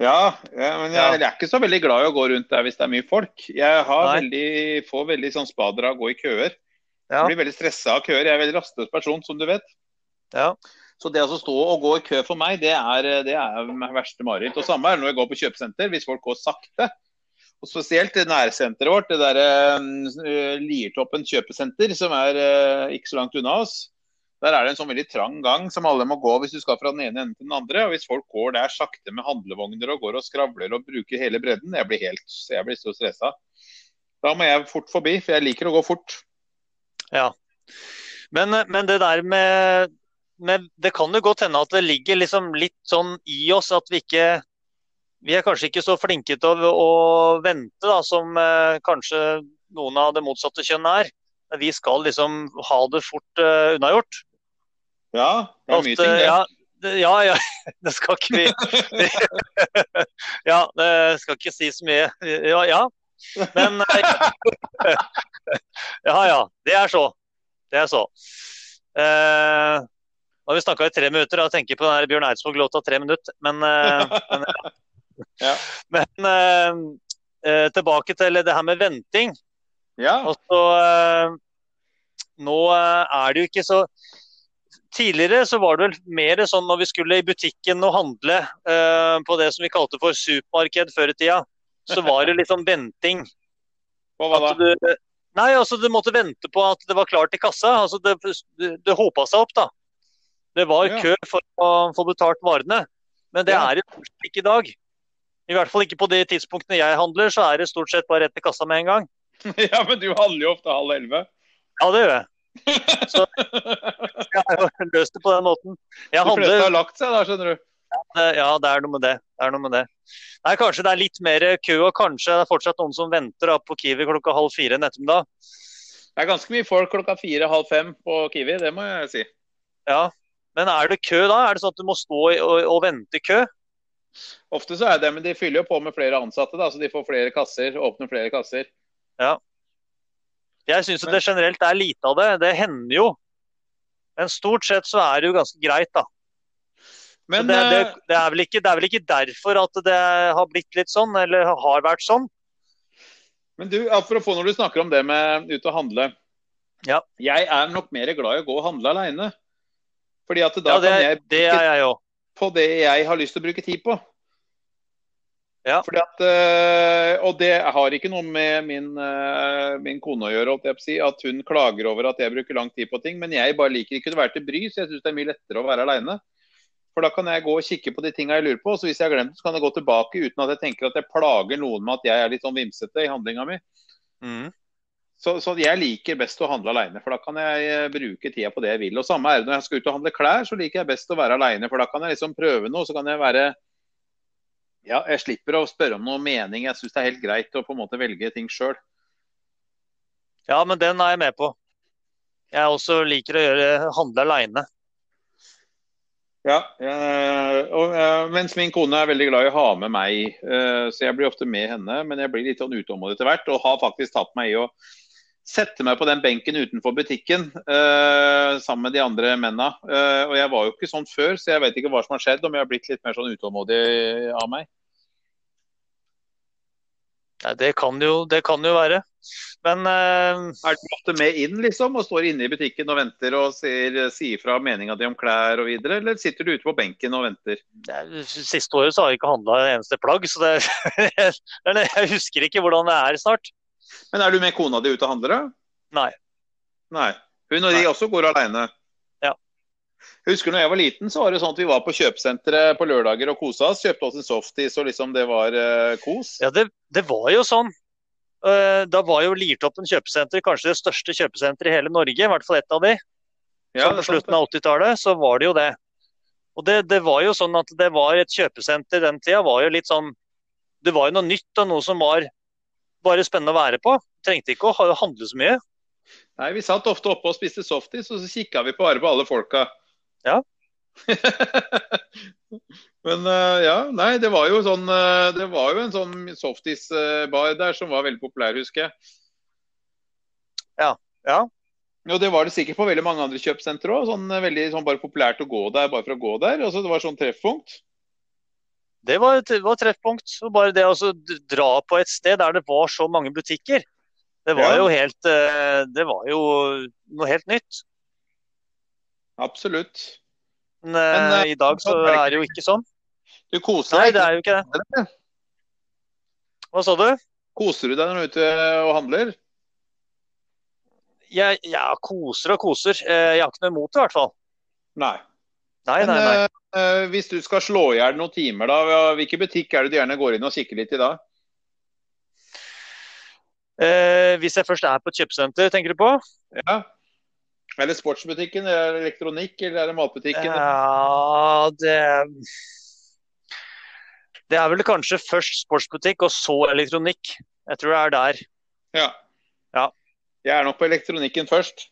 Speaker 2: Ja, ja, men jeg, jeg er ikke så veldig glad i å gå rundt der hvis det er mye folk. Jeg har
Speaker 3: Nei.
Speaker 2: veldig, får veldig sånn spader av å gå i køer.
Speaker 3: Ja.
Speaker 2: Jeg blir veldig stressa av køer. Jeg er en veldig rastløs person, som du vet.
Speaker 3: Ja.
Speaker 2: Så det å stå og gå i kø for meg, det er det er mitt verste mareritt. Og samme er det når jeg går på kjøpesenter, hvis folk går sakte. Og spesielt det nærsenteret vårt, det derre eh, Liertoppen kjøpesenter, som er eh, ikke så langt unna oss. Der er det en sånn veldig trang gang som alle må gå hvis du skal fra den ene enden til den andre. Og hvis folk går der sakte med handlevogner og går og skravler og bruker hele bredden, jeg blir helt, jeg blir så stressa. Da må jeg fort forbi, for jeg liker å gå fort.
Speaker 3: Men, eh, men det der med, med Det kan jo godt hende at det ligger liksom litt sånn i oss at vi ikke Vi er kanskje ikke så flinke til å, å vente da, som eh, kanskje noen av det motsatte kjønn er. Vi skal liksom ha det fort eh, unnagjort.
Speaker 2: Ja, det er mye ting, det.
Speaker 3: ja, det, ja, ja, det skal ikke vi Ja, det skal ikke si så mye. Ja, ja. Men eh, Ja, ja. Det er så. Det er så. Eh, nå har vi snakka i tre minutter, og jeg tenker på den her Bjørn Eidsvåg-låta 'Tre minutter', men, eh, men
Speaker 2: Ja.
Speaker 3: Men eh, eh, tilbake til det her med venting.
Speaker 2: Ja.
Speaker 3: Og så eh, Nå eh, er det jo ikke så Tidligere så var det vel mer sånn når vi skulle i butikken og handle eh, på det som vi kalte for supermarked før i tida, så var det litt sånn venting.
Speaker 2: Og hva da?
Speaker 3: At du, nei, altså du måtte vente på at det var klart i kassa. Altså det, det, det hopa seg opp, da. Det var
Speaker 2: Ja.
Speaker 3: kø for å få betalt varene. Men det
Speaker 2: Ja.
Speaker 3: er det stort sett ikke i dag. I hvert fall ikke på de tidspunktene jeg handler, så er det stort sett bare rett til kassa med en gang.
Speaker 2: Ja, men du handler jo ofte halv elleve.
Speaker 3: Ja, det gjør jeg. Så jeg har jo løst det på den måten. Jeg
Speaker 2: De fleste
Speaker 3: handler
Speaker 2: har lagt seg da, skjønner du.
Speaker 3: Det- Ja, det er noe med det. Det er noe med det. Nei, kanskje det er litt mer kø, og kanskje det er fortsatt noen som venter da, på Kiwi klokka halv fire en ettermiddag.
Speaker 2: Det er ganske mye folk klokka fire-halv fem på Kiwi, det må jeg si.
Speaker 3: Ja. Men er det kø da? Er det sånn at du må stå i- og, og vente i kø?
Speaker 2: Ofte så er det, men de fyller jo på med flere ansatte, da, så de får flere kasser, åpner flere kasser.
Speaker 3: Jeg syns det generelt er lite av det. Det hender jo. Men stort sett så er det jo ganske greit, da. Så
Speaker 2: Men
Speaker 3: det, det,
Speaker 2: eh,
Speaker 3: det, er vel ikke, det er vel ikke derfor at det har blitt litt sånn, eller har vært sånn.
Speaker 2: Men du, apropos når du snakker om det med ut og handle.
Speaker 3: Ja.
Speaker 2: Jeg er nok mer glad i å gå og handle aleine. Fordi at da
Speaker 3: Ja, det,
Speaker 2: kan jeg
Speaker 3: det er jeg òg.
Speaker 2: på det jeg har lyst til å bruke tid på.
Speaker 3: Ja.
Speaker 2: Fordi at, øh, og det har ikke noe med min, øh, min kone å gjøre, holdt jeg på å si, at hun klager over at jeg bruker lang tid på ting. Men jeg bare liker ikke å være til bry, så jeg syns det er mye lettere å være aleine. For da kan jeg gå og kikke på de tinga jeg lurer på, og så hvis jeg har glemt det, så kan jeg gå tilbake uten at jeg tenker at jeg plager noen med at jeg er litt sånn vimsete i handlinga mi.
Speaker 3: Mm.
Speaker 2: Så, så jeg liker best å handle aleine, for da kan jeg eh, bruke tida på det jeg vil. Og samme er det når jeg skal ut og handle klær, så liker jeg best å være aleine, for da kan jeg liksom prøve noe, så kan jeg være Ja, jeg slipper å spørre om noe mening. Jeg syns det er helt greit å på en måte velge ting sjøl.
Speaker 3: Ja, men den er jeg med på. Jeg også liker å gjøre, handle aleine.
Speaker 2: Ja, eh, og, eh, mens min kone er veldig glad i å ha med meg, eh, så jeg blir ofte med henne. Men jeg blir litt sånn utålmodig etter hvert, og har faktisk tatt meg i å sette meg på den benken utenfor butikken eh, sammen med de andre menna. Eh, og jeg var jo ikke sånn før, så jeg vet ikke hva som har skjedd, om jeg har blitt litt mer sånn utålmodig av meg.
Speaker 3: Nei, det kan jo, det kan jo være. Men eh,
Speaker 2: Er du ofte med inn, liksom, og står inne i butikken og venter og sier, sier fra meninga di om klær og videre, eller sitter du ute på benken og venter?
Speaker 3: det- siste året så har jeg ikke handla et eneste plagg, så det, det er det- jeg husker ikke hvordan det er snart.
Speaker 2: Men er du med kona di ute og handler, da?
Speaker 3: Nei.
Speaker 2: Nei. Hun og de
Speaker 3: Nei.
Speaker 2: også går alene.
Speaker 3: Ja.
Speaker 2: Husker når jeg var liten, så var det sånn at vi var på kjøpesenteret på lørdager og kosa oss. Kjøpte oss en softis, og liksom det var eh, kos.
Speaker 3: Ja, det, det var jo sånn. Eh, da var jo Lirtoppen kjøpesenter kanskje det største kjøpesenteret i hele Norge, i hvert fall ett av de. Så
Speaker 2: Ja, det
Speaker 3: på
Speaker 2: er sant,
Speaker 3: slutten av 80-tallet, så var det jo det. Og det, det var jo sånn at det var et kjøpesenter den tida, var jo litt sånn Det var jo noe nytt og noe som var bare spennende å være på. Trengte ikke å ha- handle så mye.
Speaker 2: Nei, vi satt ofte oppe og spiste softis, og så kikka vi på bare på alle folka.
Speaker 3: Ja.
Speaker 2: Men eh, ja, nei, det var jo sånn eh, Det var jo en sånn softis-bar der som var veldig populær, husker jeg.
Speaker 3: Ja, ja.
Speaker 2: Og det var det sikkert på veldig mange andre kjøpesentre òg. Sånn, eh, veldig sånn bare populært å gå der bare for å gå der. Altså, det var sånn treffpunkt.
Speaker 3: Det var et det var et treffpunkt. Og bare det å så d- dra på et sted der det var så mange butikker, det var
Speaker 2: Ja.
Speaker 3: jo helt eh, Det var jo noe helt nytt.
Speaker 2: Absolutt.
Speaker 3: Men, eh,
Speaker 2: Men,
Speaker 3: i dag så
Speaker 2: sånn er det
Speaker 3: er det jo ikke sånn.
Speaker 2: Du koser
Speaker 3: Nei,
Speaker 2: deg,
Speaker 3: det er jo ikke det.
Speaker 2: ikke?
Speaker 3: Hva sa du?
Speaker 2: Koser du deg når du er ute og handler?
Speaker 3: Jeg, jeg koser og koser. Eh, Jeg har ikke noe imot det, i hvert fall.
Speaker 2: Nei.
Speaker 3: Nei, nei, nei.
Speaker 2: Men, eh, eh, hvis du skal slå i hjel noen timer, da, hva- hvilken butikk er det du gjerne går inn og kikker litt i da?
Speaker 3: Eh, hvis jeg først er på et kjøpesenter, tenker du på?
Speaker 2: Ja. Er det sportsbutikken, er det elektronikk, eller er det matbutikken?
Speaker 3: Eh, Ja, det Det er vel kanskje først sportsbutikk, og så elektronikk. Jeg tror det er der.
Speaker 2: Ja.
Speaker 3: Ja.
Speaker 2: Jeg er nok på elektronikken først.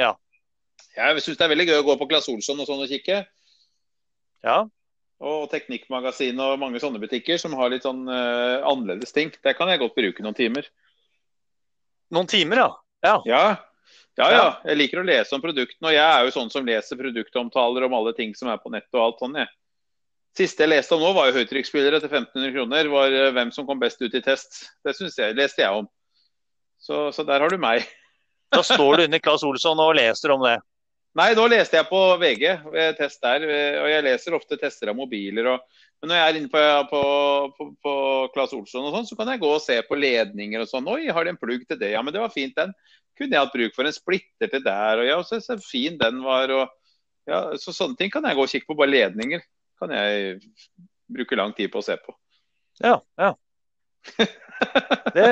Speaker 3: Ja.
Speaker 2: Jeg syns det er veldig gøy å gå på Claes Olsson og sånn og kikke.
Speaker 3: Ja.
Speaker 2: Og Teknikkmagasinet og mange sånne butikker som har litt sånn eh, annerledes ting. Der kan jeg godt bruke noen timer.
Speaker 3: Noen timer, ja. Ja.
Speaker 2: Ja. ja, ja.
Speaker 3: Ja.
Speaker 2: Jeg liker å lese om produktene, og jeg er jo sånn som leser produktomtaler om alle ting som er på nett og alt sånn, jeg. Siste jeg leste om nå, var jo høytrykksspillere til 1500 kroner. Var eh, hvem som kom best ut i test. Det synes jeg, leste jeg om. Så, så der har du meg.
Speaker 3: Da står du under Claes Olsson og leser om det.
Speaker 2: Nei, nå leste jeg på VG, eh, test der. eh, Og jeg leser ofte tester av mobiler og Men når jeg er inne på, på, på, på Claes Olsson og sånn, så kan jeg gå og se på ledninger og sånn. Oi, har de en plugg til det? Ja, men det var fint, den. Kunne jeg hatt bruk for en splitter til der? Og ja, så, så fin den var. Og ja, så sånne ting kan jeg gå og kikke på. Bare ledninger kan jeg bruke lang tid på å se på.
Speaker 3: Ja, ja. Det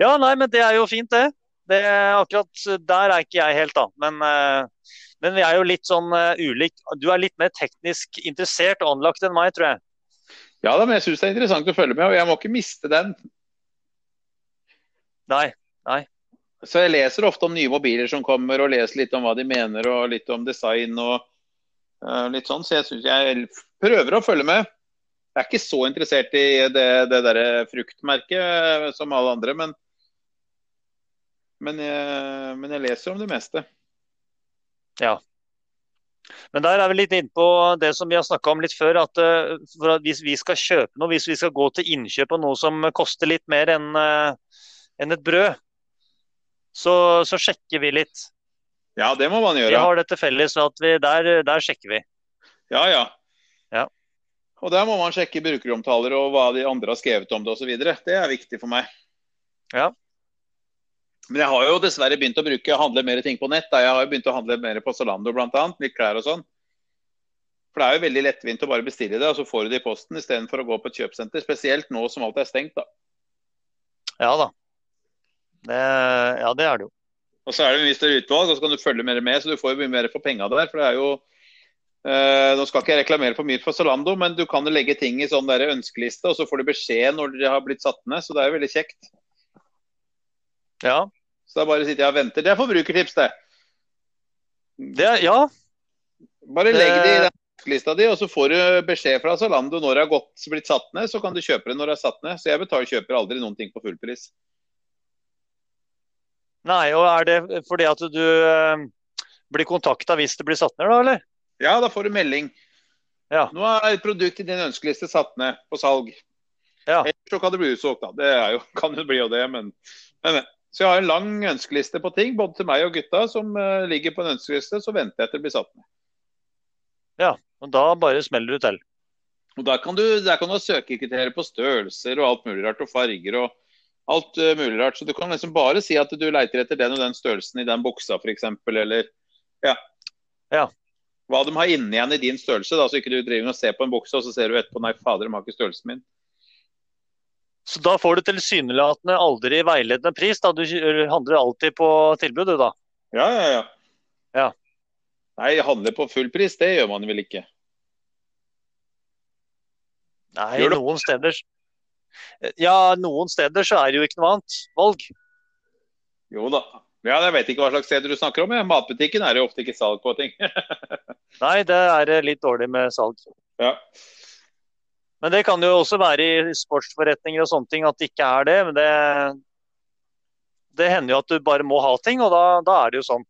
Speaker 3: Ja, nei, men det er jo fint, det. Det, akkurat der er ikke jeg helt, da. Men, eh, men vi er jo litt sånn eh, ulik. Du er litt mer teknisk interessert og anlagt enn meg, tror jeg.
Speaker 2: Ja da, men jeg syns det er interessant å følge med, og jeg må ikke miste den.
Speaker 3: Nei.
Speaker 2: Så jeg leser ofte om nye mobiler som kommer, og leser litt om hva de mener, og litt om design og eh, litt sånn. Så jeg syns jeg prøver å følge med. Jeg er ikke så interessert i det, det derre fruktmerket eh, som alle andre, men, men, jeg, men jeg leser om det meste.
Speaker 3: Men der er vi litt inne på det som vi har snakka om litt før. at eh, for at Hvis vi skal kjøpe noe, hvis vi skal gå til innkjøp av noe som koster litt mer enn eh, enn et brød, så, så sjekker vi litt.
Speaker 2: Ja, det må man
Speaker 3: Vi
Speaker 2: gjøre.
Speaker 3: har det til felles at vi, der, der sjekker vi.
Speaker 2: Ja, ja.
Speaker 3: Ja.
Speaker 2: Og der må man sjekke brukeromtaler og hva de andre har skrevet om det osv. Det er viktig for meg.
Speaker 3: Ja.
Speaker 2: Men jeg har jo dessverre begynt å bruke handle mer ting på nett. Da. Jeg har jo begynt å handle mer på Zalando bl.a. Litt klær og sånn. For det er jo veldig lettvint å bare bestille det, og så får du det i posten istedenfor å gå på et kjøpesenter. Spesielt nå som alt er stengt, da.
Speaker 3: Ja da. Det, ja, det er det jo.
Speaker 2: Og så er det mye større utvalg, og så kan du følge mer med, så du får jo mye mer for penga der. For det er jo eh, Nå skal ikke jeg reklamere for mye for Zalando, men du kan jo legge ting i sånn der ønskeliste, og så får du beskjed når de har blitt satt ned. Så det er jo veldig kjekt.
Speaker 3: Ja,
Speaker 2: Så da bare sitter jeg og venter. Det er forbrukertips, det.
Speaker 3: det, er- ja,
Speaker 2: Bare
Speaker 3: Det-
Speaker 2: legg det i den ønskelista di, og så får du beskjed fra Zalando når det har gått, blitt satt ned. Så kan du kjøpe det når det er satt ned. Så jeg betaler kjøper aldri noen ting på fullpris.
Speaker 3: Nei, og er det fordi at du eh, blir kontakta hvis det blir satt ned, da, eller?
Speaker 2: Ja, da får du melding.
Speaker 3: Ja.
Speaker 2: Nå er et produkt i din ønskeliste satt ned på salg.
Speaker 3: Ja.
Speaker 2: Ellers så kan det bli utsolgt, da. Det er jo, kan jo bli jo det, men, men men. Så jeg har en lang ønskeliste på ting, både til meg og gutta, som eh, ligger på en ønskeliste. Så venter jeg til det blir satt ned.
Speaker 3: Og da bare smeller du til.
Speaker 2: Og Der kan du, der kan du ha søkekriterier på størrelser og alt mulig rart, og farger og alt eh, mulig rart. Så du kan liksom bare si at du leiter etter den og den størrelsen i den buksa, f.eks., eller ja.
Speaker 3: Ja.
Speaker 2: Hva de har inni igjen i din størrelse, da, så ikke du driver og ser på en bukse, og så ser du etterpå nei, fader, de har ikke størrelsen min.
Speaker 3: Så da får du tilsynelatende aldri veiledende pris, da. Du kjø- handler alltid på tilbud, du, da.
Speaker 2: Ja, ja, ja.
Speaker 3: Ja.
Speaker 2: Nei, handle på full pris, det gjør man vel ikke.
Speaker 3: Nei,
Speaker 2: Gjør du?
Speaker 3: noen steder Ja, noen steder så er det jo ikke noe annet valg.
Speaker 2: Jo da. Ja, jeg vet ikke hva slags steder du snakker om. Jeg. Matbutikken er det jo ofte ikke salg på ting.
Speaker 3: Nei, det er eh, litt dårlig med salg.
Speaker 2: ja.
Speaker 3: Men det kan jo også være i sportsforretninger og sånne ting at det ikke er det. Men det, det hender jo at du bare må ha ting, og da, da er det jo sånn.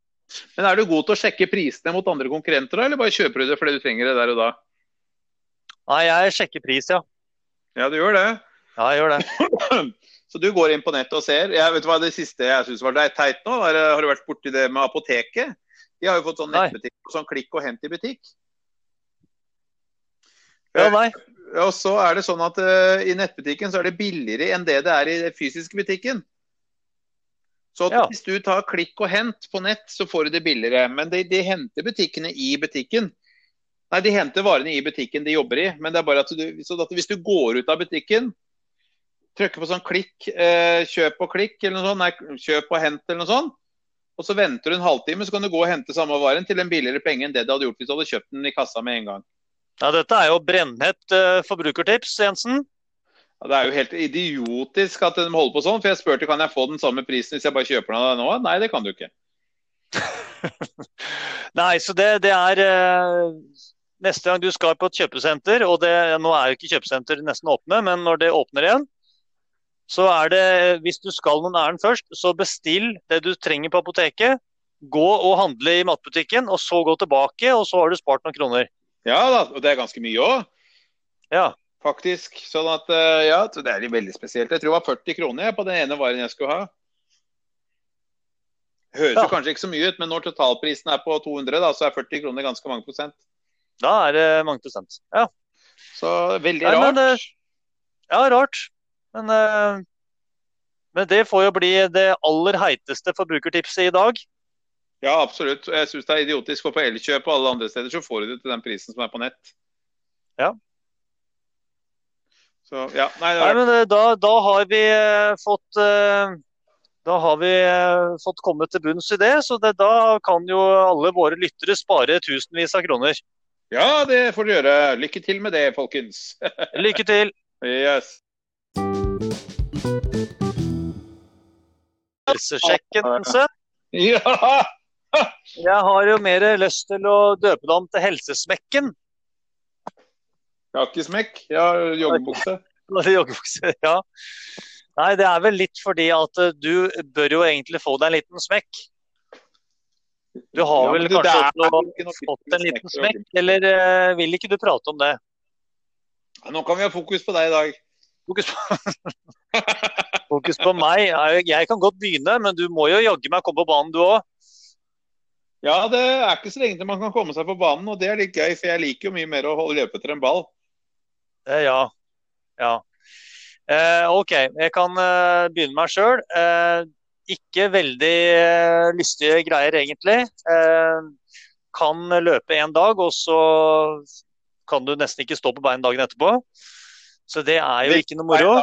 Speaker 2: Men er du god til å sjekke prisene mot andre konkurrenter, da, eller bare kjøper du det fordi du trenger det der og da?
Speaker 3: Nei, jeg sjekker pris, ja.
Speaker 2: Ja, du gjør det.
Speaker 3: Ja, jeg gjør det.
Speaker 2: Så du går inn på nettet og ser. Jeg vet du hva det siste jeg syns var det er teit nå, var, eh, har du vært borti det med apoteket? De har jo fått sånn
Speaker 3: Nei.
Speaker 2: nettbutikk, sånn klikk og hent i butikk.
Speaker 3: Ja, nei.
Speaker 2: Og så er det sånn at eh, i nettbutikken så er det billigere enn det det er i den fysiske butikken. Så at
Speaker 3: Ja.
Speaker 2: hvis du tar klikk og hent på nett, så får du det billigere. Men de, de henter butikkene i butikken. Nei, de henter varene i butikken de jobber i. Men det er bare at du, så at hvis du går ut av butikken, trykker på sånn klikk, eh, kjøp og klikk eller noe sånt, nei, kjøp og hent eller noe sånt, og så venter du en halvtime, så kan du gå og hente samme varen til en billigere penge enn det du hadde gjort hvis du hadde kjøpt den i kassa med en gang.
Speaker 3: Ja, dette er jo brennhett eh, forbrukertips, Jensen.
Speaker 2: Ja, Det er jo helt idiotisk at de holder på sånn. For jeg spurte kan jeg få den samme prisen hvis jeg bare kjøper den av deg nå. Nei, det kan du ikke.
Speaker 3: Nei, så det, det er eh, Neste gang du skal på et kjøpesenter, og det, nå er jo ikke kjøpesenter nesten åpne, men når det åpner igjen, så er det Hvis du skal noen ærend først, så bestill det du trenger på apoteket. Gå og handle i matbutikken, og så gå tilbake, og så har du spart noen kroner.
Speaker 2: Ja da, og det er ganske mye òg.
Speaker 3: Ja.
Speaker 2: Faktisk. Sånn at eh, ja, så det er veldig spesielt. Jeg tror det var 40 kroner jeg, på den ene varen jeg skulle ha. Høres
Speaker 3: Ja.
Speaker 2: jo kanskje ikke så mye ut, men når totalprisen er på 200, da, så er 40 kroner ganske mange prosent.
Speaker 3: Da er det mange prosent. Ja,
Speaker 2: Så veldig
Speaker 3: Nei,
Speaker 2: rart.
Speaker 3: men, eh, ja rart. Men, eh, men det får jo bli det aller heiteste forbrukertipset i dag.
Speaker 2: Ja, absolutt. Og Jeg syns det er idiotisk. For på Elkjøp og alle andre steder så får du det til den prisen som er på nett.
Speaker 3: Ja.
Speaker 2: Så ja. Nei, det
Speaker 3: Nei,
Speaker 2: er
Speaker 3: men eh, da, da har vi eh, fått eh, Da har vi eh, fått kommet til bunns i det, så det, da kan jo alle våre lyttere spare tusenvis av kroner.
Speaker 2: Ja, det får du gjøre. Lykke til med det, folkens.
Speaker 3: Lykke til!
Speaker 2: Yes.
Speaker 3: Helsesjekken, Sven.
Speaker 2: Ja!
Speaker 3: Jeg har jo mer lyst til å døpe det om til Helsesmekken.
Speaker 2: Jeg har ikke smekk. Jeg har joggebukse.
Speaker 3: Eller joggebukse, ja. Nei, det er vel litt fordi at eh, du bør jo egentlig få deg en liten smekk. Du har
Speaker 2: Ja, men
Speaker 3: vel
Speaker 2: du, det
Speaker 3: kanskje
Speaker 2: er
Speaker 3: også
Speaker 2: ikke noe
Speaker 3: fått en liten
Speaker 2: smekk.
Speaker 3: smekk, eller eh, vil ikke du prate om det?
Speaker 2: Ja, Nå kan vi ha fokus på deg i dag.
Speaker 3: Fokus på, Fokus på meg. Jeg- Jeg kan godt begynne, men du må jo jaggu meg komme på banen, du òg.
Speaker 2: Ja, det er ikke så lenge til man kan komme seg på banen, og det er litt gøy, for jeg liker jo mye mer å holde løpe etter en ball.
Speaker 3: Eh, Ja. ja. Eh, OK, jeg kan eh, begynne meg sjøl. Eh, ikke veldig eh, lystige greier, egentlig. Eh, kan løpe en dag, og så kan du nesten ikke stå på beina dagen etterpå. Så det er jo ikke noe moro.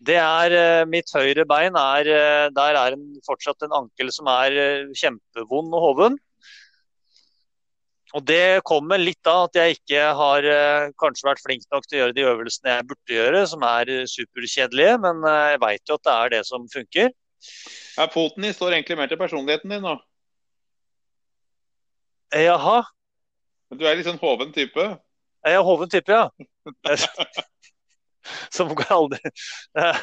Speaker 3: Det er eh, mitt høyre bein er eh, Der er en, fortsatt en ankel som er eh, kjempevond og hoven. Og det kommer litt av at jeg ikke har eh, kanskje vært flink nok til å gjøre de øvelsene jeg burde gjøre, som er eh, superkjedelige, men eh, jeg veit jo at det er det som funker.
Speaker 2: Ja, foten din står egentlig mer til personligheten din nå.
Speaker 3: Eh, Jaha,
Speaker 2: Du er litt sånn hoven type.
Speaker 3: Jeg er hoven type, ja. Som går aldri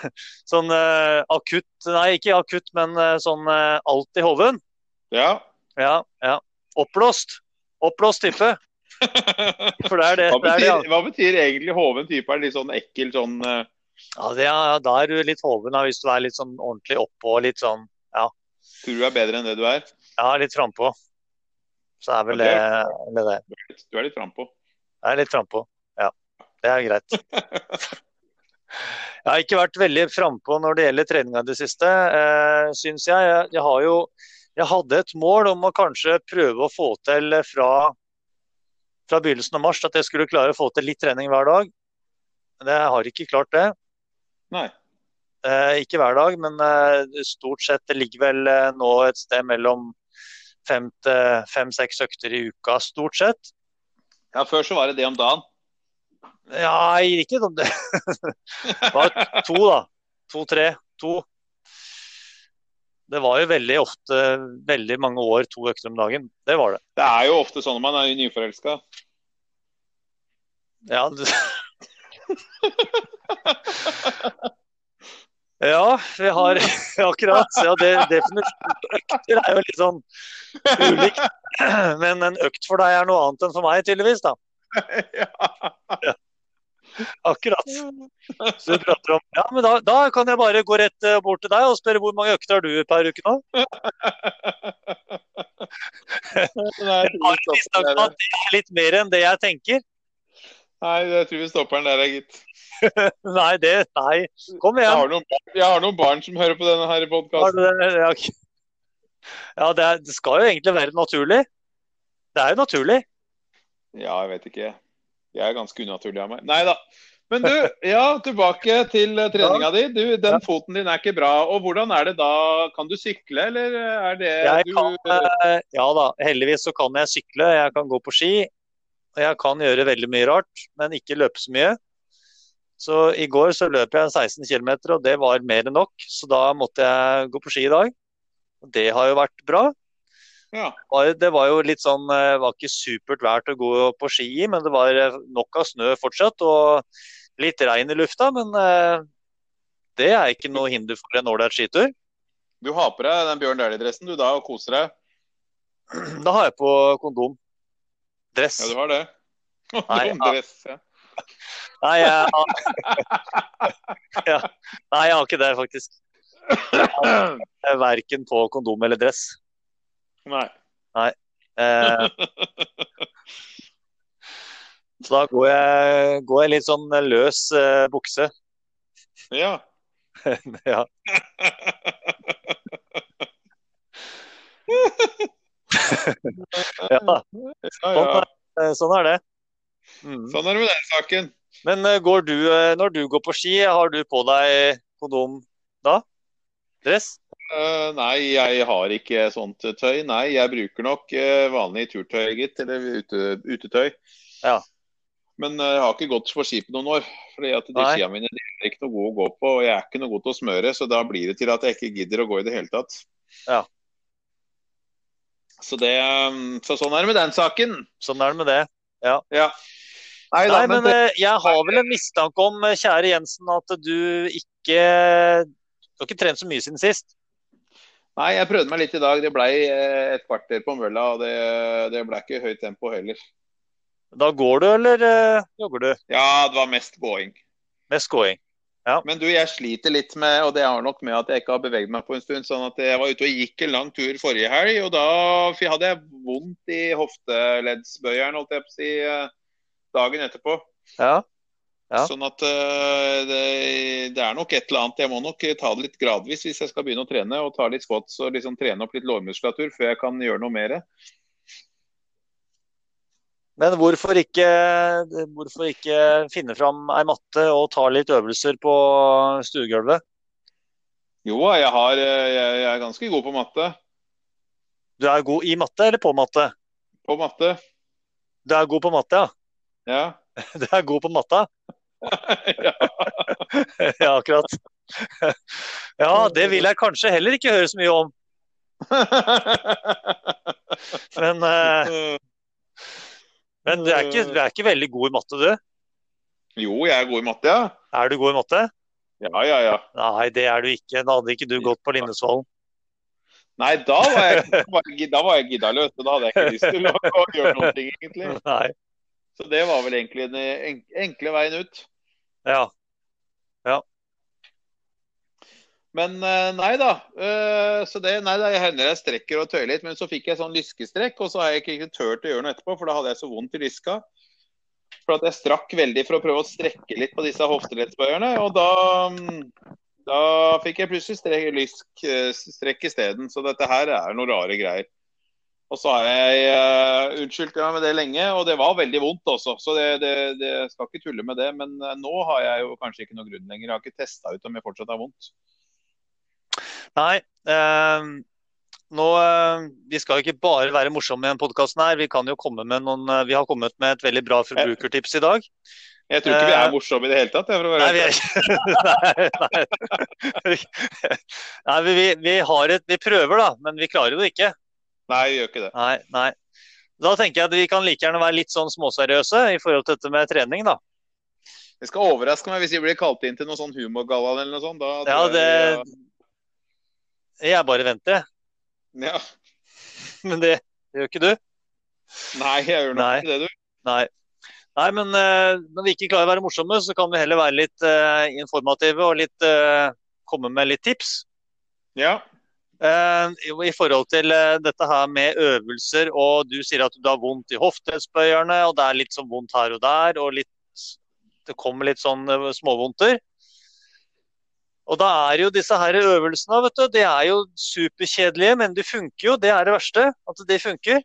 Speaker 3: Sånn eh, akutt Nei, ikke akutt, men eh, sånn eh, alltid hoven.
Speaker 2: Ja.
Speaker 3: Ja, ja. Oppblåst. Oppblåst type. For det er det.
Speaker 2: Hva
Speaker 3: det, er det ja.
Speaker 2: betyr, hva betyr egentlig hoven type? Er det litt sånn ekkel sånn eh,
Speaker 3: Ja, det er, da er du litt hoven da, hvis du er litt sånn ordentlig oppå og litt sånn
Speaker 2: Tror du er bedre enn det du er?
Speaker 3: Ja, litt frampå. Så er vel det det, det.
Speaker 2: Du er litt frampå.
Speaker 3: Jeg er litt frampå. Ja, det er greit. Jeg har ikke vært veldig frampå når det gjelder treninga i det siste, eh, syns jeg. jeg. Jeg har jo Jeg hadde et mål om å kanskje prøve å få til fra, fra begynnelsen av mars at jeg skulle klare å få til litt trening hver dag. Men jeg har ikke klart det.
Speaker 2: Nei.
Speaker 3: Eh, ikke hver dag, men eh, stort sett det ligger vel eh, nå et sted mellom fem til fem-seks økter i uka, stort sett.
Speaker 2: Ja, før så var det det om dagen.
Speaker 3: Ja, jeg gir ikke om det. Det var to, da. To, tre, to. Det var jo veldig ofte, veldig mange år, to økter om dagen. Det var det.
Speaker 2: Det er jo ofte sånn når man er nyforelska.
Speaker 3: Ja. Ja, vi har akkurat ja, det, Definitivt økter er jo litt sånn ulikt. Men en økt for deg er noe annet enn for meg, tydeligvis. da.
Speaker 2: ja.
Speaker 3: Akkurat. Så du prater om Ja, men da, da kan jeg bare gå rett eh, bort til deg og spørre hvor mange økter har du per uke nå?
Speaker 2: Nei,
Speaker 3: Jeg har en
Speaker 2: jeg tror
Speaker 3: mistanke
Speaker 2: vi stopper
Speaker 3: om
Speaker 2: der.
Speaker 3: at det er litt mer enn det jeg tenker.
Speaker 2: Nei, jeg tror vi stopper den der, gitt.
Speaker 3: Nei, det Nei. Kom
Speaker 2: Jeg
Speaker 3: igjen.
Speaker 2: har noen barn, jeg har noen barn som hører på denne her
Speaker 3: Har
Speaker 2: podkasten.
Speaker 3: du det? Ja, ok. Ja, det, er, det skal jo egentlig være naturlig. Det er jo naturlig.
Speaker 2: Ja, jeg vet ikke. Jeg er ganske unaturlig av meg. Nei da. Men du, ja, tilbake til eh, treninga di. Du, den
Speaker 3: Ja.
Speaker 2: foten din er ikke bra. Og hvordan er det da? Kan du sykle, eller er det
Speaker 3: Jeg
Speaker 2: du
Speaker 3: kan, eh, ja da, heldigvis så kan jeg sykle, jeg kan gå på ski. Og jeg kan gjøre veldig mye rart, men ikke løpe så mye. Så i går så løp jeg 16 km, og det var mer enn nok. Så da måtte jeg gå på ski i dag. Og det har jo vært bra.
Speaker 2: Ja.
Speaker 3: var- Det var jo litt sånn eh, var ikke supert vær til å gå på ski i, men det var eh, nok av snø fortsatt. Og litt regn i lufta, men eh, det er ikke noe hinder for en ålreit skitur.
Speaker 2: Du har på deg den Bjørn Dæhlie-dressen du da, og koser deg.
Speaker 3: Da har jeg på kondom. Dress.
Speaker 2: Ja, du har det.
Speaker 3: Nei,
Speaker 2: Nei,
Speaker 3: ja.
Speaker 2: dress, ja.
Speaker 3: Nei, jeg har, ja. Nei, jeg har ikke det, faktisk. Jeg er Verken på kondom eller dress.
Speaker 2: Nei.
Speaker 3: Eh, så da går jeg, går jeg litt sånn løs eh, bukse.
Speaker 2: Ja.
Speaker 3: ja. ja,
Speaker 2: Ja, ja.
Speaker 3: eh, sånn er det. Mm.
Speaker 2: Sånn er det med den saken.
Speaker 3: Men eh, går du, eh, når du går på ski, har du på deg kondom? dress?
Speaker 2: Eh, nei, jeg har ikke sånt tøy. Nei, jeg bruker nok eh, vanlig turtøy, gitt. Eller ute, utetøy.
Speaker 3: Ja.
Speaker 2: Men eh, jeg har ikke gått for skipet noen år. Fordi at de
Speaker 3: Nei.
Speaker 2: skia mine de er ikke noe gode å gå på, og jeg er ikke noe god til å smøre, så da blir det til at jeg ikke gidder å gå i det hele tatt.
Speaker 3: Ja.
Speaker 2: Så, det, eh, så sånn er det med den saken.
Speaker 3: Sånn er det med det.
Speaker 2: Ja. Nei, da,
Speaker 3: Nei,
Speaker 2: men,
Speaker 3: men eh, jeg har vel en mistanke om, eh, kjære Jensen, at du ikke Du har ikke trent så mye siden sist.
Speaker 2: nei, jeg prøvde meg litt i dag. Det ble eh, et kvarter på mølla, og det, det ble ikke høyt tempo heller.
Speaker 3: Da går du, eller eh, jogger du?
Speaker 2: Ja, det var mest gåing.
Speaker 3: Mest gåing.
Speaker 2: Men du, jeg sliter litt med, og det har nok med at jeg ikke har beveget meg på en stund. sånn at Jeg var ute og gikk en lang tur forrige helg, og da f- hadde jeg vondt i hofteleddsbøyeren holdt jeg på å si, eh, dagen etterpå.
Speaker 3: Ja. Ja.
Speaker 2: Sånn at eh, det, det er nok et eller annet. Jeg må nok ta det litt gradvis hvis jeg skal begynne å trene, og ta litt squats og liksom trene opp litt lårmuskulatur før jeg kan gjøre noe mer.
Speaker 3: Men hvorfor ikke, hvorfor ikke finne fram ei matte og ta litt øvelser på stuegulvet?
Speaker 2: Jo, jeg, har, eh, jeg, jeg er ganske god på matte.
Speaker 3: Du er god i matte eller på matte?
Speaker 2: På matte,
Speaker 3: Du er god på matte, ja.
Speaker 2: ja.
Speaker 3: Du er god på matta.
Speaker 2: ja.
Speaker 3: Ja, akkurat. Ja, det vil jeg kanskje heller ikke høre så mye om, men, eh, men du, er ikke, du er ikke veldig god i matte, du?
Speaker 2: jo, jeg er god i matte, ja.
Speaker 3: Er du god i matte?
Speaker 2: Ja, ja, ja.
Speaker 3: Nei, det er du ikke. Da hadde ikke du gått på Lindesvollen.
Speaker 2: Nei, da var jeg, da var jeg, da var jeg gidda løs, og da hadde jeg ikke lyst til å, å gjøre noen ting, egentlig.
Speaker 3: Nei.
Speaker 2: Så det var vel egentlig den en- enkle veien ut.
Speaker 3: Ja.
Speaker 2: Men eh, nei da. eh, Så det nei da, jeg hender jeg strekker og tøyer litt, men så fikk jeg sånn lyskestrekk, og så har jeg ikke ikke turt å gjøre noe etterpå, for da hadde jeg så vondt i lyska. For at jeg strakk veldig for å prøve å strekke litt på disse hofteleddsbøyerne, og da mm, da fikk jeg plutselig strek, lysk, eh, strekk isteden, så dette her er noen rare greier. Og så har jeg eh, unnskyldt meg med det lenge, og det var veldig vondt også, så det, det, det skal ikke tulle med det. Men eh, nå har jeg jo kanskje ikke noe grunn lenger, jeg har ikke testa ut om jeg fortsatt har vondt.
Speaker 3: Nei. ehm, nå, ehm, vi skal jo ikke bare være morsomme i denne podkasten her. Vi kan jo komme med noen eh, Vi har kommet med et veldig bra forbrukertips i dag.
Speaker 2: Jeg tror ikke vi
Speaker 3: Eh,
Speaker 2: er morsomme i det hele tatt. jeg, for å være
Speaker 3: Nei, vi
Speaker 2: helt
Speaker 3: er ikke Nei, nei. nei vi, vi, vi har et Vi prøver, da, men vi klarer det ikke.
Speaker 2: ærlig. nei, vi gjør ikke det.
Speaker 3: Nei, nei. Da tenker jeg at vi kan like gjerne være litt sånn småseriøse i forhold til dette med trening, da.
Speaker 2: Det skal overraske meg hvis vi blir kalt inn til noe sånn humorgalla eller noe sånt. Da,
Speaker 3: Ja,
Speaker 2: tror jeg-
Speaker 3: det Jeg bare venter, jeg.
Speaker 2: ja.
Speaker 3: Men det, det gjør ikke du.
Speaker 2: Nei, jeg gjør nok
Speaker 3: Nei.
Speaker 2: ikke det, du.
Speaker 3: Nei. Nei, men eh, når vi ikke klarer å være morsomme, så kan vi heller være litt eh, informative og litt, eh, komme med litt tips.
Speaker 2: Ja.
Speaker 3: Eh, jo, I forhold til eh, dette her med øvelser, og du sier at du har vondt i hofteleddsbøyerne, og det er litt sånn vondt her og der, og litt, det kommer litt sånn eh, småvondter. Og da er jo disse her øvelsene, vet du, de er jo superkjedelige, men de funker jo. Det er det verste, at de funker.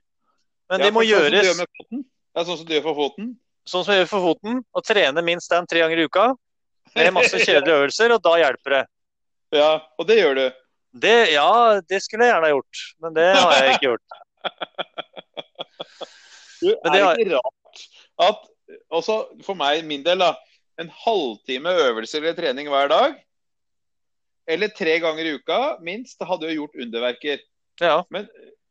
Speaker 3: Men
Speaker 2: Ja,
Speaker 3: de må
Speaker 2: for sånn som du
Speaker 3: gjøres
Speaker 2: gjør med foten. Det er sånn som du gjør for foten.
Speaker 3: sånn som jeg gjør for foten, og trene minst den tre ganger i uka. Med masse kjedelige øvelser, og da hjelper det.
Speaker 2: Ja, og det gjør du.
Speaker 3: Det, ja, det skulle jeg gjerne ha gjort, men det har jeg ikke gjort.
Speaker 2: Du,
Speaker 3: Men
Speaker 2: er
Speaker 3: det
Speaker 2: det
Speaker 3: har-
Speaker 2: ikke rart at også for meg, min del, da, en halvtime øvelse eller trening hver dag, eller tre ganger i uka minst, hadde jo gjort underverker.
Speaker 3: Ja,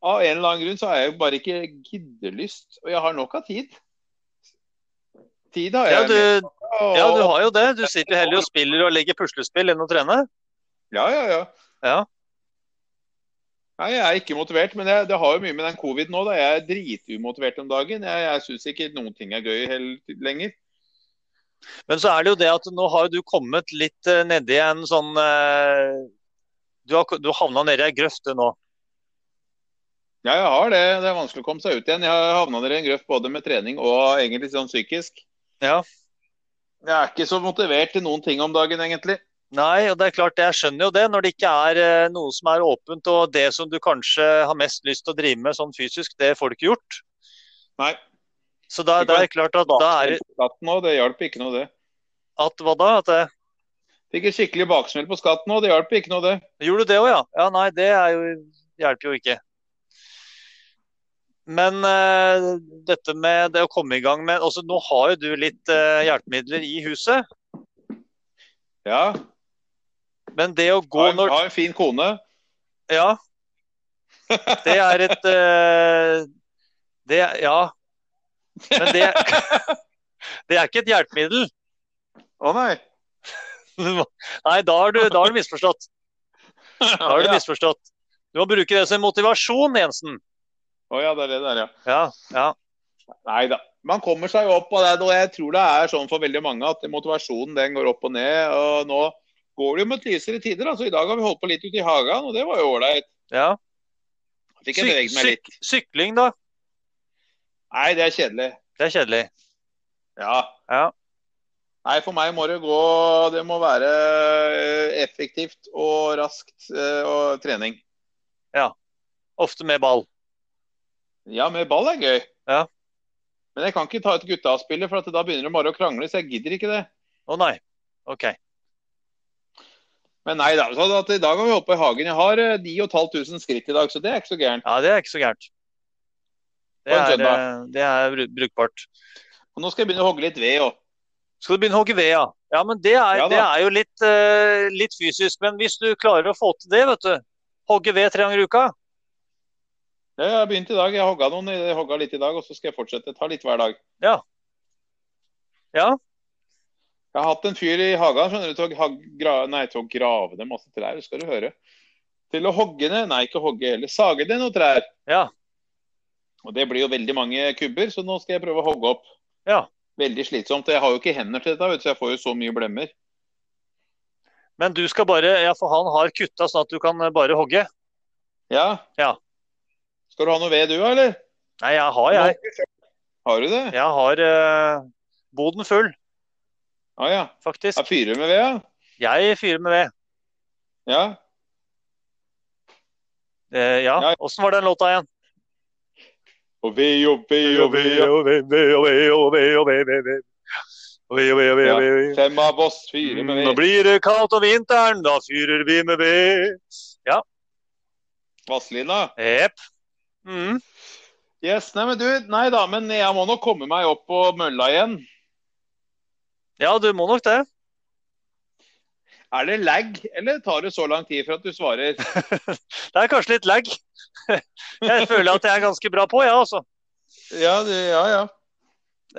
Speaker 2: Av en eller annen grunn så har jeg jo bare ikke giddelyst, og jeg har nok av tid. Tid har
Speaker 3: ja,
Speaker 2: jeg.
Speaker 3: du,
Speaker 2: og-
Speaker 3: ja, du har jo det. Du sitter jo heller og spiller og legger puslespill enn å trene.
Speaker 2: Ja, ja, ja.
Speaker 3: Ja.
Speaker 2: Nei, jeg er ikke motivert, men jeg, det har jo mye med den covid nå. da. Jeg er dritumotivert om dagen. Jeg, jeg syns ikke noen ting er gøy helt, lenger.
Speaker 3: Men så er det jo det at nå har jo du kommet litt eh, nedi en sånn eh, Du har du havna nedi ei grøft du nå.
Speaker 2: Ja, jeg har det. Det er vanskelig å komme seg ut igjen. Jeg har havna i en grøft både med trening og egentlig sånn psykisk.
Speaker 3: Ja.
Speaker 2: Jeg er ikke så motivert til noen ting om dagen, egentlig.
Speaker 3: Nei, og det er klart, jeg skjønner jo det. Når det ikke er eh, noe som er åpent, og det som du kanskje har mest lyst til å drive med sånn fysisk, det får du ikke gjort.
Speaker 2: Nei.
Speaker 3: Så da,
Speaker 2: Det
Speaker 3: da
Speaker 2: kan-
Speaker 3: er det klart at da er det
Speaker 2: Nå, det hjalp ikke noe, det.
Speaker 3: eh, at hva da? At det,
Speaker 2: Fikk en skikkelig baksmell på skatten òg, det hjalp ikke noe, det.
Speaker 3: Gjorde du det òg, ja? Ja, nei, det er jo, hjelper jo ikke. Men eh, dette med det å komme i gang med også, Nå har jo du litt eh, hjelpemidler i huset,
Speaker 2: Ja.
Speaker 3: men det å gå
Speaker 2: Har,
Speaker 3: når
Speaker 2: har en fin kone.
Speaker 3: Ja. Det er et eh, Det Ja. Men det, det er ikke et hjelpemiddel.
Speaker 2: Å nei.
Speaker 3: Nei, da har du, da har du misforstått. Da har du
Speaker 2: ja.
Speaker 3: misforstått. Du må bruke det som motivasjon, Jensen.
Speaker 2: Å ja, det er det der, ja.
Speaker 3: Ja, ja.
Speaker 2: Nei da. Man kommer seg jo opp, og, det, er- og jeg tror det er sånn for veldig mange at motivasjonen den går opp og ned. og Nå går det jo mot lysere tider. altså I dag har vi holdt på litt ute i hagen, og det var jo ålreit.
Speaker 3: ja.
Speaker 2: Fikk jeg beveget meg litt.
Speaker 3: Syk- sykling, da.
Speaker 2: Nei, det er kjedelig.
Speaker 3: Det er kjedelig.
Speaker 2: Ja.
Speaker 3: Ja.
Speaker 2: Nei, for meg må det gå Det må være eh, effektivt og raskt eh, og trening.
Speaker 3: Ofte med ball.
Speaker 2: Ja, med ball er gøy.
Speaker 3: Ja.
Speaker 2: Men jeg kan ikke ta ut gutta-spillet, for at da begynner de bare å krangle, så jeg gidder ikke det.
Speaker 3: Å nei. OK.
Speaker 2: Men nei da. Så at i dag har vi holdt på i hagen. Jeg har eh, 9500 skritt i dag, så det er ikke så gærent.
Speaker 3: Ja, det er ikke så gærent. Det
Speaker 2: På en
Speaker 3: er,
Speaker 2: søndag.
Speaker 3: eh, det er bru- brukbart.
Speaker 2: Og nå skal jeg begynne å hogge litt ved òg.
Speaker 3: Skal du begynne å hogge ved, ja? Ja, men det er,
Speaker 2: Ja da.
Speaker 3: det er jo litt, eh, litt fysisk. Men hvis du klarer å få til det, vet du. Hogge ved tre ganger i uka.
Speaker 2: Ja, jeg har begynt i dag. Jeg hogga noen, jeg hogga litt i dag, og så skal jeg fortsette. Ta litt hver dag.
Speaker 3: Ja. Ja.
Speaker 2: Jeg har hatt en fyr i hagen skjønner du, til å, ha, gra, nei, til å grave ned masse trær, skal du høre. Til å hogge ned, nei, ikke hogge heller, sage ned noen trær.
Speaker 3: Ja.
Speaker 2: Og det blir jo veldig mange kubber, så nå skal jeg prøve å hogge opp.
Speaker 3: Ja.
Speaker 2: Veldig slitsomt. og Jeg har jo ikke hender til dette, vet du, så jeg får jo så mye blemmer.
Speaker 3: Men du skal bare Ja, for han har kutta sånn at du kan eh, bare hogge.
Speaker 2: Ja.
Speaker 3: Ja.
Speaker 2: Skal du ha noe ved du, eller?
Speaker 3: Nei, jeg har, jeg.
Speaker 2: Har du det?
Speaker 3: Jeg har eh, boden full,
Speaker 2: Ja, Ah, ja.
Speaker 3: faktisk.
Speaker 2: Jeg fyrer med ved, ja.
Speaker 3: Jeg fyrer med ved.
Speaker 2: ja.
Speaker 3: Eh, ja.
Speaker 2: Ja.
Speaker 3: Åssen var den låta igjen?
Speaker 2: Og ved, og ved, og ved. og- Fem av oss fyrer med
Speaker 3: Mm, Nå
Speaker 2: ved.
Speaker 3: blir det kaldt om vinteren, da fyrer vi med ved.
Speaker 2: Vasselina.
Speaker 3: Jepp. Mm.
Speaker 2: Yes, nei, men du, nei da, men jeg må nok komme meg opp på mølla igjen.
Speaker 3: Ja, du må nok det.
Speaker 2: Er det lag, eller tar det så lang tid for at du svarer?
Speaker 3: Det er kanskje litt lag. Jeg føler at jeg er ganske bra på, jeg, ja, altså.
Speaker 2: Ja, det, ja, ja.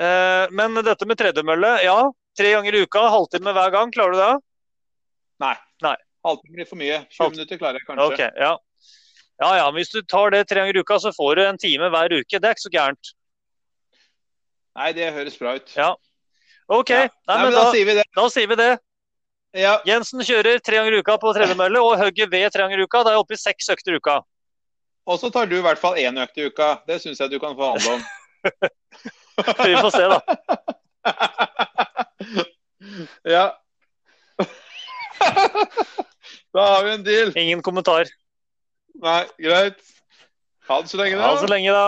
Speaker 3: Eh, Men dette med tredemølle, ja. Tre ganger i uka, halvtime hver gang. Klarer du det?
Speaker 2: Halvtime blir for mye. 20
Speaker 3: Halvt-
Speaker 2: minutter klarer jeg kanskje.
Speaker 3: Ok, ja. Ja, ja, men hvis du tar det tre ganger i uka, så får du en time hver uke. Det er ikke så gærent.
Speaker 2: Nei, det høres bra ut.
Speaker 3: Ja. OK,
Speaker 2: Ja.
Speaker 3: Nei, men
Speaker 2: da,
Speaker 3: da,
Speaker 2: sier vi det.
Speaker 3: da sier vi det.
Speaker 2: Ja.
Speaker 3: Jensen kjører tre ganger i uka på tredemølle og hogger ved tre ganger i uka. Da er jeg oppe i seks økter i uka.
Speaker 2: Og så tar du i hvert fall én økt i uka. Det syns jeg du kan forhandle om.
Speaker 3: Vi får se, da.
Speaker 2: ja. da har vi en deal.
Speaker 3: Ingen kommentar.
Speaker 2: Nei, greit. Ha det så lenge, da.
Speaker 3: Ha det så lenge, da.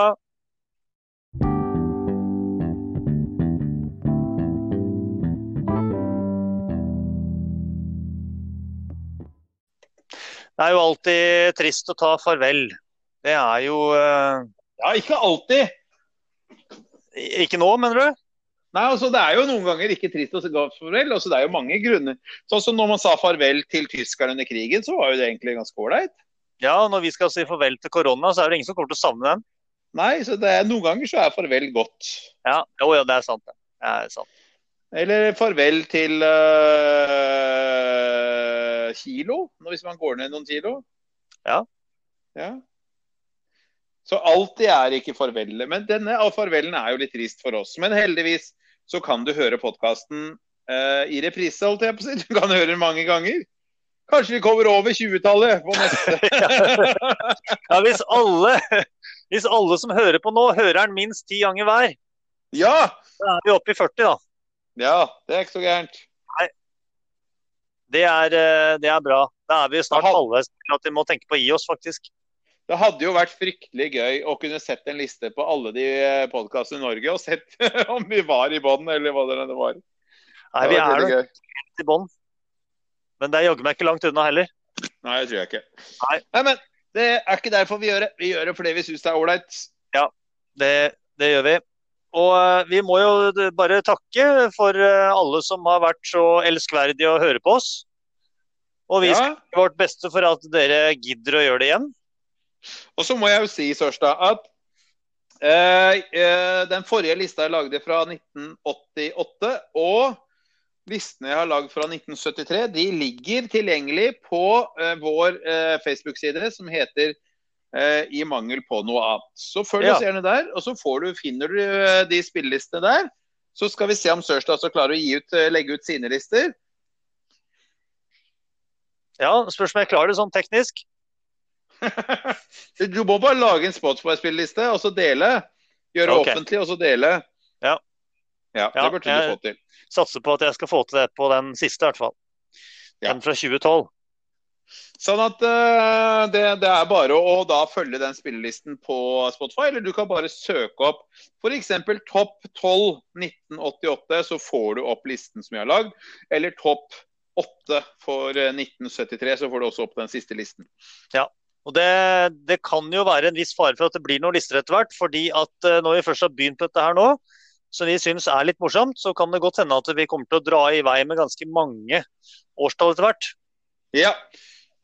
Speaker 3: Det er jo alltid trist å ta farvel. Det er jo eh,
Speaker 2: Ja, ikke alltid.
Speaker 3: Ikke nå, mener du?
Speaker 2: Nei, altså Det er jo noen ganger ikke trist å si farvel. altså Det er jo mange grunner. Sånn som når man sa farvel til tyskerne under krigen, så var jo det egentlig ganske ålreit.
Speaker 3: Ja, og når vi skal si farvel til korona, så er det ingen som kommer til å savne den.
Speaker 2: Nei, så det er, noen ganger så er farvel godt.
Speaker 3: Ja, jo, ja, det er sant. det. Det er sant.
Speaker 2: Eller farvel til øh, kilo, når- hvis man går ned noen kilo.
Speaker 3: Ja.
Speaker 2: ja. Så alltid er ikke farvelet. Men denne av farvelen er jo litt trist for oss. Men heldigvis så kan du høre podkasten i reprise, holdt jeg på å si. Du kan høre den mange ganger. Kanskje vi kommer over 20-tallet på neste.
Speaker 3: Ja, hvis alle, hvis alle som hører på nå, hører den minst ti ganger hver,
Speaker 2: ja!
Speaker 3: da er vi oppe i 40, da.
Speaker 2: Ja, det er ikke så gærent.
Speaker 3: Det er, eh, det er bra. Da er vi snart
Speaker 2: Aha.
Speaker 3: halvveis til at vi må tenke på å gi oss, faktisk.
Speaker 2: Det hadde jo vært fryktelig gøy å kunne sett en liste på alle de podkastene i Norge, og sett om vi var i bånn, eller hva det nå var.
Speaker 3: Nei, vi er
Speaker 2: Det hadde vært
Speaker 3: nok
Speaker 2: veldig gøy.
Speaker 3: helt i bånn. Men det er jaggu meg ikke langt unna heller.
Speaker 2: Nei, det tror jeg ikke.
Speaker 3: Nei.
Speaker 2: men det er ikke derfor vi gjør det. Vi gjør det fordi vi syns det er ålreit.
Speaker 3: Det, det gjør vi. Og eh, vi må jo d- bare takke for eh, alle som har vært så elskverdige å høre på oss. Og vi skal
Speaker 2: Ja.
Speaker 3: gjøre vårt beste for at dere gidder å gjøre det igjen.
Speaker 2: Og så må jeg jo si, Sørstad, at eh, eh, den forrige lista jeg lagde fra 1988, og listene jeg har lagd fra 1973, de ligger tilgjengelig på eh, vår eh, Facebook-side som heter eh, I mangel på noe annet. Så følg
Speaker 3: Ja.
Speaker 2: oss gjerne der, og så får du, finner du eh, de spillelistene der. Så skal vi se om Sørstad også klarer å gi ut, eh, legge ut sine lister.
Speaker 3: Ja, Spørs om jeg klarer det sånn teknisk.
Speaker 2: Du må bare lage en Spotify-spilleliste, og så dele. Gjøre
Speaker 3: Ok.
Speaker 2: offentlig, og så dele.
Speaker 3: Ja.
Speaker 2: Ja,
Speaker 3: Ja,
Speaker 2: det burde
Speaker 3: jeg-
Speaker 2: du få til.
Speaker 3: Satser på at jeg skal få til det på den siste, i hvert fall.
Speaker 2: Ja.
Speaker 3: Den fra 2012.
Speaker 2: Sånn at eh, det, det er bare å da følge den spillelisten på Spotify, eller du kan bare søke opp f.eks. Topp 12 1988, så får du opp listen som jeg har lagd. Eller Topp 8 for eh, 1973, så får du også opp den siste listen.
Speaker 3: Og det, det kan jo være en viss fare for at det blir noen lister etter hvert. fordi at eh, når vi først har begynt på dette her nå, som vi syns er litt morsomt, så kan det godt hende at vi kommer til å dra i vei med ganske mange årstall etter hvert.
Speaker 2: Ja.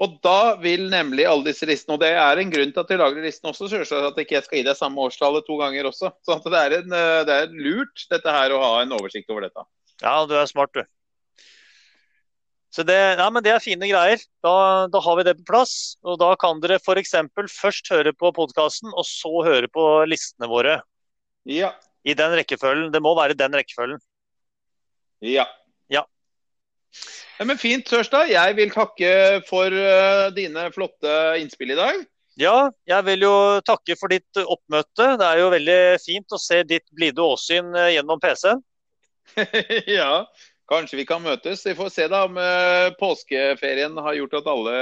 Speaker 2: Og da vil nemlig alle disse listene, og det er en grunn til at vi lager listen også, selvsagt at ikke jeg skal gi deg samme årstallet to ganger også. Sånn at det er, en, eh, det er lurt dette her å ha en oversikt over dette.
Speaker 3: Ja, du er smart, du. Så det, ja, men det er fine greier. Da, da har vi det på plass. Og da kan dere f.eks. først høre på podkasten, og så høre på listene våre.
Speaker 2: Ja.
Speaker 3: I den rekkefølgen. Det må være den rekkefølgen.
Speaker 2: Ja.
Speaker 3: Ja.
Speaker 2: Ja, men fint, Sørstad. Jeg vil takke for eh, dine flotte innspill i dag.
Speaker 3: Ja, jeg vil jo takke for ditt oppmøte. Det er jo veldig fint å se ditt blide åsyn eh, gjennom PC-en.
Speaker 2: ja. Kanskje vi kan møtes. Vi får se da om eh, påskeferien har gjort at alle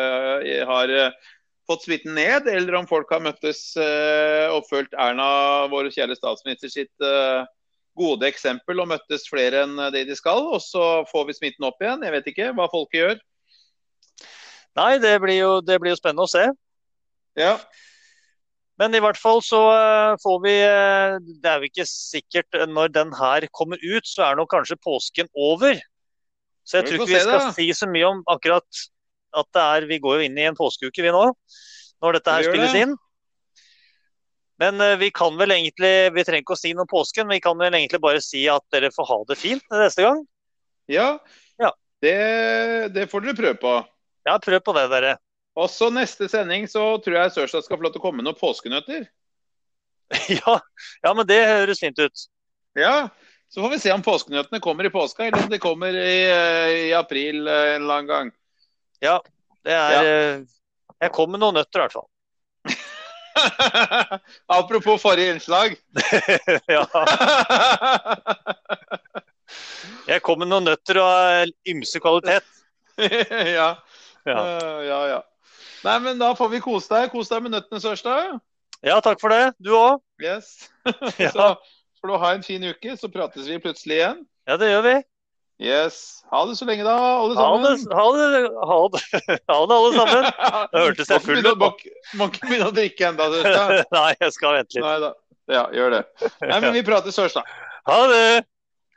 Speaker 2: eh, har eh, fått smitten ned, eller om folk har møttes eh, og fulgt Erna, vår kjære statsminister, sitt eh, gode eksempel og møttes flere enn eh, det de skal. Og så får vi smitten opp igjen. Jeg vet ikke hva folket gjør.
Speaker 3: Nei, det blir, jo, det blir jo spennende å se.
Speaker 2: Ja.
Speaker 3: Men i hvert fall så eh, får vi eh, Det er jo ikke sikkert eh, når den her kommer ut, så er nå kanskje påsken over. Så jeg
Speaker 2: Vi
Speaker 3: tror
Speaker 2: får
Speaker 3: ikke vi
Speaker 2: se det,
Speaker 3: skal
Speaker 2: da.
Speaker 3: si så mye om akkurat at det er Vi går jo inn i en påskeuke, vi nå, når dette her
Speaker 2: Vi gjør
Speaker 3: spilles
Speaker 2: det.
Speaker 3: inn. Men eh, vi kan vel egentlig Vi trenger ikke å si noe om påsken, vi kan vel egentlig bare si at dere får ha det fint neste gang.
Speaker 2: ja.
Speaker 3: Ja.
Speaker 2: Det, det får dere prøve på.
Speaker 3: Ja, prøv på det, dere.
Speaker 2: Også neste sending så tror jeg Sørstad skal få lov til å komme med noen påskenøtter.
Speaker 3: ja, ja, men det høres fint ut.
Speaker 2: Ja, Så får vi se om påskenøttene kommer i påska, eller om de kommer i, eh, i april eh, en eller annen gang.
Speaker 3: Det er
Speaker 2: Ja.
Speaker 3: eh, Jeg kom med noen nøtter, i hvert fall.
Speaker 2: Apropos forrige innslag.
Speaker 3: ja. Jeg kom med noen nøtter av ymse kvalitet.
Speaker 2: ja.
Speaker 3: Ja.
Speaker 2: Eh, ja, ja. Nei, men da får vi kose deg. Kos deg med nøttene, Sørstad.
Speaker 3: Ja, takk for det. Du òg.
Speaker 2: Yes. Så
Speaker 3: Ja.
Speaker 2: får du ha en fin uke, så prates vi plutselig igjen.
Speaker 3: ja, det gjør vi.
Speaker 2: Yes. Ha det så lenge, da, alle
Speaker 3: Ha det,
Speaker 2: sammen.
Speaker 3: ha det, ha det, ha det alle sammen. Det hørtes jeg full ut,
Speaker 2: ut. Må ikke- må ikke begynne å drikke ennå, Sørstad.
Speaker 3: Nei, jeg skal vente litt.
Speaker 2: Nei da. Ja, gjør det. Nei, men vi prates Sørstad.
Speaker 3: Ha det.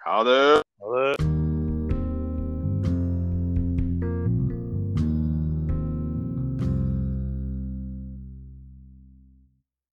Speaker 2: Ha det.
Speaker 3: Ha det.